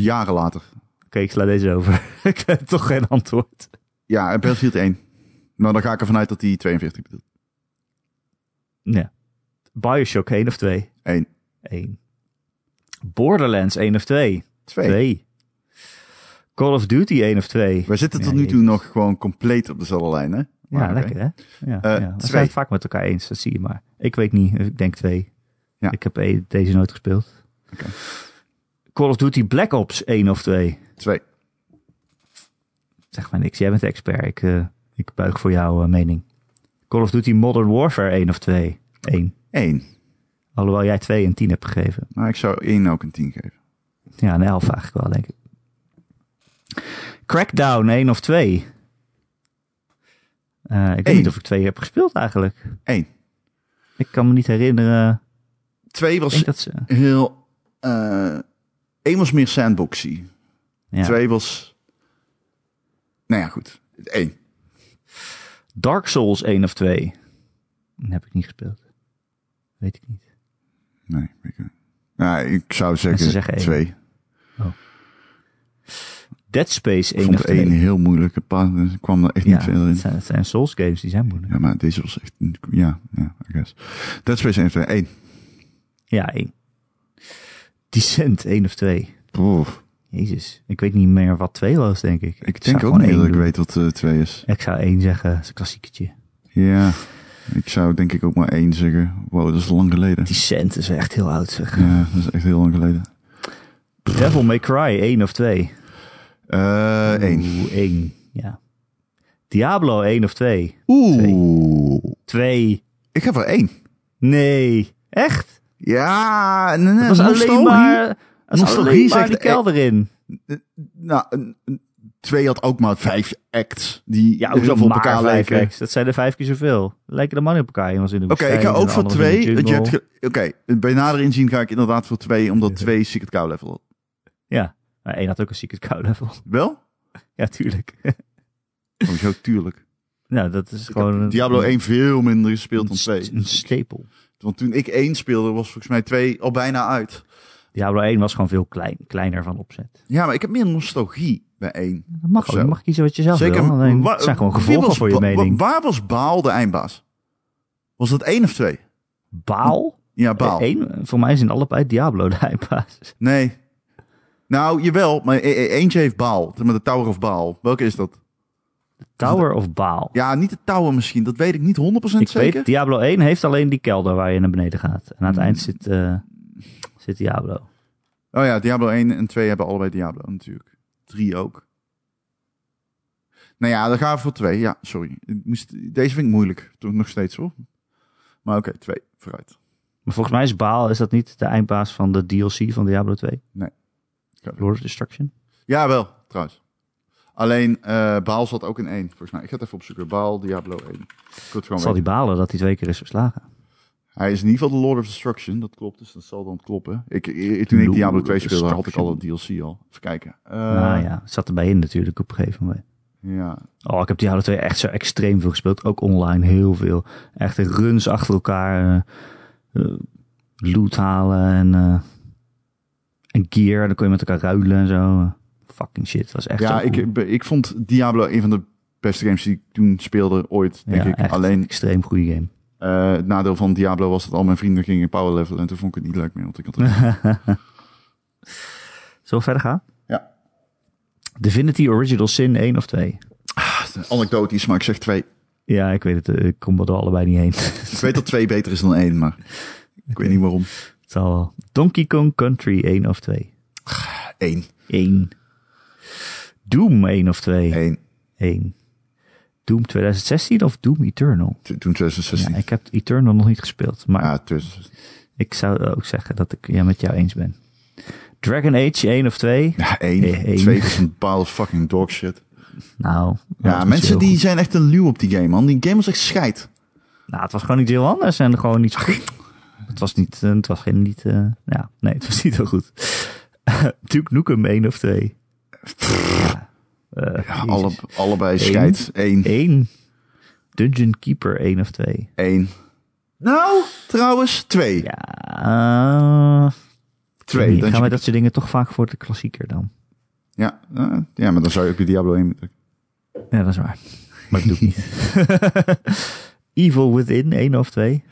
[SPEAKER 2] jaren later.
[SPEAKER 1] Oké, ik sla deze over. ik heb toch geen antwoord.
[SPEAKER 2] Ja, Battlefield 1. Nou, dan ga ik ervan uit dat hij 42 bedoelt.
[SPEAKER 1] Nee. Bioshock 1 of 2?
[SPEAKER 2] 1,
[SPEAKER 1] 1. Borderlands 1 of 2?
[SPEAKER 2] 2.
[SPEAKER 1] 2. Call of Duty 1 of 2?
[SPEAKER 2] Wij zitten tot
[SPEAKER 1] Ja,
[SPEAKER 2] nu toe
[SPEAKER 1] jezus.
[SPEAKER 2] nog gewoon compleet op dezelfde lijn, hè?
[SPEAKER 1] Ja,
[SPEAKER 2] Maar oké.
[SPEAKER 1] lekker hè? Ja,
[SPEAKER 2] Eh,
[SPEAKER 1] ja. We
[SPEAKER 2] twee.
[SPEAKER 1] zijn het vaak met elkaar eens, dat zie je maar. Ik weet niet, ik denk twee.
[SPEAKER 2] Ja.
[SPEAKER 1] Ik heb e- deze nooit gespeeld. Call of Duty Black Ops 1 of 2.
[SPEAKER 2] Twee.
[SPEAKER 1] Zeg maar niks, jij bent de expert. Ik, eh, ik buig voor jouw eh, mening. Call of Duty Modern Warfare 1 of 2. 1.
[SPEAKER 2] 1.
[SPEAKER 1] Alhoewel jij 2 en 10 hebt gegeven.
[SPEAKER 2] Maar ik zou 1 ook een 10 geven.
[SPEAKER 1] Ja, een 11 eigenlijk wel, denk ik. Crackdown 1 of 2. Eh, ik weet
[SPEAKER 2] Eén.
[SPEAKER 1] niet of ik 2 heb gespeeld eigenlijk.
[SPEAKER 2] 1.
[SPEAKER 1] Ik kan me niet herinneren.
[SPEAKER 2] 2
[SPEAKER 1] Ik
[SPEAKER 2] was
[SPEAKER 1] denk dat ze...
[SPEAKER 2] heel... eh 1 was meer sandboxy.
[SPEAKER 1] Ja.
[SPEAKER 2] 2 was... Nou ja, goed. 1.
[SPEAKER 1] Dark Souls 1 of 2. Dat heb ik niet gespeeld. Weet ik niet.
[SPEAKER 2] Nee, ik, nou, ik zou
[SPEAKER 1] Mensen
[SPEAKER 2] zeggen
[SPEAKER 1] zeggen één.
[SPEAKER 2] 2.
[SPEAKER 1] Dead Space 1
[SPEAKER 2] Ik vond
[SPEAKER 1] of 2.
[SPEAKER 2] één heel moeilijke paar. Dus ik kwam er echt niet
[SPEAKER 1] Ja,
[SPEAKER 2] verder in.
[SPEAKER 1] het zijn, het zijn Souls games, die zijn moeilijk.
[SPEAKER 2] Ja, maar deze was echt... Ja, ja, I guess. Dead Space 1, 2, 1.
[SPEAKER 1] Ja, één. Descent 1 of 2.
[SPEAKER 2] Poof.
[SPEAKER 1] Jezus, ik weet niet meer wat 2 was, denk ik. zou
[SPEAKER 2] Ik denk ook
[SPEAKER 1] gewoon
[SPEAKER 2] niet
[SPEAKER 1] één
[SPEAKER 2] dat ik
[SPEAKER 1] doen.
[SPEAKER 2] weet wat 2 is.
[SPEAKER 1] Ik zou 1 zeggen, dat is een klassieketje.
[SPEAKER 2] Ja. Ik zou denk ik ook maar één zeggen. Wow, dat is lang geleden.
[SPEAKER 1] Descent is echt heel oud, zeg.
[SPEAKER 2] Ja, dat is echt heel lang geleden.
[SPEAKER 1] Devil May Cry 1 of 2.
[SPEAKER 2] Eh, één.
[SPEAKER 1] Oeh, 1, ja. Diablo 1 of 2.
[SPEAKER 2] Oeh.
[SPEAKER 1] 2.
[SPEAKER 2] Ik ga voor één.
[SPEAKER 1] Nee, echt?
[SPEAKER 2] Ja, eh, nee, nee,
[SPEAKER 1] Dat was alleen
[SPEAKER 2] nostalgie.
[SPEAKER 1] maar, dat was
[SPEAKER 2] Nostalgie
[SPEAKER 1] alleen maar
[SPEAKER 2] zegt e-
[SPEAKER 1] die
[SPEAKER 2] echt-
[SPEAKER 1] kelder in.
[SPEAKER 2] Nou, een- een- twee had ook maar vijf acts die
[SPEAKER 1] Ja,
[SPEAKER 2] heel
[SPEAKER 1] hoezo
[SPEAKER 2] veel op
[SPEAKER 1] maar
[SPEAKER 2] elkaar
[SPEAKER 1] vijf
[SPEAKER 2] lijken. Oké,
[SPEAKER 1] acts? Dat zijn er vijf keer zoveel. Lijken de mannen op elkaar. Oké,
[SPEAKER 2] ik ga ook voor twee. want je hebt ge- Oké, bij nader inzien ga ik inderdaad voor twee, omdat twee Secret Cow level had.
[SPEAKER 1] Ja, maar één had ook een secret cow level.
[SPEAKER 2] Wel?
[SPEAKER 1] ja, tuurlijk.
[SPEAKER 2] Oh, zo, tuurlijk.
[SPEAKER 1] nou, dat is
[SPEAKER 2] Ik
[SPEAKER 1] gewoon...
[SPEAKER 2] heb
[SPEAKER 1] een-
[SPEAKER 2] Diablo 1 veel minder gespeeld dan
[SPEAKER 1] een,
[SPEAKER 2] twee.
[SPEAKER 1] een stapel.
[SPEAKER 2] Want toen ik één speelde, was volgens mij twee al bijna uit.
[SPEAKER 1] Diablo 1 was gewoon veel klein, kleiner van opzet.
[SPEAKER 2] Ja, maar ik heb meer nostalgie bij één.
[SPEAKER 1] Dat mag
[SPEAKER 2] Zo.
[SPEAKER 1] ook. Je mag kiezen wat je zelf wil.
[SPEAKER 2] Zeker.
[SPEAKER 1] Alleen,
[SPEAKER 2] wa-
[SPEAKER 1] het zijn gewoon
[SPEAKER 2] wie
[SPEAKER 1] gevolgen
[SPEAKER 2] was
[SPEAKER 1] voor je
[SPEAKER 2] Ba- wa-
[SPEAKER 1] mening.
[SPEAKER 2] Waar was Baal de eindbaas? Was dat één of twee?
[SPEAKER 1] Baal?
[SPEAKER 2] Ja, Baal.
[SPEAKER 1] Eén, voor mij zijn allebei Diablo de eindbaas.
[SPEAKER 2] Nee. Nou, jawel, maar e- e- eentje heeft Baal. Met de Tower of Baal. Welke is dat?
[SPEAKER 1] Tower of Baal?
[SPEAKER 2] Ja, niet de Tower misschien. Dat weet ik niet 100%
[SPEAKER 1] Ik
[SPEAKER 2] zeker. Hmm.
[SPEAKER 1] weet, Diablo 1 heeft alleen die kelder waar je naar beneden gaat. En aan het eind zit, eh, zit Diablo.
[SPEAKER 2] Oh ja, Diablo 1 en 2 hebben allebei Diablo natuurlijk. 3 ook. Nou ja, dan gaan we voor 2. Ja, sorry. Ik moest- Deze vind ik moeilijk. Toch nog steeds hoor. Maar oké, 2. Vooruit.
[SPEAKER 1] Maar volgens mij is Baal, is dat niet de eindbaas van de DLC van Diablo 2?
[SPEAKER 2] Nee.
[SPEAKER 1] Lord of Destruction?
[SPEAKER 2] Ja, wel, trouwens. Alleen eh, Baal zat ook in 1, volgens mij. Ik ga het even opzoeken. Baal, Diablo 1. Ik wil het gewoon
[SPEAKER 1] Zal
[SPEAKER 2] weten.
[SPEAKER 1] die balen dat hij twee keer is verslagen?
[SPEAKER 2] Hij is in ieder geval de Lord of Destruction, dat klopt. Dus dat zal dan kloppen. Ik, ik- toen ik
[SPEAKER 1] Lord
[SPEAKER 2] Diablo 2
[SPEAKER 1] of
[SPEAKER 2] speelde, had ik al de
[SPEAKER 1] Destruction.
[SPEAKER 2] DLC al. Even kijken. Eh,
[SPEAKER 1] nou ja, het zat erbij in natuurlijk op een gegeven moment.
[SPEAKER 2] ja.
[SPEAKER 1] Oh, ik heb Diablo 2 echt zo extreem veel gespeeld. Ook online heel veel. Echt runs achter elkaar. eh, eh, loot halen en, eh, en gear. En dan kon je met elkaar ruilen en zo. Fucking shit. Dat was echt
[SPEAKER 2] Ja,
[SPEAKER 1] zo cool.
[SPEAKER 2] ik, ik vond Diablo een van de beste games die ik toen speelde ooit, denk
[SPEAKER 1] Ja,
[SPEAKER 2] ik.
[SPEAKER 1] echt
[SPEAKER 2] Alleen
[SPEAKER 1] extreem goede game.
[SPEAKER 2] eh, het nadeel van Diablo was dat al mijn vrienden gingen power level en toen vond ik het niet leuk meer. Want ik had er-
[SPEAKER 1] Zullen we verder gaan?
[SPEAKER 2] Ja.
[SPEAKER 1] Divinity Original Sin 1 of 2?
[SPEAKER 2] anekdotisch, maar ik zeg twee.
[SPEAKER 1] Ja, ik weet het. eh, Ik kom er allebei niet heen.
[SPEAKER 2] Ik weet dat twee beter is dan één, maar ik weet niet waarom.
[SPEAKER 1] het zal wel. Donkey Kong Country 1 of 2?
[SPEAKER 2] Eén.
[SPEAKER 1] 1. Doom 1 of 2?
[SPEAKER 2] Eén.
[SPEAKER 1] 1. Doom 2016 of Doom Eternal?
[SPEAKER 2] T- Toen 2016.
[SPEAKER 1] Ja, ik heb Eternal nog niet gespeeld, maar
[SPEAKER 2] Ja, 2016.
[SPEAKER 1] ik zou ook zeggen dat ik ja, met jou eens ben. Dragon Age 1 of 2?
[SPEAKER 2] Ja, één.
[SPEAKER 1] Eh, één.
[SPEAKER 2] Twee is een pile of fucking dog shit.
[SPEAKER 1] Nou, dat
[SPEAKER 2] Ja,
[SPEAKER 1] was
[SPEAKER 2] mensen
[SPEAKER 1] heel
[SPEAKER 2] die
[SPEAKER 1] goed.
[SPEAKER 2] zijn echt een luw op die game, man. Die game was echt scheid.
[SPEAKER 1] Nou, het was gewoon iets heel anders en gewoon niet zo goed. Het was niet, eh, het was geen niet, eh, ja, nee, het was niet heel goed. Duke Nukem 1 of eh, 2?
[SPEAKER 2] Ja, alle, allebei scheid. Eén.
[SPEAKER 1] 1. Dungeon Keeper 1 of 2?
[SPEAKER 2] Eén. Nou, trouwens, twee.
[SPEAKER 1] Ja, eh,
[SPEAKER 2] twee.
[SPEAKER 1] nee, gaan
[SPEAKER 2] Dungeon-
[SPEAKER 1] wij dat soort dingen toch vaak voor de klassieker dan?
[SPEAKER 2] Ja, eh, ja, maar dan zou je ook weer Diablo 1 moeten.
[SPEAKER 1] Ja, dat is waar. Maar ik doe het niet. Evil Within 1 of 2?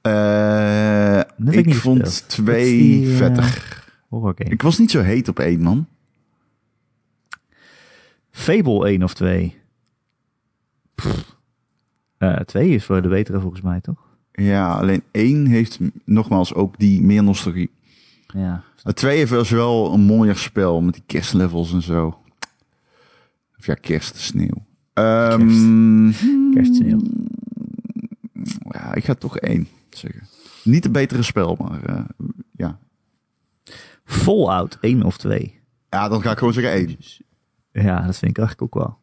[SPEAKER 2] Eh,
[SPEAKER 1] heb ik
[SPEAKER 2] ik
[SPEAKER 1] niet
[SPEAKER 2] vond
[SPEAKER 1] gespeeld. Dat
[SPEAKER 2] twee
[SPEAKER 1] is die, eh,
[SPEAKER 2] vettig.
[SPEAKER 1] Horror game.
[SPEAKER 2] Ik was niet zo heet op één, man.
[SPEAKER 1] Fable 1 of 2? Eh 2 is voor de betere volgens mij, toch?
[SPEAKER 2] Ja, alleen één heeft m- nogmaals ook die meer nostalgie.
[SPEAKER 1] Ja.
[SPEAKER 2] Het twee was wel een mooier spel met die kerstlevels en zo. Of ja, kerstsneeuw. Ehm
[SPEAKER 1] Kerstsneeuw.
[SPEAKER 2] ja, ik ga toch één zeggen. Niet het betere spel, maar eh, ja.
[SPEAKER 1] Fallout 1 of 2?
[SPEAKER 2] Ja, dan ga ik gewoon zeggen één.
[SPEAKER 1] Ja, dat vind ik eigenlijk ook wel.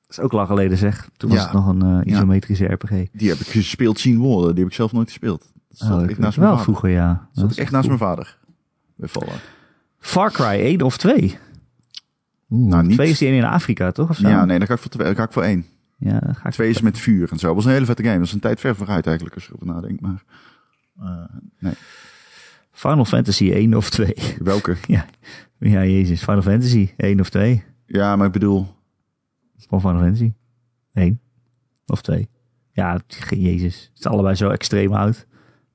[SPEAKER 1] Dat is ook lang geleden zeg. Toen was
[SPEAKER 2] Ja.
[SPEAKER 1] het nog een eh,
[SPEAKER 2] Ja.
[SPEAKER 1] isometrische RPG.
[SPEAKER 2] Die heb ik gespeeld zien worden. Die heb ik zelf nooit gespeeld. Dat
[SPEAKER 1] Oh,
[SPEAKER 2] zat
[SPEAKER 1] ik
[SPEAKER 2] echt
[SPEAKER 1] weet
[SPEAKER 2] naast
[SPEAKER 1] wel
[SPEAKER 2] mijn vader.
[SPEAKER 1] vroeger, ja. Dat is
[SPEAKER 2] Zat ik echt
[SPEAKER 1] echt
[SPEAKER 2] naast
[SPEAKER 1] cool.
[SPEAKER 2] mijn vader. Bij Fallout.
[SPEAKER 1] Far Cry 1 of 2?
[SPEAKER 2] nou, niet.
[SPEAKER 1] 2 is die één in Afrika, toch? Of zo?
[SPEAKER 2] Ja, nee, dan ga ik voor, twee, dan ga ik voor één.
[SPEAKER 1] Ja, dan ga ik
[SPEAKER 2] Twee is met vuur en zo. Dat was een hele vette game. Dat is een tijd ver vooruit eigenlijk, als je erover nadenkt. Maar eh, nee,
[SPEAKER 1] Final Fantasy 1 of 2.
[SPEAKER 2] welke?
[SPEAKER 1] ja. ja, jezus. Final Fantasy 1 of 2.
[SPEAKER 2] Ja, maar ik bedoel...
[SPEAKER 1] Van Final Fantasy. Eén. Of twee. Ja, het- jezus. Het is allebei zo extreem oud.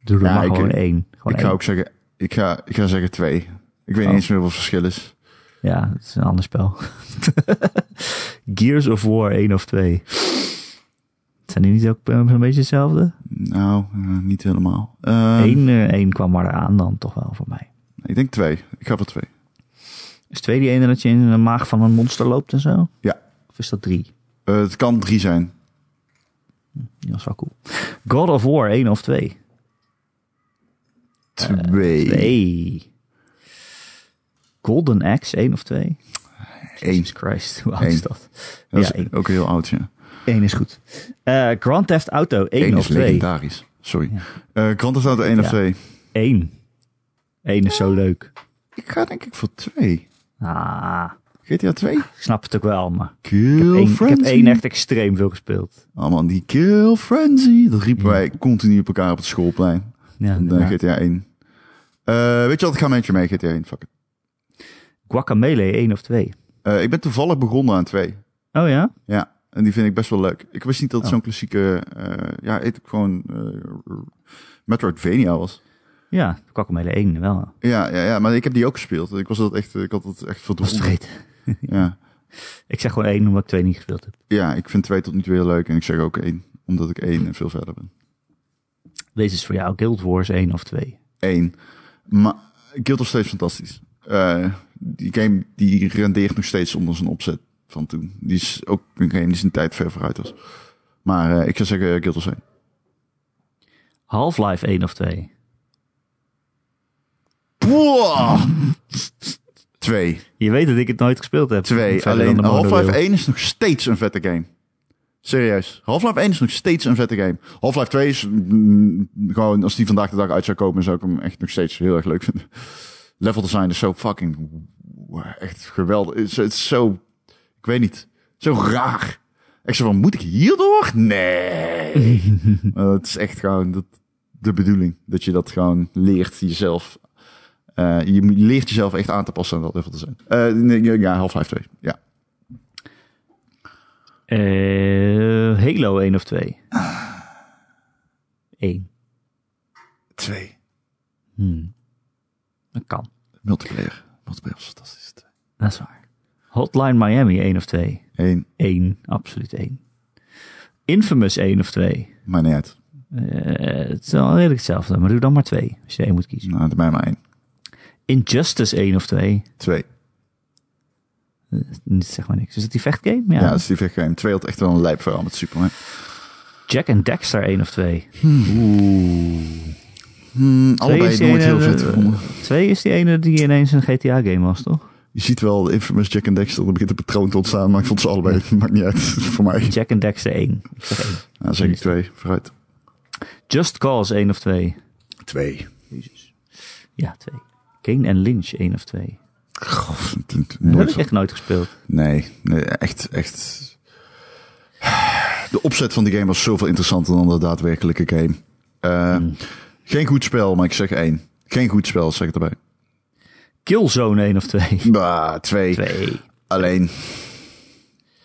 [SPEAKER 1] Doe er
[SPEAKER 2] Ja,
[SPEAKER 1] maar
[SPEAKER 2] ik-
[SPEAKER 1] gewoon één. Gewoon
[SPEAKER 2] ik
[SPEAKER 1] één.
[SPEAKER 2] ga ook zeggen... Ik ga, ik ga zeggen twee. Ik weet
[SPEAKER 1] Oh.
[SPEAKER 2] niet eens meer wat het verschil is.
[SPEAKER 1] Ja, het is een ander spel. Gears of War 1 of 2. Zijn die niet ook eh, zo'n beetje hetzelfde?
[SPEAKER 2] Nou, eh, niet helemaal. Ehm,
[SPEAKER 1] Eén eh, één kwam maar eraan dan toch wel voor mij.
[SPEAKER 2] Ik denk twee. Ik ga voor twee.
[SPEAKER 1] Is 2 die ene dat je in de maag van een monster loopt en zo?
[SPEAKER 2] Ja.
[SPEAKER 1] Of is dat 3?
[SPEAKER 2] Eh, het kan drie zijn.
[SPEAKER 1] Dat is wel cool. God of War 1 of 2? Eh,
[SPEAKER 2] Twee.
[SPEAKER 1] 2. Golden Axe 1 of 2?
[SPEAKER 2] Eén.
[SPEAKER 1] Jesus Christ, hoe oud
[SPEAKER 2] Eén.
[SPEAKER 1] is dat?
[SPEAKER 2] Dat
[SPEAKER 1] ja,
[SPEAKER 2] is
[SPEAKER 1] 1.
[SPEAKER 2] ook heel oud, ja.
[SPEAKER 1] 1 is goed. Eh, Grand Theft Auto 1
[SPEAKER 2] Eén
[SPEAKER 1] of
[SPEAKER 2] is
[SPEAKER 1] 2?
[SPEAKER 2] legendarisch. Sorry. Eh Grand Theft Auto 1 of
[SPEAKER 1] Ja.
[SPEAKER 2] 2.
[SPEAKER 1] 1. 1 is zo leuk.
[SPEAKER 2] Ik ga denk ik voor 2.
[SPEAKER 1] Ah,
[SPEAKER 2] GTA 2?
[SPEAKER 1] ik snap het ook wel, maar...
[SPEAKER 2] Kill
[SPEAKER 1] Eén- ik heb
[SPEAKER 2] Frenzy.
[SPEAKER 1] één echt extreem veel gespeeld.
[SPEAKER 2] Oh man, die Kill Frenzy. Dat riepen wij continu op elkaar op het schoolplein.
[SPEAKER 1] Ja,
[SPEAKER 2] En, eh,
[SPEAKER 1] ja.
[SPEAKER 2] GTA 1. Eh, weet je wat, ik ga met je mee, GTA 1. Fuck it.
[SPEAKER 1] Guacamele 1 of 2.
[SPEAKER 2] Eh, ik ben toevallig begonnen aan 2.
[SPEAKER 1] Oh ja?
[SPEAKER 2] Ja, en die vind ik best wel leuk. Ik wist niet dat het
[SPEAKER 1] Oh.
[SPEAKER 2] zo'n klassieke... eh, ja, het gewoon... eh, Metroidvania was.
[SPEAKER 1] Ja, Guacamele 1 wel.
[SPEAKER 2] Ja, ja, ja, maar ik heb die ook gespeeld. Ik was dat echt, ik had dat echt
[SPEAKER 1] Was het
[SPEAKER 2] verdrongen.
[SPEAKER 1] vergeten.
[SPEAKER 2] Ja.
[SPEAKER 1] Ik zeg gewoon 1 omdat ik 2 niet gespeeld heb.
[SPEAKER 2] ja, ik vind twee tot nu toe heel leuk en ik zeg ook één, omdat ik één en veel verder ben.
[SPEAKER 1] Deze is voor jou Guild Wars 1 of 2.
[SPEAKER 2] Eén. Maar Guild nog steeds fantastisch. Eh, die game die rendeert nog steeds onder zijn opzet van toen. Die is ook een game die zijn tijd ver vooruit was. Maar eh, ik zou zeggen Guild Wars 1.
[SPEAKER 1] Half-Life 1 of 2.
[SPEAKER 2] Boah! Twee.
[SPEAKER 1] Je weet dat ik het nooit gespeeld heb. Niet
[SPEAKER 2] Twee.
[SPEAKER 1] verder dan
[SPEAKER 2] Alleen
[SPEAKER 1] de
[SPEAKER 2] Half-Life
[SPEAKER 1] monorail.
[SPEAKER 2] 1 is nog steeds een vette game. Serieus. Half-Life 1 is nog steeds een vette game. Half-Life 2 is mm, gewoon, als die vandaag de dag uit zou komen, zou ik hem echt nog steeds heel erg leuk vinden. Level design is zo fucking wow, echt geweldig. Het is, het is zo, ik weet niet, zo raar. Echt zo van, moet ik hierdoor? Nee. Maar het is echt gewoon dat, de bedoeling. Dat je dat gewoon leert jezelf. Eh, je moet- je leert jezelf echt aan te passen aan dat level design. Eh, nee, ja, ja, Half-Life 2. Ja.
[SPEAKER 1] Eh, Halo 1 of 2.
[SPEAKER 2] Ah.
[SPEAKER 1] 1.
[SPEAKER 2] Twee.
[SPEAKER 1] Dat kan.
[SPEAKER 2] Multiplayer. Multiplayer was fantastisch.
[SPEAKER 1] Dat is waar. Hotline Miami 1 of 2.
[SPEAKER 2] Eén.
[SPEAKER 1] 1. Absoluut 1. Infamous 1 of 2.
[SPEAKER 2] Maar niet uit.
[SPEAKER 1] Eh, het is wel redelijk hetzelfde, maar doe dan maar twee, als je één moet kiezen.
[SPEAKER 2] Nou, bij mij maar één.
[SPEAKER 1] Injustice 1 of 2,
[SPEAKER 2] Twee.
[SPEAKER 1] zeg maar niks. Is het die vechtgame? Ja.
[SPEAKER 2] Ja, dat is die vechtgame. Twee had echt wel een lijp verhaal met Superman.
[SPEAKER 1] Jack en Dexter 1 of 2.
[SPEAKER 2] Mm, allebei nooit heel vet
[SPEAKER 1] eh,
[SPEAKER 2] gevonden.
[SPEAKER 1] 2 is die ene die ineens een GTA-game was, toch?
[SPEAKER 2] Je ziet wel de infamous Jack en Dexter. Er begint een patroon te ontstaan, maar ik vond ze allebei. Maakt niet uit. Voor mij.
[SPEAKER 1] Jack en Dexter 1. Ik zeg één.
[SPEAKER 2] Nou, zeg ik twee. Vooruit.
[SPEAKER 1] Just Cause 1 of 2.
[SPEAKER 2] Twee.
[SPEAKER 1] Ja, 2. Kane en Lynch 1 of 2.
[SPEAKER 2] Goh,
[SPEAKER 1] Dat
[SPEAKER 2] nooit
[SPEAKER 1] heb ik echt nooit gespeeld.
[SPEAKER 2] Nee, nee, echt, echt. De opzet van die game was zoveel interessanter dan de daadwerkelijke game. Eh,
[SPEAKER 1] Hmm.
[SPEAKER 2] Geen goed spel, maar ik zeg één. Geen goed spel, zeg ik erbij.
[SPEAKER 1] Killzone 1 of 2.
[SPEAKER 2] Bah, twee.
[SPEAKER 1] 2.
[SPEAKER 2] Alleen.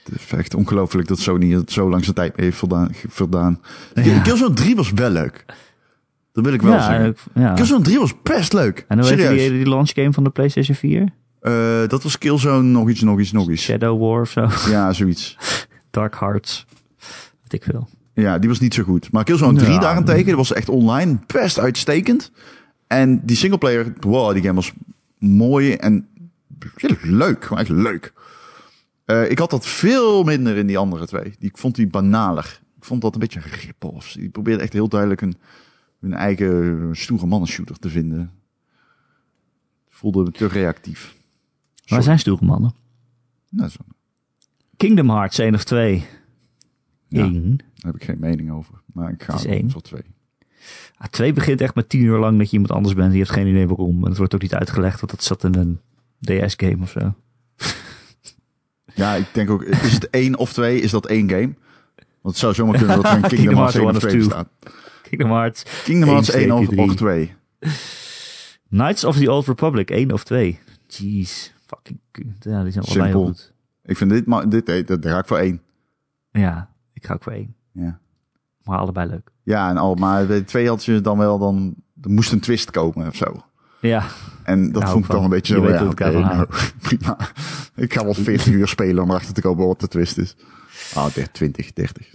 [SPEAKER 2] Het is echt ongelooflijk dat Sony het zo lang zijn tijd mee heeft voldaan. ge- voldaan. Killzone 3 was wel leuk. Dat wil ik wel
[SPEAKER 1] Ja,
[SPEAKER 2] zeggen.
[SPEAKER 1] eh, ik- ja.
[SPEAKER 2] Killzone 3 was best leuk.
[SPEAKER 1] En hoe heette
[SPEAKER 2] Serieus.
[SPEAKER 1] die, die launch game van de PlayStation 4?
[SPEAKER 2] Eh, dat was Killzone nog iets, nog iets, nog iets.
[SPEAKER 1] Shadow War of zo.
[SPEAKER 2] Ja, zoiets.
[SPEAKER 1] Dark Hearts. Weet ik veel.
[SPEAKER 2] Ja, die was niet zo goed. Maar Killzone 3
[SPEAKER 1] Ja.
[SPEAKER 2] daarentegen, dat was echt online best uitstekend. En die singleplayer, wow, die game was mooi en ja, leuk. Gewoon echt leuk. Eh, ik had dat veel minder in die andere twee. Die, ik vond die banaler. Ik vond dat een beetje rip-offs. Die probeerde echt heel duidelijk hun, hun eigen stoere mannenshooter te vinden. Voelde me te reactief.
[SPEAKER 1] Waar
[SPEAKER 2] Sorry.
[SPEAKER 1] zijn stoere mannen?
[SPEAKER 2] Nou, zo,
[SPEAKER 1] Kingdom Hearts 1 of 2.
[SPEAKER 2] Ja.
[SPEAKER 1] 1.
[SPEAKER 2] daar heb ik geen mening over. Maar ik ga
[SPEAKER 1] Het is één.
[SPEAKER 2] voor twee.
[SPEAKER 1] Ah, 2 begint echt met 10 uur lang dat je iemand anders bent. en Je hebt geen idee waarom. En het wordt ook niet uitgelegd, want dat zat in een DS-game of zo.
[SPEAKER 2] Ja, ik denk ook, is het één of twee? Is dat één game? Want het zou zomaar kunnen dat er een Kingdom
[SPEAKER 1] Kingdom
[SPEAKER 2] Hearts
[SPEAKER 1] Hearts one
[SPEAKER 2] 1 of
[SPEAKER 1] of
[SPEAKER 2] 2
[SPEAKER 1] two.
[SPEAKER 2] bestaat.
[SPEAKER 1] Kingdom Hearts.
[SPEAKER 2] Kingdom Hearts 1 of,
[SPEAKER 1] 3.
[SPEAKER 2] of 2.
[SPEAKER 1] Knights of the Old Republic 1 of 2. Jeez. Fucking. ku- Ja, die zijn allebei
[SPEAKER 2] Simpel.
[SPEAKER 1] heel goed.
[SPEAKER 2] Ik vind dit, maar dit, eh, dat daar ga ik voor één.
[SPEAKER 1] Ja, ik ga ook voor één.
[SPEAKER 2] Ja,
[SPEAKER 1] Maar allebei leuk.
[SPEAKER 2] ja en al, maar bij de twee had je dan wel, dan er moest een twist komen of zo.
[SPEAKER 1] Ja,
[SPEAKER 2] En dat
[SPEAKER 1] Nou,
[SPEAKER 2] vond ik dan
[SPEAKER 1] van-
[SPEAKER 2] een beetje
[SPEAKER 1] je
[SPEAKER 2] zo,
[SPEAKER 1] weet
[SPEAKER 2] ja,
[SPEAKER 1] hoe het
[SPEAKER 2] oké,
[SPEAKER 1] kan gaan.
[SPEAKER 2] nou, prima. Ik ga wel 40 uur spelen om erachter te komen wat de twist is. Ah, 30, 20, 30.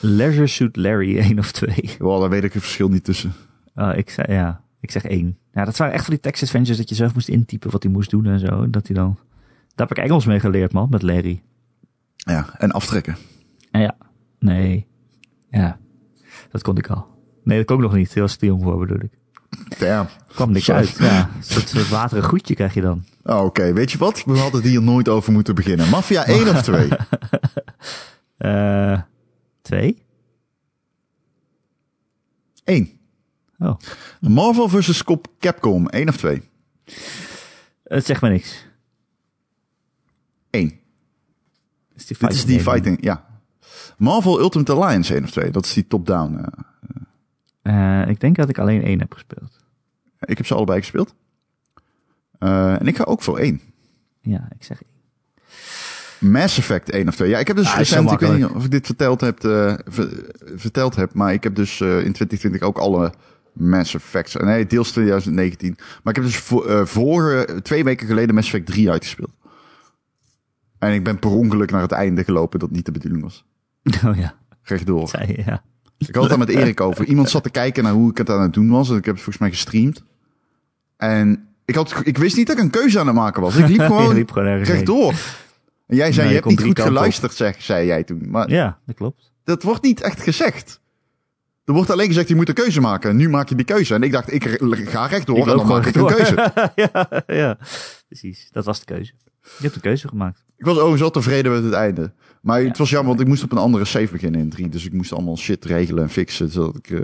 [SPEAKER 1] Leisure Suit Larry 1 of 2.
[SPEAKER 2] Wow, daar weet ik het verschil niet tussen.
[SPEAKER 1] Eh, ik, zei, ja, ik zeg 1. Ja, dat waren echt van die text adventures dat je zelf moest intypen wat hij moest doen en zo. En Dat hij dan... Daar heb ik Engels mee geleerd, man, met Larry.
[SPEAKER 2] Ja, en aftrekken.
[SPEAKER 1] En ja, nee. Ja, dat kon ik al. Nee, dat kon ik nog niet. Heel was te jong voor, bedoel ik.
[SPEAKER 2] Damn.
[SPEAKER 1] kwam niks
[SPEAKER 2] Zo.
[SPEAKER 1] uit. Ja, een soort, soort waterig goedje krijg je dan.
[SPEAKER 2] Oh, Oké, weet je wat? We hadden hier nooit over moeten beginnen. Mafia 1 of 2?
[SPEAKER 1] Eh, twee?
[SPEAKER 2] 1.
[SPEAKER 1] Oh,
[SPEAKER 2] Marvel vs. Cop- Capcom 1 of 2?
[SPEAKER 1] het zegt me niks.
[SPEAKER 2] 1.
[SPEAKER 1] Het is die
[SPEAKER 2] Dit is die
[SPEAKER 1] game.
[SPEAKER 2] fighting, ja. Marvel Ultimate Alliance 1 of 2. Dat is die top-down. eh.
[SPEAKER 1] Eh, ik denk dat ik alleen één heb gespeeld.
[SPEAKER 2] ik heb ze allebei gespeeld. Eh, en ik ga ook voor 1.
[SPEAKER 1] Ja, ik zeg één.
[SPEAKER 2] Mass Effect 1 of 2. Ja, ik heb dus
[SPEAKER 1] Ah, is zo
[SPEAKER 2] recent, ik weet niet
[SPEAKER 1] makkelijk.
[SPEAKER 2] of ik dit verteld heb, eh, ver- verteld heb maar ik heb dus eh, in 2020 ook alle Mass Effects, Eh, nee, deels 2019. Maar ik heb dus voor, eh, vorige, twee weken geleden Mass Effect 3 uitgespeeld. En ik ben per ongeluk naar het einde gelopen, dat niet de bedoeling was.
[SPEAKER 1] Oh ja,
[SPEAKER 2] Rechtdoor.
[SPEAKER 1] dat zei je, ja.
[SPEAKER 2] Ik had het daar met Erik over. Iemand zat te kijken naar hoe ik het aan het doen was. En ik heb het volgens mij gestreamd. En ik, had, ik wist niet dat ik een keuze aan het maken was. Ik liep
[SPEAKER 1] Je
[SPEAKER 2] gewoon
[SPEAKER 1] liep gewoon ergens heen.
[SPEAKER 2] rechtdoor. En jij
[SPEAKER 1] Nee,
[SPEAKER 2] zei, je
[SPEAKER 1] je
[SPEAKER 2] hebt
[SPEAKER 1] komt
[SPEAKER 2] niet
[SPEAKER 1] drie
[SPEAKER 2] goed
[SPEAKER 1] kanten op.
[SPEAKER 2] geluisterd, zeg, zei jij toen. Maar
[SPEAKER 1] Ja, dat klopt.
[SPEAKER 2] dat wordt niet echt gezegd. Er wordt alleen gezegd, je moet een keuze maken. En nu maak je die keuze. En ik dacht, ik re- ga rechtdoor
[SPEAKER 1] Ik
[SPEAKER 2] en
[SPEAKER 1] loop
[SPEAKER 2] dan maak ik een
[SPEAKER 1] gewoon
[SPEAKER 2] keuze.
[SPEAKER 1] ja, ja, precies. Dat was de keuze. Je hebt een keuze gemaakt.
[SPEAKER 2] Ik was overigens al tevreden met het einde. Maar het was jammer, want ik moest op een andere save beginnen in 3. Dus ik moest allemaal shit regelen en fixen. Zodat ik, eh,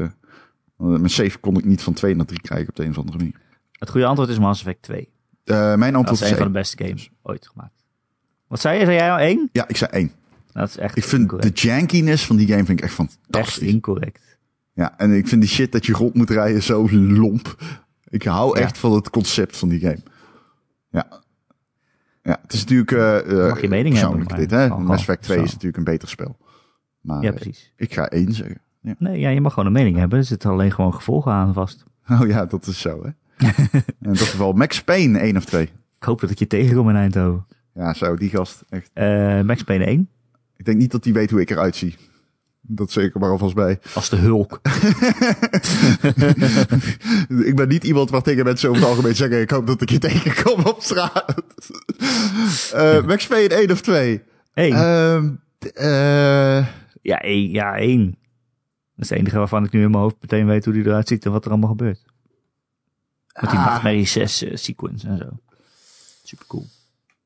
[SPEAKER 2] want mijn save kon ik niet van 2 naar 3 krijgen op de een of andere manier.
[SPEAKER 1] Het goede antwoord is Mass Effect 2.
[SPEAKER 2] Eh, mijn
[SPEAKER 1] Dat
[SPEAKER 2] antwoord
[SPEAKER 1] is een
[SPEAKER 2] is
[SPEAKER 1] van
[SPEAKER 2] één.
[SPEAKER 1] de beste games ooit gemaakt. Wat zei je? Zei jij al één?
[SPEAKER 2] Ja, ik zei één.
[SPEAKER 1] Dat is echt
[SPEAKER 2] Ik vind de
[SPEAKER 1] incorrect.
[SPEAKER 2] jankiness van die game vind ik echt
[SPEAKER 1] Echt
[SPEAKER 2] fantastisch.
[SPEAKER 1] incorrect.
[SPEAKER 2] Ja, en ik vind die shit dat je rond moet rijden zo lomp. Ik hou
[SPEAKER 1] Ja.
[SPEAKER 2] echt van het concept van die game. Ja. Ja, het is natuurlijk eh eh,
[SPEAKER 1] Mag je mening
[SPEAKER 2] persoonlijk
[SPEAKER 1] hebben,
[SPEAKER 2] dit,
[SPEAKER 1] maar
[SPEAKER 2] hè.
[SPEAKER 1] gewoon-
[SPEAKER 2] Mass Effect 2
[SPEAKER 1] zo.
[SPEAKER 2] is natuurlijk een beter spel. Maar
[SPEAKER 1] Ja,
[SPEAKER 2] eh,
[SPEAKER 1] precies.
[SPEAKER 2] ik ga één zeggen. Ja.
[SPEAKER 1] Nee, ja, je mag gewoon een mening hebben. Er zitten alleen gewoon gevolgen aan vast.
[SPEAKER 2] Oh ja, dat is zo, hè. in dat geval Max Payne 1 of 2.
[SPEAKER 1] Ik hoop dat ik je tegenkom in Eindhoven.
[SPEAKER 2] Ja, zo, die gast. Echt.
[SPEAKER 1] Eh, Max Payne 1
[SPEAKER 2] Ik denk niet dat die weet hoe ik eruit zie. Dat zeker maar alvast bij.
[SPEAKER 1] als de Hulk.
[SPEAKER 2] Ik ben niet iemand waar tegen mensen over het algemeen zeggen... ik hoop dat ik je tegenkom op straat. Eh Max Payne 1 of 2.
[SPEAKER 1] Eén.
[SPEAKER 2] Ehm, t- eh,
[SPEAKER 1] ja, één. Ja, één. Dat is het enige waarvan ik nu in mijn hoofd meteen weet hoe die eruit ziet en wat er allemaal gebeurt. Met die
[SPEAKER 2] Ah.
[SPEAKER 1] Nightmare 6 eh, sequence en zo. Super cool.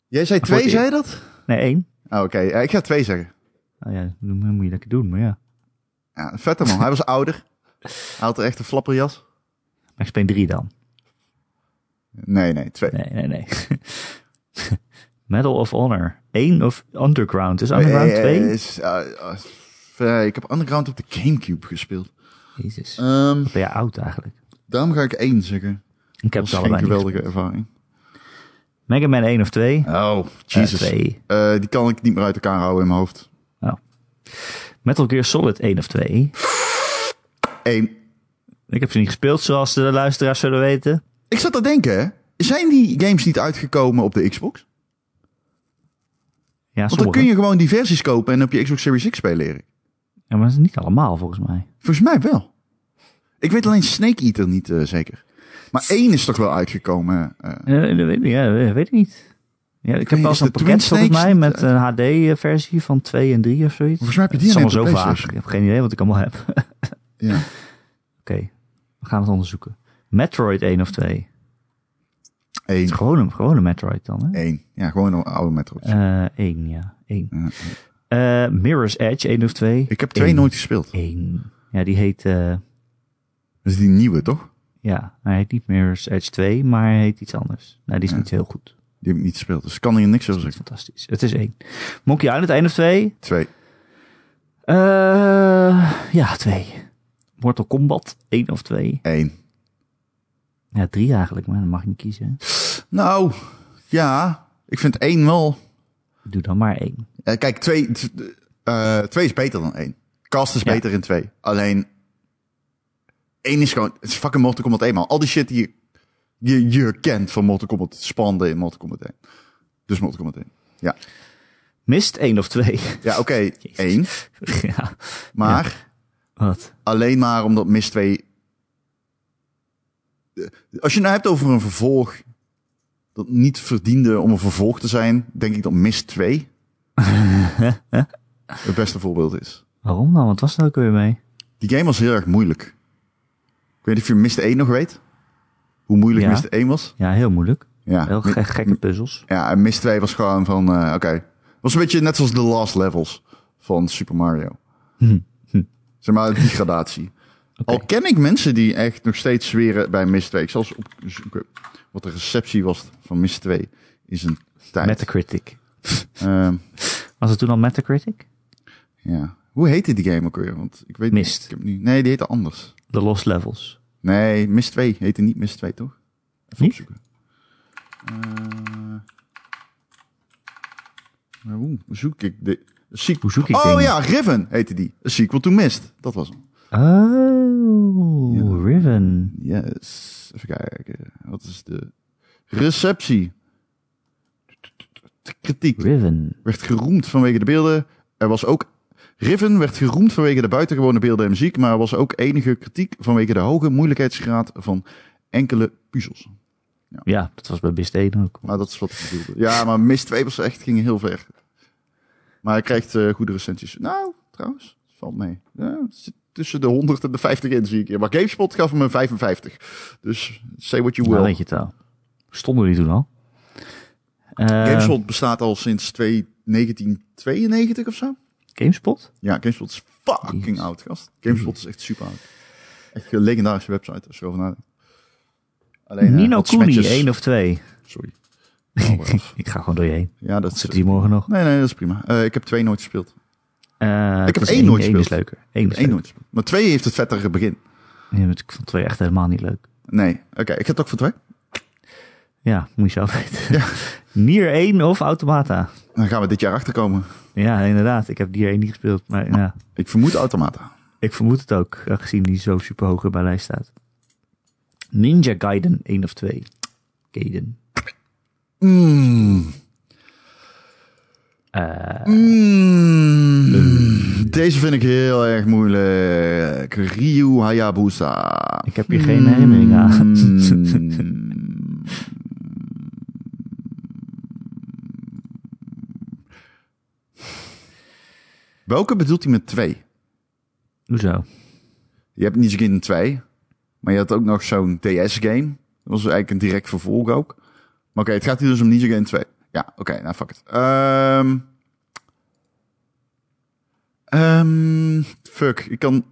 [SPEAKER 2] jij zei
[SPEAKER 1] Voor
[SPEAKER 2] twee,
[SPEAKER 1] het
[SPEAKER 2] zei je dat?
[SPEAKER 1] Nee, één.
[SPEAKER 2] Ah, Oké, Eh, ik ga twee zeggen.
[SPEAKER 1] Nou ja, dat moet je lekker doen, maar ja.
[SPEAKER 2] Ja, vette man, hij was ouder. Hij had echt een flapperjas.
[SPEAKER 1] Max Payne 3 dan.
[SPEAKER 2] Nee, nee, twee.
[SPEAKER 1] Nee, nee, nee. Medal of Honor. 1 of Underground. Is
[SPEAKER 2] Eh,
[SPEAKER 1] Underground
[SPEAKER 2] eh,
[SPEAKER 1] 2?
[SPEAKER 2] is, eh, eh, eh, ik heb Underground op de Gamecube gespeeld.
[SPEAKER 1] Jezus.
[SPEAKER 2] Ehm,
[SPEAKER 1] Ben je oud eigenlijk?
[SPEAKER 2] daarom ga ik één zeggen.
[SPEAKER 1] Ik heb
[SPEAKER 2] Dat
[SPEAKER 1] het
[SPEAKER 2] is geen
[SPEAKER 1] allebei niet
[SPEAKER 2] geweldige
[SPEAKER 1] gespeeld.
[SPEAKER 2] ervaring.
[SPEAKER 1] Mega Man 1 of 2?
[SPEAKER 2] Oh, Jesus.
[SPEAKER 1] Eh, twee.
[SPEAKER 2] Eh, die kan ik niet meer uit elkaar houden in mijn hoofd.
[SPEAKER 1] Metal Gear Solid 1 of 2?
[SPEAKER 2] Eén.
[SPEAKER 1] Ik heb ze niet gespeeld, zoals de luisteraars zullen weten.
[SPEAKER 2] Ik zat te denken, hè. zijn die games niet uitgekomen op de Xbox?
[SPEAKER 1] Ja,
[SPEAKER 2] Want dan
[SPEAKER 1] sommige.
[SPEAKER 2] kun je gewoon die versies kopen en op je Xbox Series X spelen, Erik.
[SPEAKER 1] Ja, maar dat is niet allemaal volgens mij.
[SPEAKER 2] Volgens mij wel. Ik weet alleen Snake Eater niet eh, zeker. Maar één is toch wel uitgekomen. eh.
[SPEAKER 1] Eh, dat weet, ik- ja, dat weet ik niet. Ja, ik heb
[SPEAKER 2] niet,
[SPEAKER 1] wel eens
[SPEAKER 2] is
[SPEAKER 1] een
[SPEAKER 2] de Twin
[SPEAKER 1] pakket volgens
[SPEAKER 2] Snakes
[SPEAKER 1] mij
[SPEAKER 2] niet
[SPEAKER 1] met een HD-versie van 2 en 3 of zoiets.
[SPEAKER 2] Volgens mij heb je
[SPEAKER 1] Het
[SPEAKER 2] die
[SPEAKER 1] is
[SPEAKER 2] alleen
[SPEAKER 1] allemaal zo
[SPEAKER 2] op de
[SPEAKER 1] vaag. Ik
[SPEAKER 2] PlayStation.
[SPEAKER 1] heb geen idee wat ik allemaal heb. Oké,
[SPEAKER 2] ja.
[SPEAKER 1] we gaan het onderzoeken. Metroid 1 of 2.
[SPEAKER 2] Eén.
[SPEAKER 1] Gewoon een, gewoon een Metroid dan, hè?
[SPEAKER 2] Eén. Ja, gewoon een oude Metroid.
[SPEAKER 1] Eh, 1, ja. 1.
[SPEAKER 2] Ja.
[SPEAKER 1] Mirror's Edge 1 of 2.
[SPEAKER 2] ik heb twee
[SPEAKER 1] Eén.
[SPEAKER 2] nooit gespeeld.
[SPEAKER 1] 1. Ja, die heet... eh,
[SPEAKER 2] Dat is die nieuwe, toch?
[SPEAKER 1] ja, hij heet niet Mirror's Edge 2, maar hij heet iets anders. Nou, die is niet heel goed.
[SPEAKER 2] Die heb ik niet gespeeld. Dus ik kan hier niks over
[SPEAKER 1] Dat is
[SPEAKER 2] zeggen.
[SPEAKER 1] fantastisch. Het is één. Monkey Island, één of twee?
[SPEAKER 2] Twee.
[SPEAKER 1] Eh, ja, twee. Mortal Kombat, één of twee?
[SPEAKER 2] Eén.
[SPEAKER 1] Ja, drie eigenlijk, maar dan mag je niet kiezen.
[SPEAKER 2] Nou, ja. Ik vind één wel.
[SPEAKER 1] Doe dan maar één.
[SPEAKER 2] Eh, kijk, twee, t- eh, twee is beter dan één. Cast is
[SPEAKER 1] Ja.
[SPEAKER 2] beter in twee. Alleen, één is gewoon... Het is fucking Mortal Kombat 1, man. Al die shit die je, je, je kent van Mortal Kombat... het spannende in Mortal Kombat 1. Dus Mortal Kombat 1. Ja,
[SPEAKER 1] Mist één of twee.
[SPEAKER 2] ja oké, één.
[SPEAKER 1] ja,
[SPEAKER 2] Maar
[SPEAKER 1] wat?
[SPEAKER 2] alleen maar omdat Mist 2... Eh, Als je het nou hebt over een vervolg... dat niet verdiende om een vervolg te zijn... denk ik dat Mist 2... het beste voorbeeld is.
[SPEAKER 1] Waarom dan? Wat was er ook weer mee?
[SPEAKER 2] Die game was heel erg moeilijk. Ik weet niet of je Mist 1 nog weet. Hoe moeilijk
[SPEAKER 1] Ja.
[SPEAKER 2] Mist 1 was.
[SPEAKER 1] Ja, heel moeilijk.
[SPEAKER 2] Ja,
[SPEAKER 1] Heel ge- gekke puzzels.
[SPEAKER 2] ja en Mist 2 was gewoon van... eh, Oké, was een beetje net zoals de last levels van Super Mario.
[SPEAKER 1] Hm.
[SPEAKER 2] Zeg maar, die gradatie. Al ken ik mensen die echt nog steeds zweren bij Mist 2. Ik zal eens opzoeken wat de receptie was van Mist 2 in zijn tijd.
[SPEAKER 1] Metacritic.
[SPEAKER 2] Ehm,
[SPEAKER 1] Was het toen al Metacritic?
[SPEAKER 2] ja. Hoe heette die game ook weer? Want ik weet niet,
[SPEAKER 1] Mist.
[SPEAKER 2] ik heb niet. Nee, die heette anders.
[SPEAKER 1] De Lost Levels.
[SPEAKER 2] Nee, Mist 2 heette niet Mist 2, toch? Even
[SPEAKER 1] Niet?
[SPEAKER 2] opzoeken. Eh, maar hoe zoek ik de... Sequel.
[SPEAKER 1] Hoe zoek ik
[SPEAKER 2] oh
[SPEAKER 1] dingen?
[SPEAKER 2] ja, Riven heette die. A sequel to Mist. Dat was hem.
[SPEAKER 1] Oh, Riven.
[SPEAKER 2] Yes. Even kijken. Wat is de receptie? De kritiek
[SPEAKER 1] Riven.
[SPEAKER 2] werd geroemd vanwege de beelden. Er was ook... Riven werd geroemd vanwege de buitengewone beelden en muziek, maar er was ook enige kritiek vanwege de hoge moeilijkheidsgraad van enkele puzzels.
[SPEAKER 1] Ja, dat was bij Mist 1 ook.
[SPEAKER 2] Maar dat is wat ik bedoelde. Ja, maar Mist 2 was echt, ging heel ver. Maar hij krijgt eh, goede recensies. Nou, trouwens, valt mee. Ja, het zit tussen de 100 en de 50 in, zie ik. hier. Maar GameSpot gaf hem een 55. Dus say what you
[SPEAKER 1] Nou,
[SPEAKER 2] will.
[SPEAKER 1] weet je het al. Stonden die toen al? Eh,
[SPEAKER 2] GameSpot bestaat al sinds 2 1992 of zo.
[SPEAKER 1] GameSpot?
[SPEAKER 2] Ja, GameSpot is fucking
[SPEAKER 1] Jezus.
[SPEAKER 2] oud, gast. GameSpot is echt super oud. Echt een legendarische website, als je erover nadenkt. Alleen, eh,
[SPEAKER 1] Nino
[SPEAKER 2] wat
[SPEAKER 1] Cooney,
[SPEAKER 2] smetjes.
[SPEAKER 1] één of twee.
[SPEAKER 2] Sorry. Nou, maar af.
[SPEAKER 1] Ik ga gewoon door je heen.
[SPEAKER 2] ja, dat
[SPEAKER 1] Dat
[SPEAKER 2] is...
[SPEAKER 1] zit hier morgen nog.
[SPEAKER 2] Nee, nee, dat is prima. Eh, ik heb twee nooit gespeeld.
[SPEAKER 1] Eh,
[SPEAKER 2] heb
[SPEAKER 1] dat is
[SPEAKER 2] één nooit
[SPEAKER 1] Eén is
[SPEAKER 2] gespeeld.
[SPEAKER 1] leuker. Eén is
[SPEAKER 2] Eén
[SPEAKER 1] leuker.
[SPEAKER 2] nooit. Maar twee heeft het vettere begin.
[SPEAKER 1] Ja, maar ik vond twee echt helemaal niet leuk.
[SPEAKER 2] Nee, oké, ik ga het ook voor twee.
[SPEAKER 1] Ja, moet je zelf weten. Nier 1 of Automata.
[SPEAKER 2] Dan gaan we dit jaar achterkomen.
[SPEAKER 1] Ja, inderdaad. Ik heb Nier 1 niet gespeeld. Maar ja,
[SPEAKER 2] Ik vermoed Automata.
[SPEAKER 1] ik vermoed het ook. Aangezien die zo super hoog in mijn lijst staat. Ninja Gaiden 1 of 2. Gaiden.
[SPEAKER 2] Mm.
[SPEAKER 1] Eh,
[SPEAKER 2] Mm. Deze vind ik heel erg moeilijk. Ryu Hayabusa.
[SPEAKER 1] Ik heb hier geen herinnering aan.
[SPEAKER 2] Mm. Welke bedoelt hij met twee?
[SPEAKER 1] Hoezo?
[SPEAKER 2] Je hebt Ninja Gaiden 2, maar je had ook nog zo'n DS-game. Dat was eigenlijk een direct vervolg ook. Maar oké, het gaat hier dus om Ninja Gaiden 2. Ja, oké, nou fuck het. Ehm Ehm, fuck, ik kan...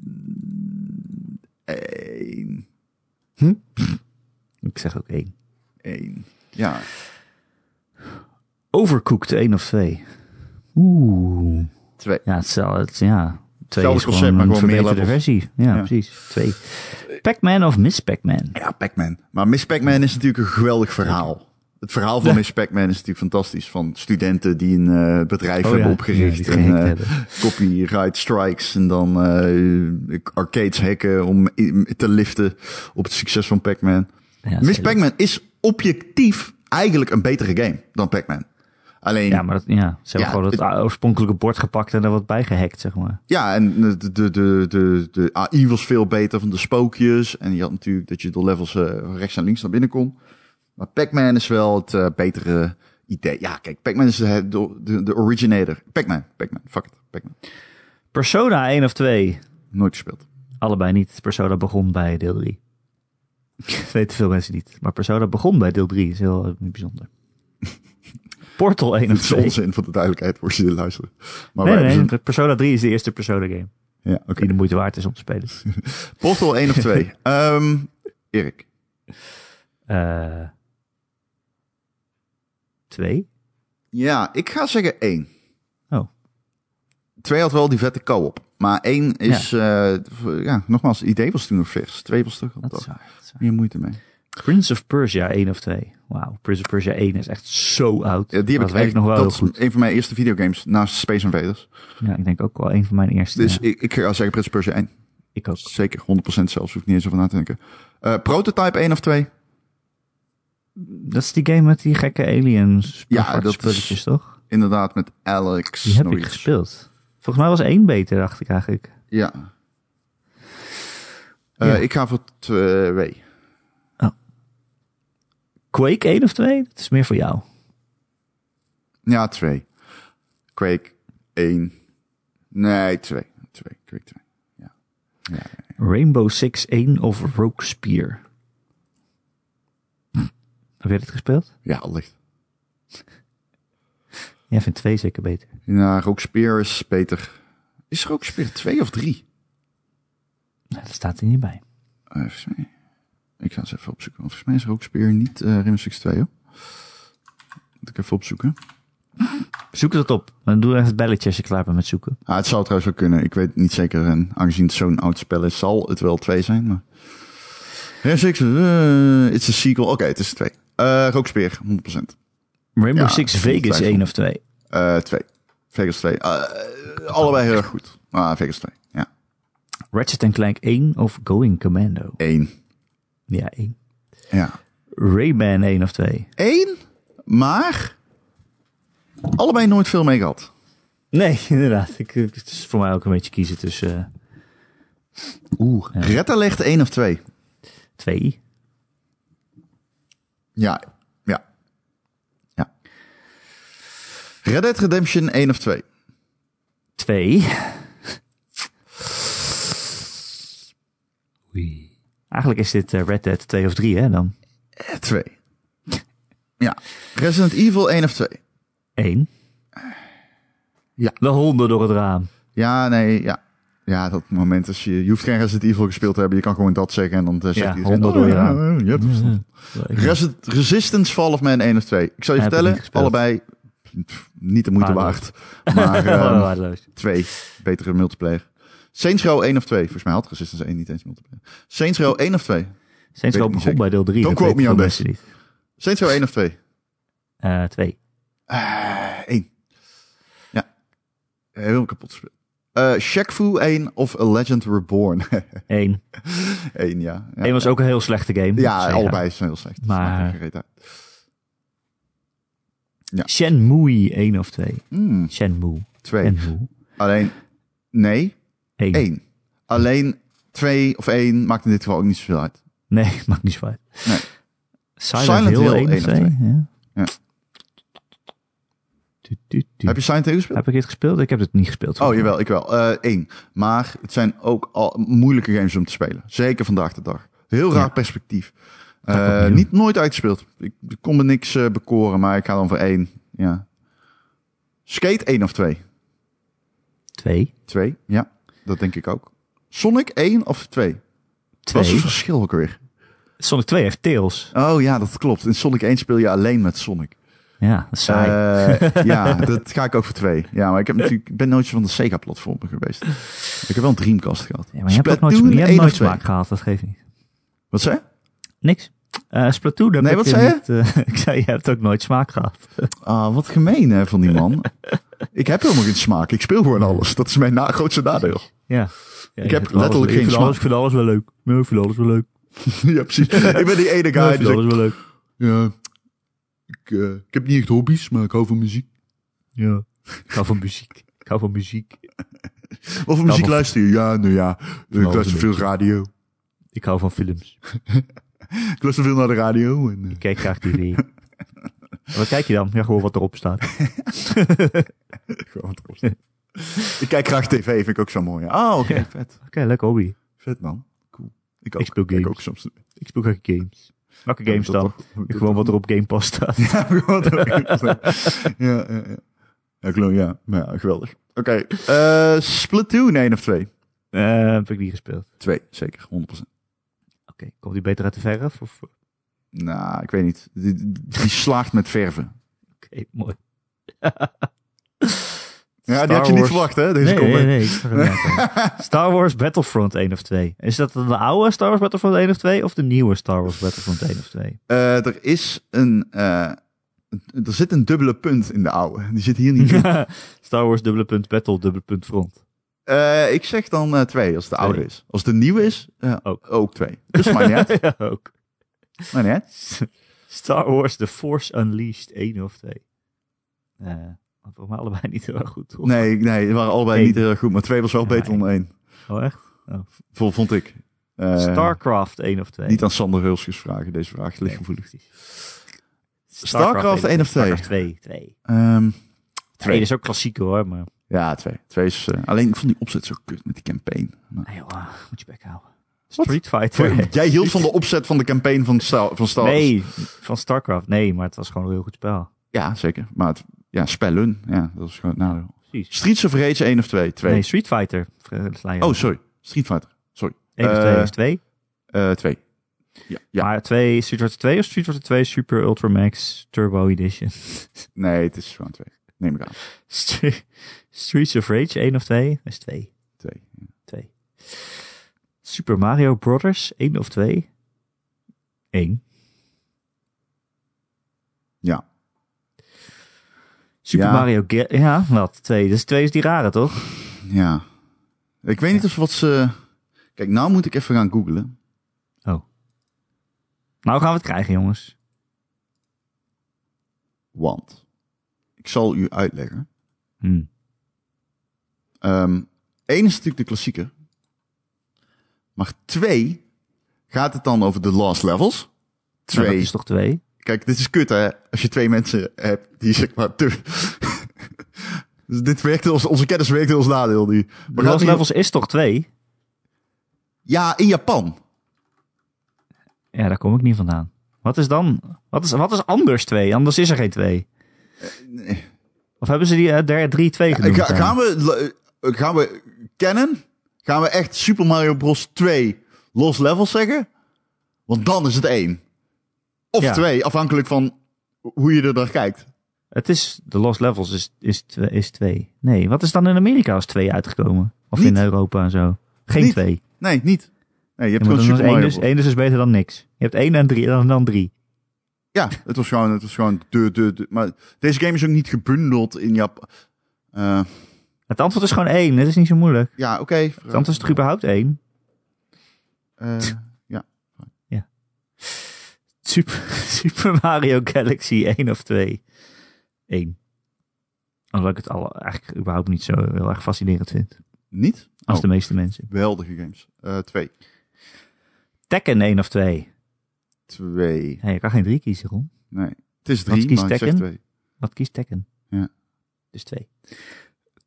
[SPEAKER 2] Hmm. Eén,
[SPEAKER 1] Ik zeg ook 1.
[SPEAKER 2] één. Ja,
[SPEAKER 1] Overcooked 1 of 2. Oeh.
[SPEAKER 2] twee.
[SPEAKER 1] Ja, hetzelfde. Het, ja. Twee
[SPEAKER 2] Hetzelfde
[SPEAKER 1] is
[SPEAKER 2] concept,
[SPEAKER 1] gewoon
[SPEAKER 2] maar
[SPEAKER 1] een
[SPEAKER 2] gewoon meer
[SPEAKER 1] verbeterde
[SPEAKER 2] levels.
[SPEAKER 1] versie. Ja,
[SPEAKER 2] Ja.
[SPEAKER 1] precies. Twee. Pac-Man of Miss Pac-Man?
[SPEAKER 2] Ja, Pac-Man. Maar Miss Pac-Man is natuurlijk een geweldig verhaal. Het verhaal van Miss Pac-Man is natuurlijk fantastisch. Van studenten die een eh, bedrijf
[SPEAKER 1] Oh
[SPEAKER 2] hebben
[SPEAKER 1] ja, ja,
[SPEAKER 2] opgericht.
[SPEAKER 1] die
[SPEAKER 2] en
[SPEAKER 1] gehackt
[SPEAKER 2] eh,
[SPEAKER 1] hebben.
[SPEAKER 2] copyright strikes. En dan eh, arcades hacken om i- te liften op het succes van Pac-Man.
[SPEAKER 1] Ja, dat is
[SPEAKER 2] Miss
[SPEAKER 1] heel leuk.
[SPEAKER 2] Pac-Man is objectief eigenlijk een betere game dan Pac-Man. Alleen,
[SPEAKER 1] Ja, maar dat, ja, ze hebben
[SPEAKER 2] Ja,
[SPEAKER 1] gewoon het, oorspronkelijke bord gepakt en er wat bij gehackt, zeg maar.
[SPEAKER 2] Ja, en de, de, de, de, de AI was veel beter van de spookjes. En je had natuurlijk dat je door levels eh, rechts en links naar binnen kon. Maar Pac-Man is wel het eh, betere idee. Ja, kijk, Pac-Man is de, de, de originator. Pac-Man, Pac-Man, fuck it, Pac-Man.
[SPEAKER 1] Persona 1 of 2?
[SPEAKER 2] Nooit gespeeld.
[SPEAKER 1] Allebei niet. Persona begon bij deel 3. Dat weten veel mensen niet. Maar Persona begon bij deel 3. is heel eh, bijzonder. Portal 1
[SPEAKER 2] Het
[SPEAKER 1] of
[SPEAKER 2] is
[SPEAKER 1] 2?
[SPEAKER 2] onzin voor de duidelijkheid, voor je dit luisteren. Maar
[SPEAKER 1] Nee,
[SPEAKER 2] wij
[SPEAKER 1] nee,
[SPEAKER 2] hebben
[SPEAKER 1] nee. Persona 3 is de eerste Persona game.
[SPEAKER 2] ze- Ja, oké.
[SPEAKER 1] Die de moeite waard is om te spelen.
[SPEAKER 2] Portal 1 of 2. Ehm Erik.
[SPEAKER 1] Eh 2?
[SPEAKER 2] Ja, ik ga zeggen 1.
[SPEAKER 1] Oh.
[SPEAKER 2] 2 had wel die vette co-op. Maar eh, 1 is, ja. ja, nogmaals, het idee was toen nog vers. 2 was toch al
[SPEAKER 1] Dat
[SPEAKER 2] toch
[SPEAKER 1] is waar. dat is waar.
[SPEAKER 2] meer moeite mee.
[SPEAKER 1] Prince of Persia 1 of 2. Wauw, Prince of Persia 1 is echt zo oud.
[SPEAKER 2] Ja, die heb
[SPEAKER 1] dat
[SPEAKER 2] ik
[SPEAKER 1] weet
[SPEAKER 2] echt,
[SPEAKER 1] nog wel
[SPEAKER 2] dat
[SPEAKER 1] heel
[SPEAKER 2] is
[SPEAKER 1] goed.
[SPEAKER 2] een van mijn eerste videogames naast Space Invaders.
[SPEAKER 1] Ja, ik denk ook wel een van mijn eerste.
[SPEAKER 2] Dus
[SPEAKER 1] ja.
[SPEAKER 2] ik, ik ga zeggen Prince of Persia 1.
[SPEAKER 1] ik ook.
[SPEAKER 2] Zeker, 100% zelfs. Hoef ik niet eens over na te denken. Eh, prototype 1 of 2?
[SPEAKER 1] Dat is die game met die gekke aliens.
[SPEAKER 2] Ja,
[SPEAKER 1] aparte
[SPEAKER 2] dat is-
[SPEAKER 1] spulletjes, toch?
[SPEAKER 2] Inderdaad, met Alex.
[SPEAKER 1] Die heb
[SPEAKER 2] nog
[SPEAKER 1] ik
[SPEAKER 2] iets.
[SPEAKER 1] gespeeld. Volgens mij was één beter, dacht ik eigenlijk.
[SPEAKER 2] Ja. Eh,
[SPEAKER 1] Ja.
[SPEAKER 2] Ik ga voor 2.
[SPEAKER 1] Quake 1 of 2? Dat is meer voor jou.
[SPEAKER 2] Ja, 2. Quake 1. Nee, 2. 2. Quake 2.
[SPEAKER 1] Rainbow Six 1 of Rogue Spear. Heb jij dit gespeeld?
[SPEAKER 2] Ja, allicht.
[SPEAKER 1] Jij vindt 2 zeker beter.
[SPEAKER 2] Ja, Rogue Spear is beter. Is Rogue Spear 2 of 3?
[SPEAKER 1] Nou, dat staat er niet bij.
[SPEAKER 2] Eh, volgens mij. Ik ga eens even opzoeken. want Volgens mij is Rogue Spear niet eh Rainbow Six 2, hoor. Moet ik even opzoeken.
[SPEAKER 1] Zoek het op. Dan doe even het belletje als je klaar bent met zoeken.
[SPEAKER 2] Ah, het zou trouwens wel kunnen. Ik weet het niet zeker. En aangezien het zo'n oud spel is, zal het wel 2 zijn. Maar... Rainbow Six, eh, it's a sequel. Oké, het is 2. Eh Rogue Spear, 100%.
[SPEAKER 1] Rainbow
[SPEAKER 2] Ja,
[SPEAKER 1] Six
[SPEAKER 2] zonder
[SPEAKER 1] Vegas
[SPEAKER 2] twijfel.
[SPEAKER 1] 1 of 2.
[SPEAKER 2] Eh 2. Vegas 2. Eh, allebei heel erg goed. Ah, Vegas 2. Ja,
[SPEAKER 1] Ratchet Clank 1 of Going Commando.
[SPEAKER 2] 1.
[SPEAKER 1] Ja, 1.
[SPEAKER 2] Ja.
[SPEAKER 1] Rayman 1 of 2.
[SPEAKER 2] Eén, maar allebei nooit veel mee gehad.
[SPEAKER 1] Nee, inderdaad. Ik, het is voor mij ook een beetje kiezen tussen eh,
[SPEAKER 2] Oeh. Retta legt één of twee.
[SPEAKER 1] twee.
[SPEAKER 2] Ja, ja. Ja. Red Dead Redemption 1 of 2.
[SPEAKER 1] Twee. Eigenlijk is dit eh, Red Dead 2 of 3, hè dan? Eh,
[SPEAKER 2] 2. Ja. Resident Evil 1 of 2.
[SPEAKER 1] 1.
[SPEAKER 2] Ja.
[SPEAKER 1] De honden door het raam.
[SPEAKER 2] Ja, nee, ja. Ja, dat moment als je, je hoeft geen Resident Evil gespeeld te hebben. Je kan gewoon dat zeggen en dan eh, zegt
[SPEAKER 1] Ja,
[SPEAKER 2] iedereen,
[SPEAKER 1] honderd
[SPEAKER 2] oh,
[SPEAKER 1] door je
[SPEAKER 2] ja,
[SPEAKER 1] raam.
[SPEAKER 2] ja, je hebt verstand. Resident, Resistance Fall of Man 1 of 2. Ik zal je
[SPEAKER 1] Heb ik
[SPEAKER 2] vertellen,
[SPEAKER 1] niet gespeeld.
[SPEAKER 2] allebei pff, niet de moeite
[SPEAKER 1] Waardeloos.
[SPEAKER 2] waard. Maar ehm,
[SPEAKER 1] Waardeloos.
[SPEAKER 2] 2, betere multiplayer. Saints Row 1 of 2. Volgens mij had Resistance 1 niet eens multiplayer. Saints Row 1 of 2.
[SPEAKER 1] Sinds ik
[SPEAKER 2] weet ik
[SPEAKER 1] al
[SPEAKER 2] niet
[SPEAKER 1] begon
[SPEAKER 2] zeker.
[SPEAKER 1] bij deel 3.
[SPEAKER 2] Don't
[SPEAKER 1] dat
[SPEAKER 2] quote me
[SPEAKER 1] weten
[SPEAKER 2] on
[SPEAKER 1] veel
[SPEAKER 2] this.
[SPEAKER 1] mensen niet.
[SPEAKER 2] Saints Row 1 of 2.
[SPEAKER 1] Eh, Twee.
[SPEAKER 2] Eh 1. Ja. Heel kapot gespeeld. Eh Shaq Fu 1 of A Legend Reborn.
[SPEAKER 1] 1.
[SPEAKER 2] 1, ja. Ja,
[SPEAKER 1] 1 was ook een heel slechte game.
[SPEAKER 2] ja
[SPEAKER 1] Sega.
[SPEAKER 2] allebei zijn heel slecht.
[SPEAKER 1] Maar-
[SPEAKER 2] Dat maakt geen reet uit.
[SPEAKER 1] Shenmue 1 of 2.
[SPEAKER 2] Hmm,
[SPEAKER 1] Shenmue.
[SPEAKER 2] 2.
[SPEAKER 1] Shenmue.
[SPEAKER 2] Alleen, nee,
[SPEAKER 1] 1.
[SPEAKER 2] 1. Alleen 2 of 1 maakt in dit geval ook niet zoveel uit.
[SPEAKER 1] Nee, maakt niet zo uit.
[SPEAKER 2] Nee.
[SPEAKER 1] Silent,
[SPEAKER 2] Silent
[SPEAKER 1] Hill,
[SPEAKER 2] Hill
[SPEAKER 1] 1 of
[SPEAKER 2] 1 of
[SPEAKER 1] 2. Ja.
[SPEAKER 2] Ja.
[SPEAKER 1] Tu, tu, tu.
[SPEAKER 2] Heb je Silent Hill gespeeld?
[SPEAKER 1] Heb ik dit gespeeld? Ik heb dit niet gespeeld.
[SPEAKER 2] Oh, jawel, ik wel. Eh één. Maar het zijn ook al moeilijke games om te spelen. Zeker vandaag de dag. Heel raar
[SPEAKER 1] Ja.
[SPEAKER 2] perspectief.
[SPEAKER 1] Ga ik
[SPEAKER 2] Eh,
[SPEAKER 1] opnieuw.
[SPEAKER 2] niet nooit uitgespeeld. Ik ik kon me niks eh, bekoren, maar ik ga dan voor één. Ja. Skate één of twee?
[SPEAKER 1] 2.
[SPEAKER 2] Twee, ja. Dat denk ik ook. Sonic één of twee? Wat is het
[SPEAKER 1] 2.
[SPEAKER 2] verschil ook weer?
[SPEAKER 1] Sonic 2 heeft Tails.
[SPEAKER 2] Oh ja, dat klopt. In Sonic 1 speel je alleen met Sonic.
[SPEAKER 1] Ja, dat is saai.
[SPEAKER 2] Eh, ja, dat ga ik ook voor twee. Ja, maar ik, heb natuurlijk, ik ben nooit zo van de Sega-platformen geweest. Ik heb wel een Dreamcast gehad.
[SPEAKER 1] ja, maar je hebt ook nooit,
[SPEAKER 2] Splatoon
[SPEAKER 1] je hebt
[SPEAKER 2] één of
[SPEAKER 1] nooit
[SPEAKER 2] twee?
[SPEAKER 1] smaak gehad, dat geeft niet.
[SPEAKER 2] Wat zei je?
[SPEAKER 1] Niks. Eh Splatoon heb
[SPEAKER 2] Nee,
[SPEAKER 1] ik
[SPEAKER 2] wat
[SPEAKER 1] in
[SPEAKER 2] zei je?
[SPEAKER 1] het, eh, ik zei, je hebt ook nooit smaak gehad.
[SPEAKER 2] Ah, wat gemeen hè, van die man. ik heb helemaal geen smaak. Ik speel gewoon alles. Dat is mijn na grootste nadeel.
[SPEAKER 1] Ja. Ja, je
[SPEAKER 2] heb
[SPEAKER 1] vindt alles-
[SPEAKER 2] letterlijk
[SPEAKER 1] ik vind
[SPEAKER 2] geen
[SPEAKER 1] alles-
[SPEAKER 2] smaak.
[SPEAKER 1] Ik vind alles wel leuk. Ja, Ik vind alles wel leuk.
[SPEAKER 2] ja, precies. Ik ben die ene
[SPEAKER 1] Ja,
[SPEAKER 2] guy
[SPEAKER 1] Ik vind
[SPEAKER 2] dus die zegt...
[SPEAKER 1] alles wel leuk.
[SPEAKER 2] Ja, ik, eh, ik heb niet echt hobby's, maar ik hou van muziek.
[SPEAKER 1] Ja. Ik hou van muziek. Ik hou van muziek.
[SPEAKER 2] Wat voor muziek
[SPEAKER 1] van-
[SPEAKER 2] luister je? Ja, nou ja, ik
[SPEAKER 1] alles
[SPEAKER 2] luister
[SPEAKER 1] een
[SPEAKER 2] veel radio.
[SPEAKER 1] Ik hou van films.
[SPEAKER 2] Ik luister veel naar de radio. En, eh,
[SPEAKER 1] Ik kijk graag tv. En wat kijk je dan? Ja, gewoon wat erop staat.
[SPEAKER 2] eh, gewoon wat erop staat. ik kijk graag tv, vind ik ook zo mooi. Ah, oké,
[SPEAKER 1] Ja.
[SPEAKER 2] vet.
[SPEAKER 1] Oké, leuk hobby.
[SPEAKER 2] Vet man. Cool. Ik, ook,
[SPEAKER 1] Ik speel games.
[SPEAKER 2] Ik ook soms.
[SPEAKER 1] Ik speel graag games. Welke games
[SPEAKER 2] Dat
[SPEAKER 1] dan?
[SPEAKER 2] toch- dat toch-
[SPEAKER 1] Gewoon wat er op Game Pass staat.
[SPEAKER 2] Ja, gewoon door Windows. ja, ja, ja. Ja, klopt, ja. Ja, geweldig. Oké, eh, Splatoon 1 of 2?
[SPEAKER 1] Eh, heb ik niet gespeeld.
[SPEAKER 2] 2, zeker, 100%.
[SPEAKER 1] Oké, komt die beter uit de verf? Of... eh, Oké,
[SPEAKER 2] Nou, ik weet niet. Die, die slaagt met verven.
[SPEAKER 1] mooi.
[SPEAKER 2] Ja, die
[SPEAKER 1] Star
[SPEAKER 2] had je niet
[SPEAKER 1] Wars.
[SPEAKER 2] verwacht, hè? Deze
[SPEAKER 1] Nee,
[SPEAKER 2] comment.
[SPEAKER 1] nee, nee. ik zag het net al. Star Wars Battlefront 1 of 2. Is dat de oude Star Wars Battlefront 1 of 2 of de nieuwe Star Wars Battlefront 1 of 2?
[SPEAKER 2] Eh, er is een. eh, er zit een dubbele punt in de oude. Die zit hier niet. in.
[SPEAKER 1] Star Wars dubbele punt battle dubbele punt front.
[SPEAKER 2] Eh, ik zeg dan eh, twee als de
[SPEAKER 1] Twee.
[SPEAKER 2] oude is. Als de nieuwe is, eh,
[SPEAKER 1] Ook.
[SPEAKER 2] ook. twee. Dus maar net.
[SPEAKER 1] ja, ook.
[SPEAKER 2] Maar net.
[SPEAKER 1] Star Wars The Force Unleashed 1 of 2. Eh, maar volgens mij allebei niet heel erg goed, toch?
[SPEAKER 2] Nee, nee, die waren allebei
[SPEAKER 1] Eén.
[SPEAKER 2] niet heel erg goed. Maar twee was wel
[SPEAKER 1] Ja,
[SPEAKER 2] beter dan één.
[SPEAKER 1] Oh, echt?
[SPEAKER 2] Vol vond ik. Eh,
[SPEAKER 1] Starcraft 1 of 2.
[SPEAKER 2] Niet aan Sander Hulsjes vragen. Deze vraag ligt gevoelig.
[SPEAKER 1] Starcraft
[SPEAKER 2] Starcraft 1 of 2?
[SPEAKER 1] Starcraft 2. 2.
[SPEAKER 2] Ehm, Twee.
[SPEAKER 1] 2 is ook klassiek hoor, maar...
[SPEAKER 2] ja, twee. Twee is. eh, alleen ik vond die opzet zo kut met die campaign. Maar-
[SPEAKER 1] Nee, Ah, joh, moet je bek houden. Street Fighter.
[SPEAKER 2] Voor- Jij hield van de opzet van de campaign van Star, van Star
[SPEAKER 1] Nee, van Starcraft. Nee, maar het was gewoon een heel goed spel.
[SPEAKER 2] Ja, zeker. Maar het, ja, spellen. Ja, dat is gewoon het nadeel.
[SPEAKER 1] Precies.
[SPEAKER 2] Streets of Rage 1 of 2? 2.
[SPEAKER 1] Nee, Street Fighter. Vre- sla je
[SPEAKER 2] oh,
[SPEAKER 1] op.
[SPEAKER 2] sorry. Street Fighter. Sorry.
[SPEAKER 1] Eén of
[SPEAKER 2] eh,
[SPEAKER 1] twee is twee.
[SPEAKER 2] Eh 2. Ja, ja.
[SPEAKER 1] Maar twee, Street Fighter 2 of Street Fighter 2 Super Ultra Max Turbo Edition.
[SPEAKER 2] nee, het is gewoon 2. Neem ik aan.
[SPEAKER 1] Stre- Streets of Rage 1 of 2 is 2.
[SPEAKER 2] 2.
[SPEAKER 1] 2. Super Mario Brothers 1 of 2? 1.
[SPEAKER 2] Ja.
[SPEAKER 1] Super
[SPEAKER 2] Ja.
[SPEAKER 1] Mario Ga- Ja, wat? 2. Dus 2 is die rare, toch?
[SPEAKER 2] Ja. Ik weet niet of wat ze... Kijk, nou moet ik even gaan googlen.
[SPEAKER 1] Oh. Nou gaan we het krijgen, jongens.
[SPEAKER 2] Want ik zal u uitleggen.
[SPEAKER 1] Hm.
[SPEAKER 2] Eén Ehm, is natuurlijk de klassieker. Maar twee gaat het dan over de last levels.
[SPEAKER 1] Nou,
[SPEAKER 2] Twee
[SPEAKER 1] dat is toch 2?
[SPEAKER 2] Kijk, dit is kut hè. Als je twee mensen hebt die zeg maar te... dus dit werkt in ons, onze kennis werkt in ons nadeel nu. Maar
[SPEAKER 1] Lost
[SPEAKER 2] gaat niet-
[SPEAKER 1] Levels is toch 2?
[SPEAKER 2] Ja, in Japan.
[SPEAKER 1] Ja, daar kom ik niet vandaan. Wat is dan? Wat is, wat is anders 2? Anders is er geen 2.
[SPEAKER 2] Eh, nee.
[SPEAKER 1] Of hebben ze die 3-2 genoemd?
[SPEAKER 2] Ga-
[SPEAKER 1] dan?
[SPEAKER 2] gaan, we, lo- eh, gaan we kennen? Gaan we echt Super Mario Bros. 2 los levels zeggen? Want dan is het één. Of
[SPEAKER 1] Ja.
[SPEAKER 2] twee, afhankelijk van hoe je er naar kijkt.
[SPEAKER 1] Het is, de Lost Levels is 2. Is, twe- is twee. nee, wat is dan in Amerika als 2 uitgekomen? Of in
[SPEAKER 2] Niet.
[SPEAKER 1] Europa en zo? Geen
[SPEAKER 2] Niet.
[SPEAKER 1] 2. Je
[SPEAKER 2] Nee, niet. Nee, je hebt
[SPEAKER 1] moet dan
[SPEAKER 2] gewoon Super
[SPEAKER 1] één
[SPEAKER 2] Mario
[SPEAKER 1] dus,
[SPEAKER 2] Bros.
[SPEAKER 1] één dus is beter dan niks. Je hebt 1 en 3 dan, dan 3.
[SPEAKER 2] Ja, het was gewoon, het was gewoon de, de, de. Maar deze game is ook niet gebundeld in Japan. Eh,
[SPEAKER 1] Het antwoord is gewoon 1. Het is niet zo moeilijk.
[SPEAKER 2] ja, oké.
[SPEAKER 1] Het antwoord is toch überhaupt 1?
[SPEAKER 2] Eh,
[SPEAKER 1] Super, Super Mario Galaxy 1 of 2? 1. Omdat ik het alle, eigenlijk überhaupt niet zo heel erg fascinerend vind.
[SPEAKER 2] niet?
[SPEAKER 1] Als
[SPEAKER 2] Oh,
[SPEAKER 1] de meeste mensen.
[SPEAKER 2] geweldige games. Eh, twee.
[SPEAKER 1] Tekken 1 of 2.
[SPEAKER 2] Twee.
[SPEAKER 1] Nee, je kan geen 3 kiezen, Ron.
[SPEAKER 2] Nee. Het is
[SPEAKER 1] Wat
[SPEAKER 2] drie,
[SPEAKER 1] kiest
[SPEAKER 2] maar ik zeg
[SPEAKER 1] Tekken?
[SPEAKER 2] twee.
[SPEAKER 1] Wat kiest Tekken?
[SPEAKER 2] Ja.
[SPEAKER 1] Dus 2.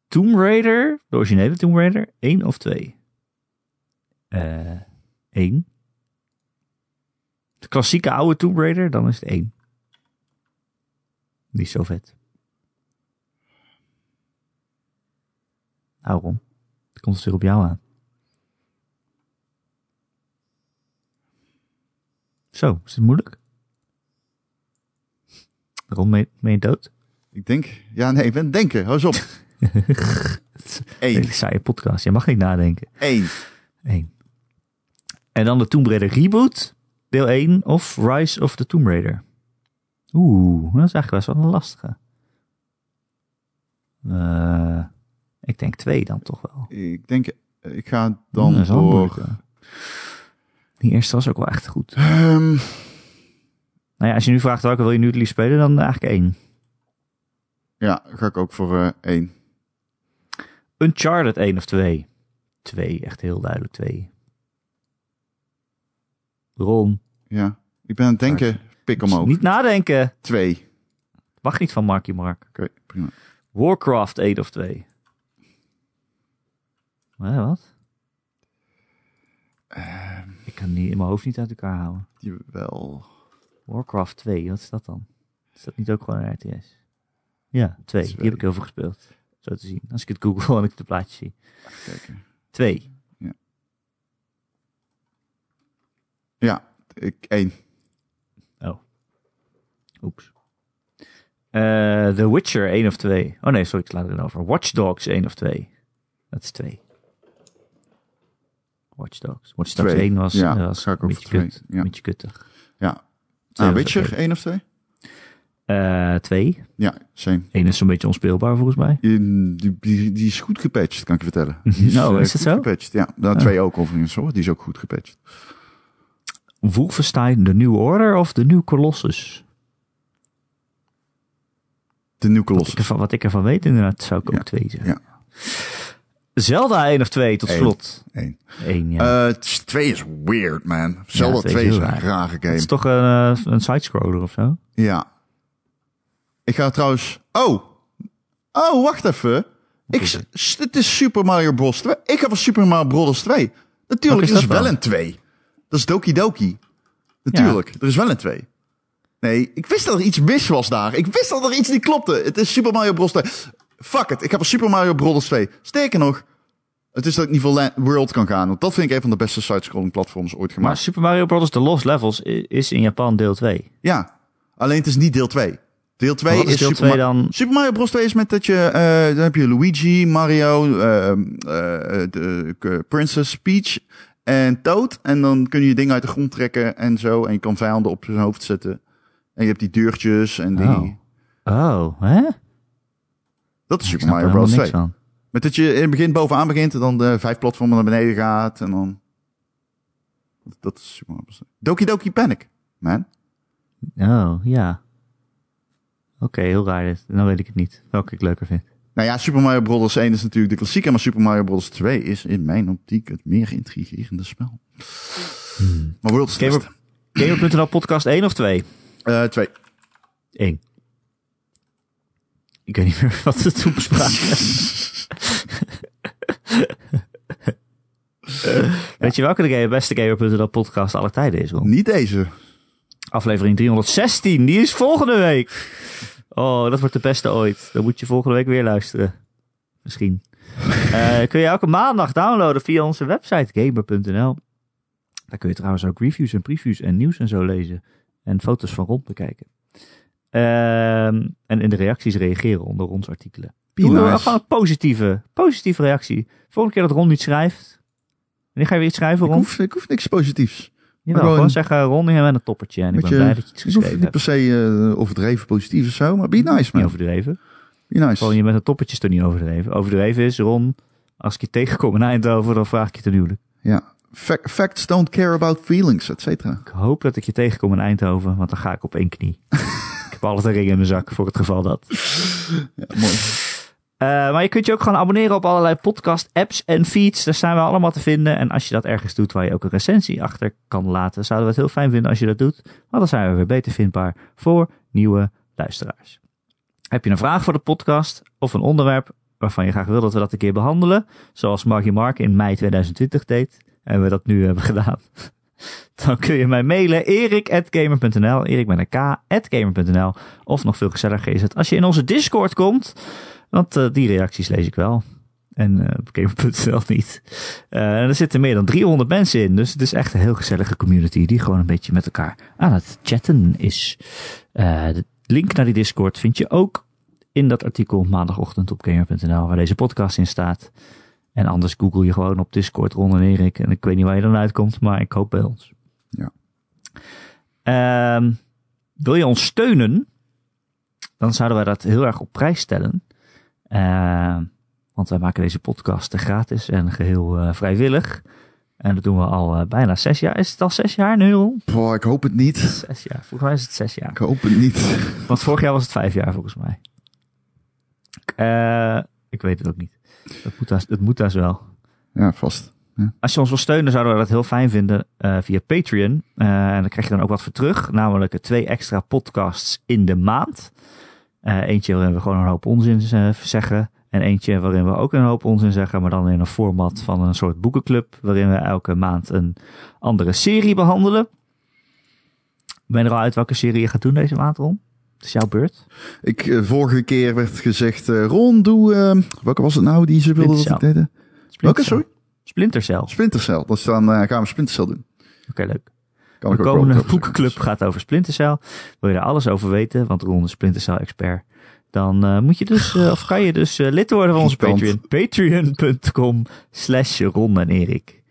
[SPEAKER 1] Tomb Raider, de originele Tomb Raider, 1 of 2? Eh 1. De klassieke oude Tomb Raider, dan is het 1. Niet zo vet. Nou, Ron. Het komt het weer op jou aan. Zo, is het moeilijk? Ron, ben je- ben je dood?
[SPEAKER 2] Ik denk... Ja, nee, ik ben denken. Hou eens op. Eén.
[SPEAKER 1] Hele saaie podcast. Je mag niet nadenken.
[SPEAKER 2] Eén.
[SPEAKER 1] Eén. En dan de Tomb Raider reboot. Deel 1 of Rise of the Tomb Raider. Oeh, dat is eigenlijk best wel een lastige. Eh, ik denk 2 dan toch wel.
[SPEAKER 2] Ik denk... eh, Ik ga dan
[SPEAKER 1] Dat is wel een
[SPEAKER 2] door...
[SPEAKER 1] moeilijke. Die eerste was ook wel echt goed.
[SPEAKER 2] Ehm,
[SPEAKER 1] Nou ja, als je nu vraagt welke wil je nu het liefst spelen, dan eigenlijk 1.
[SPEAKER 2] ja, ga ik ook voor eh, één.
[SPEAKER 1] Uncharted 1 of 2. 2, echt heel duidelijk 2. Ron,
[SPEAKER 2] Ja. Ik ben aan het denken. Pik omhoog.
[SPEAKER 1] niet nadenken.
[SPEAKER 2] Twee.
[SPEAKER 1] Mag niet van Marky Mark.
[SPEAKER 2] Oké, prima.
[SPEAKER 1] Warcraft 1 of 2. Hè, wat? Ik kan niet, in mijn hoofd niet uit elkaar houden.
[SPEAKER 2] Jawel.
[SPEAKER 1] Warcraft 2, wat is dat dan? Is dat niet ook gewoon een RTS? Ja, 2. Die
[SPEAKER 2] Twee.
[SPEAKER 1] heb ik heel veel gespeeld. Zo te zien. Als ik het google en ik de plaatjes zie.
[SPEAKER 2] Kijken.
[SPEAKER 1] 2.
[SPEAKER 2] Ja, ik één. Ah,
[SPEAKER 1] Oeps. Eh, The Witcher 1 of 2. Oh nee, sorry, ik sla erin over. Watch Dogs 1 of 2. Dat is 2. Watch Dogs. Watch Dogs
[SPEAKER 2] Twee.
[SPEAKER 1] 2. 1 was,
[SPEAKER 2] Ja,
[SPEAKER 1] eh, was
[SPEAKER 2] ga ik
[SPEAKER 1] een
[SPEAKER 2] ook
[SPEAKER 1] beetje
[SPEAKER 2] voor twee,
[SPEAKER 1] kut.
[SPEAKER 2] ja.
[SPEAKER 1] Een beetje kuttig.
[SPEAKER 2] Ja.
[SPEAKER 1] Twee
[SPEAKER 2] Ah,
[SPEAKER 1] was
[SPEAKER 2] Witcher,
[SPEAKER 1] oké.
[SPEAKER 2] één of twee?
[SPEAKER 1] Eh 2.
[SPEAKER 2] Ja, same.
[SPEAKER 1] 1 is zo'n beetje onspeelbaar volgens mij.
[SPEAKER 2] Die, die, die- die is goed gepatcht, kan ik je vertellen. Die
[SPEAKER 1] Nou,
[SPEAKER 2] eh,
[SPEAKER 1] is het
[SPEAKER 2] goed
[SPEAKER 1] zo? Ah.
[SPEAKER 2] Gepatcht. Ja, nou, twee ook overigens hoor. Die is ook goed gepatcht.
[SPEAKER 1] Wolfenstein The New Order of The New Colossus?
[SPEAKER 2] De New
[SPEAKER 1] Wat
[SPEAKER 2] Colossus.
[SPEAKER 1] ik, ervan, wat ik ervan weet inderdaad, zou ik
[SPEAKER 2] Ja,
[SPEAKER 1] ook 2 zeggen.
[SPEAKER 2] ja.
[SPEAKER 1] Zelda 1 of 2 tot
[SPEAKER 2] Eén.
[SPEAKER 1] slot.
[SPEAKER 2] Eén.
[SPEAKER 1] 1, ja.
[SPEAKER 2] Eh, t- twee is weird, man. Zelda
[SPEAKER 1] twee is
[SPEAKER 2] twee is
[SPEAKER 1] heel
[SPEAKER 2] een
[SPEAKER 1] raar.
[SPEAKER 2] rare
[SPEAKER 1] Het
[SPEAKER 2] game.
[SPEAKER 1] is toch een, eh, een sidescroller of zo?
[SPEAKER 2] Ja. Ik ga trouwens... Oh! Oh, wacht even. Ik, s- s- het is Super Mario Bros. 2. Ik heb een Super Mario Bros. 2. Natuurlijk,
[SPEAKER 1] Wat is
[SPEAKER 2] er is
[SPEAKER 1] dat
[SPEAKER 2] wel
[SPEAKER 1] dan?
[SPEAKER 2] een 2. Dat is Doki Doki. Natuurlijk, er is wel een 2. Nee, ik wist dat er iets mis was daar. Ik wist dat er iets niet klopte. Het is Super Mario Bros. 2. Fuck it, ik heb een Super Mario Bros. 2. Sterker nog, het is dat ik niet voor La- World kan gaan. Want dat vind ik een van de beste sidescrolling platforms ooit
[SPEAKER 1] Maar
[SPEAKER 2] gemaakt.
[SPEAKER 1] Super Mario Bros. The Lost Levels i- is in Japan deel 2.
[SPEAKER 2] Ja, alleen het is niet deel 2. Deel 2
[SPEAKER 1] Wat
[SPEAKER 2] is,
[SPEAKER 1] is deel
[SPEAKER 2] Super,
[SPEAKER 1] 2
[SPEAKER 2] Ma-
[SPEAKER 1] dan?
[SPEAKER 2] Super Mario Bros. 2 is met dat je... eh, dan heb je Luigi, Mario, eh, eh, de, eh, Princess Peach en Toad. En dan kun je dingen uit de grond trekken en zo. En je kan vijanden op zijn hoofd zetten. En je hebt die deurtjes en die...
[SPEAKER 1] Oh. Oh, hè?
[SPEAKER 2] Dat is Super
[SPEAKER 1] Ik snap er
[SPEAKER 2] Mario
[SPEAKER 1] helemaal
[SPEAKER 2] Bros.
[SPEAKER 1] niks
[SPEAKER 2] 2.
[SPEAKER 1] van.
[SPEAKER 2] Met dat je in het begin bovenaan begint en dan de vijf platformen naar beneden gaat. En dan... Dat is Super Mario Bros. 2. Doki Doki Panic, man.
[SPEAKER 1] Oh, ja. Oké, heel raar dit. Dan weet ik het niet. Welke ik leuker vind.
[SPEAKER 2] Nou ja, Super Mario Bros. 1 is natuurlijk de klassieker, maar Super Mario Bros. 2 is in mijn optiek het meer intrigerende spel.
[SPEAKER 1] Hmm.
[SPEAKER 2] Maar World is het
[SPEAKER 1] Gamer-
[SPEAKER 2] beste.
[SPEAKER 1] Gamer.nl podcast 1 of 2?
[SPEAKER 2] Eh, twee.
[SPEAKER 1] 1. Ik weet niet meer wat we toen bespraken. Weet je welke de game- beste Gamer.nl podcast alle tijden is? Ron?
[SPEAKER 2] Niet deze.
[SPEAKER 1] Aflevering 316, die is volgende week. Oh, dat wordt de beste ooit. Dan moet je volgende week weer luisteren. Misschien. Eh, kun je elke maandag downloaden via onze website gamer.nl. Daar kun je trouwens ook reviews en previews en nieuws en zo lezen. En foto's van rond bekijken. Ehm, en in de reacties reageren onder ons artikelen.
[SPEAKER 2] Be
[SPEAKER 1] Doe
[SPEAKER 2] nice.
[SPEAKER 1] gewoon een positieve, positieve reactie. Volgende keer dat Ron niet schrijft. Wanneer ga je weer iets schrijven,
[SPEAKER 2] Ik
[SPEAKER 1] Ron?
[SPEAKER 2] hoef, ik hoef niks positiefs.
[SPEAKER 1] Jawel,
[SPEAKER 2] gewoon-
[SPEAKER 1] gewoon, zeggen Ron, je bent een toppertje. En ik
[SPEAKER 2] Weet
[SPEAKER 1] ben
[SPEAKER 2] je,
[SPEAKER 1] blij dat je iets
[SPEAKER 2] ik hoef
[SPEAKER 1] geschreven
[SPEAKER 2] niet
[SPEAKER 1] hebt.
[SPEAKER 2] per se eh, overdreven positief of zo, maar be nice,
[SPEAKER 1] Niet
[SPEAKER 2] man.
[SPEAKER 1] overdreven.
[SPEAKER 2] Be
[SPEAKER 1] Gewoon,
[SPEAKER 2] nice.
[SPEAKER 1] je bent een toppetje is er niet overdreven. Overdreven is, Ron, als ik je tegenkom in Eindhoven, dan vraag ik je ten huwelijk.
[SPEAKER 2] Ja. Fa- Facts don't care about feelings, et cetera.
[SPEAKER 1] Ik hoop dat ik je tegenkom in Eindhoven, want dan ga ik op één knie. ik heb altijd een ring in mijn zak, voor het geval dat.
[SPEAKER 2] Ja, mooi.
[SPEAKER 1] Eh, maar je kunt je ook gewoon abonneren op allerlei podcast, apps en feeds. Daar zijn we allemaal te vinden. En als je dat ergens doet waar je ook een recensie achter kan laten, zouden we het heel fijn vinden als je dat doet. Want dan zijn we weer beter vindbaar voor nieuwe luisteraars. Heb je een vraag voor de podcast of een onderwerp waarvan je graag wil dat we dat een keer behandelen? Zoals Margie Mark in mei 2020 deed en we dat nu hebben gedaan. Dan kun je mij mailen erik.gamer.nl, erik met een k, at gamer.nl. Of nog veel gezelliger is het als je in onze Discord komt. Want eh, die reacties lees ik wel. En eh, op Gamer.nl niet. Eh, en er zitten meer dan 300 mensen in. Dus het is echt een heel gezellige community. Die gewoon een beetje met elkaar aan het chatten is. Eh, de link naar die Discord vind je ook in dat artikel maandagochtend op Gamer.nl. Waar deze podcast in staat. En anders google je gewoon op Discord Ron en Erik. En ik weet niet waar je dan uitkomt. Maar ik hoop bij ons.
[SPEAKER 2] Ja.
[SPEAKER 1] Ehm, wil je ons steunen? Dan zouden wij dat heel erg op prijs stellen. Eh, want wij maken deze podcast gratis en geheel eh, vrijwillig. En dat doen we al eh, bijna zes jaar. Is het al zes jaar nu? Ron?
[SPEAKER 2] Boah, ik hoop het niet.
[SPEAKER 1] Zes jaar. Volgens mij is het zes jaar.
[SPEAKER 2] Ik hoop het niet.
[SPEAKER 1] Want vorig jaar was het vijf jaar volgens mij. Eh, ik weet het ook niet. Dat moet, haast- dat moet haast wel.
[SPEAKER 2] Ja, vast.
[SPEAKER 1] Als je ons wil steunen, zouden we dat heel fijn vinden eh, via Patreon. Eh, en daar krijg je dan ook wat voor terug. Namelijk eh, twee extra podcasts in de maand. Eh, eentje waarin we gewoon een hoop onzin eh, zeggen. En eentje waarin we ook een hoop onzin zeggen. Maar dan in een format van een soort boekenclub. Waarin we elke maand een andere serie behandelen. Ben je er al uit welke serie je gaat doen deze maand, Ron? Het is jouw beurt.
[SPEAKER 2] Ik, eh, vorige keer werd gezegd, eh, Ron, doe... ehm, welke was het nou die ze wilden dat ik
[SPEAKER 1] Splinter
[SPEAKER 2] deed?
[SPEAKER 1] Splinter
[SPEAKER 2] Welke,
[SPEAKER 1] Cell.
[SPEAKER 2] sorry?
[SPEAKER 1] Splinter Cell. Oké,
[SPEAKER 2] Splintercel. Dus dan eh, gaan we Splintercel doen.
[SPEAKER 1] leuk. De
[SPEAKER 5] Kan ik ook wel dus.
[SPEAKER 1] komende
[SPEAKER 5] wat over
[SPEAKER 1] boekenclub
[SPEAKER 5] zeggen.
[SPEAKER 1] gaat over Splinter Cell. Wil je daar alles over weten, want Ron is Splinter Cell expert. Dan eh, moet je dus, eh, of kan je dus eh, lid worden van onze Patreon.
[SPEAKER 2] Irritant.
[SPEAKER 1] Patreon.com slash Ron en Erik.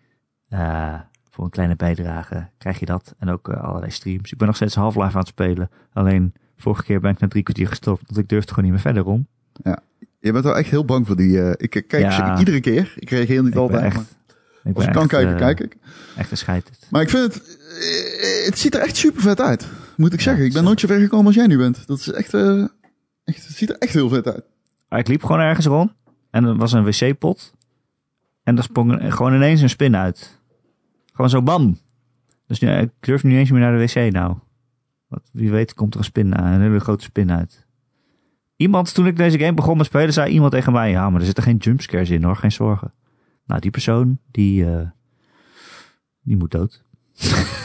[SPEAKER 1] Eh, voor een kleine bijdrage krijg je dat. En ook eh, allerlei streams. Ik ben nog steeds Half-Life aan het spelen. Alleen vorige keer ben ik na drie kwartier gestopt. Want ik durfde gewoon niet meer verder om.
[SPEAKER 5] Je bent wel echt heel bang voor die... eh, ik kijk
[SPEAKER 1] Ja.
[SPEAKER 5] ze iedere keer. Ik reageer niet
[SPEAKER 1] Ik ben
[SPEAKER 5] altijd. maar
[SPEAKER 1] echt... Ik
[SPEAKER 5] als
[SPEAKER 1] ben
[SPEAKER 5] ik kan
[SPEAKER 1] echt,
[SPEAKER 5] kijken,
[SPEAKER 1] eh,
[SPEAKER 5] kijk ik.
[SPEAKER 1] Echt een scheid.
[SPEAKER 5] Maar ik vind het... eh, Het ziet er echt super vet uit. Moet ik
[SPEAKER 1] Ja,
[SPEAKER 5] zeggen. Ik ben
[SPEAKER 1] zo.
[SPEAKER 5] nooit zo ver gekomen als jij nu bent. Dat is echt... eh, echt het ziet er echt heel vet uit.
[SPEAKER 1] Maar ik liep gewoon ergens rond. En er was een wc-pot. En daar sprong er gewoon ineens een spin uit. Gewoon zo bam. Dus nu, ik durf nu niet eens meer naar de wc nou. Want wie weet komt er een spin aan. Een hele grote spin uit. Iemand, toen ik deze game begon met spelen, zei iemand tegen mij... Ja, maar er zitten geen jumpscares in hoor, geen zorgen. Nou, die persoon, die, eh, die moet dood.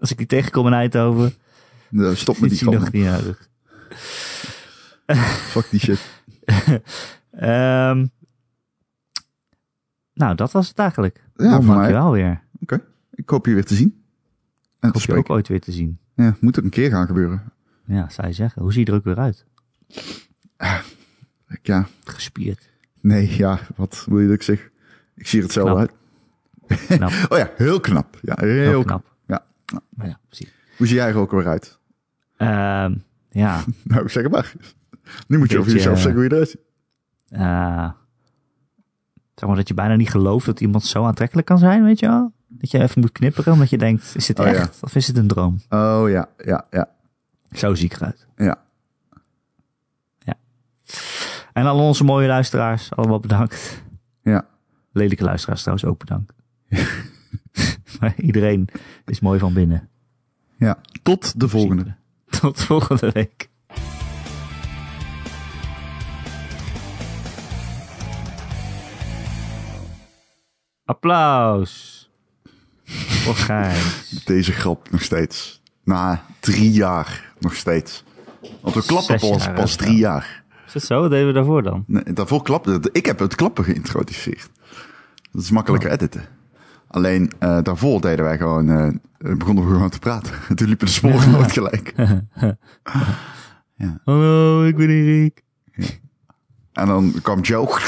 [SPEAKER 1] Als ik die tegenkom in Eindhoven,
[SPEAKER 5] Nou, Stop met die
[SPEAKER 1] is die nog
[SPEAKER 5] schande.
[SPEAKER 1] niet nodig.
[SPEAKER 5] Fuck die shit.
[SPEAKER 1] Ehm, nou, dat was het eigenlijk.
[SPEAKER 5] Ja,
[SPEAKER 1] Ron,
[SPEAKER 5] voor mij.
[SPEAKER 1] dankjewel weer.
[SPEAKER 5] Ik hoop je weer te zien. En te
[SPEAKER 1] Hoop je ook
[SPEAKER 5] spreken.
[SPEAKER 1] ooit weer te zien.
[SPEAKER 5] Ja, moet ook een keer gaan gebeuren.
[SPEAKER 1] Ja, zou je zeggen. Hoe zie je er ook weer uit?
[SPEAKER 5] Ik, Ja,
[SPEAKER 1] Gespierd.
[SPEAKER 5] nee, ja, wat wil je dat ik zeg? Ik zie er hetzelfde
[SPEAKER 1] Knap.
[SPEAKER 5] uit.
[SPEAKER 1] Knap.
[SPEAKER 5] Oh ja, heel knap. Ja, heel,
[SPEAKER 1] Heel
[SPEAKER 5] knap.
[SPEAKER 1] knap.
[SPEAKER 5] Ja.
[SPEAKER 1] Maar ja, precies.
[SPEAKER 5] Hoe zie jij er ook weer uit?
[SPEAKER 1] Ehm, ja,
[SPEAKER 5] Nou, zeg het maar. Nu moet je over
[SPEAKER 1] Beetje,
[SPEAKER 5] jezelf
[SPEAKER 1] eh,
[SPEAKER 5] zeggen hoe je eruit ziet.
[SPEAKER 1] eh, zeg maar dat je bijna niet gelooft dat iemand zo aantrekkelijk kan zijn, weet je wel? Dat je even moet knipperen, omdat je denkt, is dit
[SPEAKER 5] Oh, ja.
[SPEAKER 1] echt? Of is dit een droom?
[SPEAKER 5] Oh ja, ja, ja,
[SPEAKER 1] Zo zie ik eruit.
[SPEAKER 5] ja.
[SPEAKER 1] En al onze mooie luisteraars, allemaal bedankt.
[SPEAKER 5] Ja.
[SPEAKER 1] Lelijke luisteraars trouwens ook bedankt. maar iedereen is mooi van binnen.
[SPEAKER 5] ja. Tot de volgende.
[SPEAKER 1] Tot volgende week. Applaus. Voor Gijs.
[SPEAKER 2] Deze grap nog steeds. Na drie jaar nog steeds. Want we klappen
[SPEAKER 1] Zes
[SPEAKER 2] pas,
[SPEAKER 1] jaar,
[SPEAKER 2] pas
[SPEAKER 1] hè?
[SPEAKER 2] drie jaar.
[SPEAKER 1] Is dat zo? Wat deden we daarvoor dan?
[SPEAKER 2] Nee, daarvoor klappen. Ik heb het klappen geïntroduceerd. Dat is
[SPEAKER 5] Oh.
[SPEAKER 2] makkelijker editen. Alleen eh, daarvoor deden wij gewoon, eh, eh, begonnen we gewoon te praten. En toen liepen de sporen nooit gelijk.
[SPEAKER 1] Hallo, ik ben Erik.
[SPEAKER 2] En dan kwam Joe.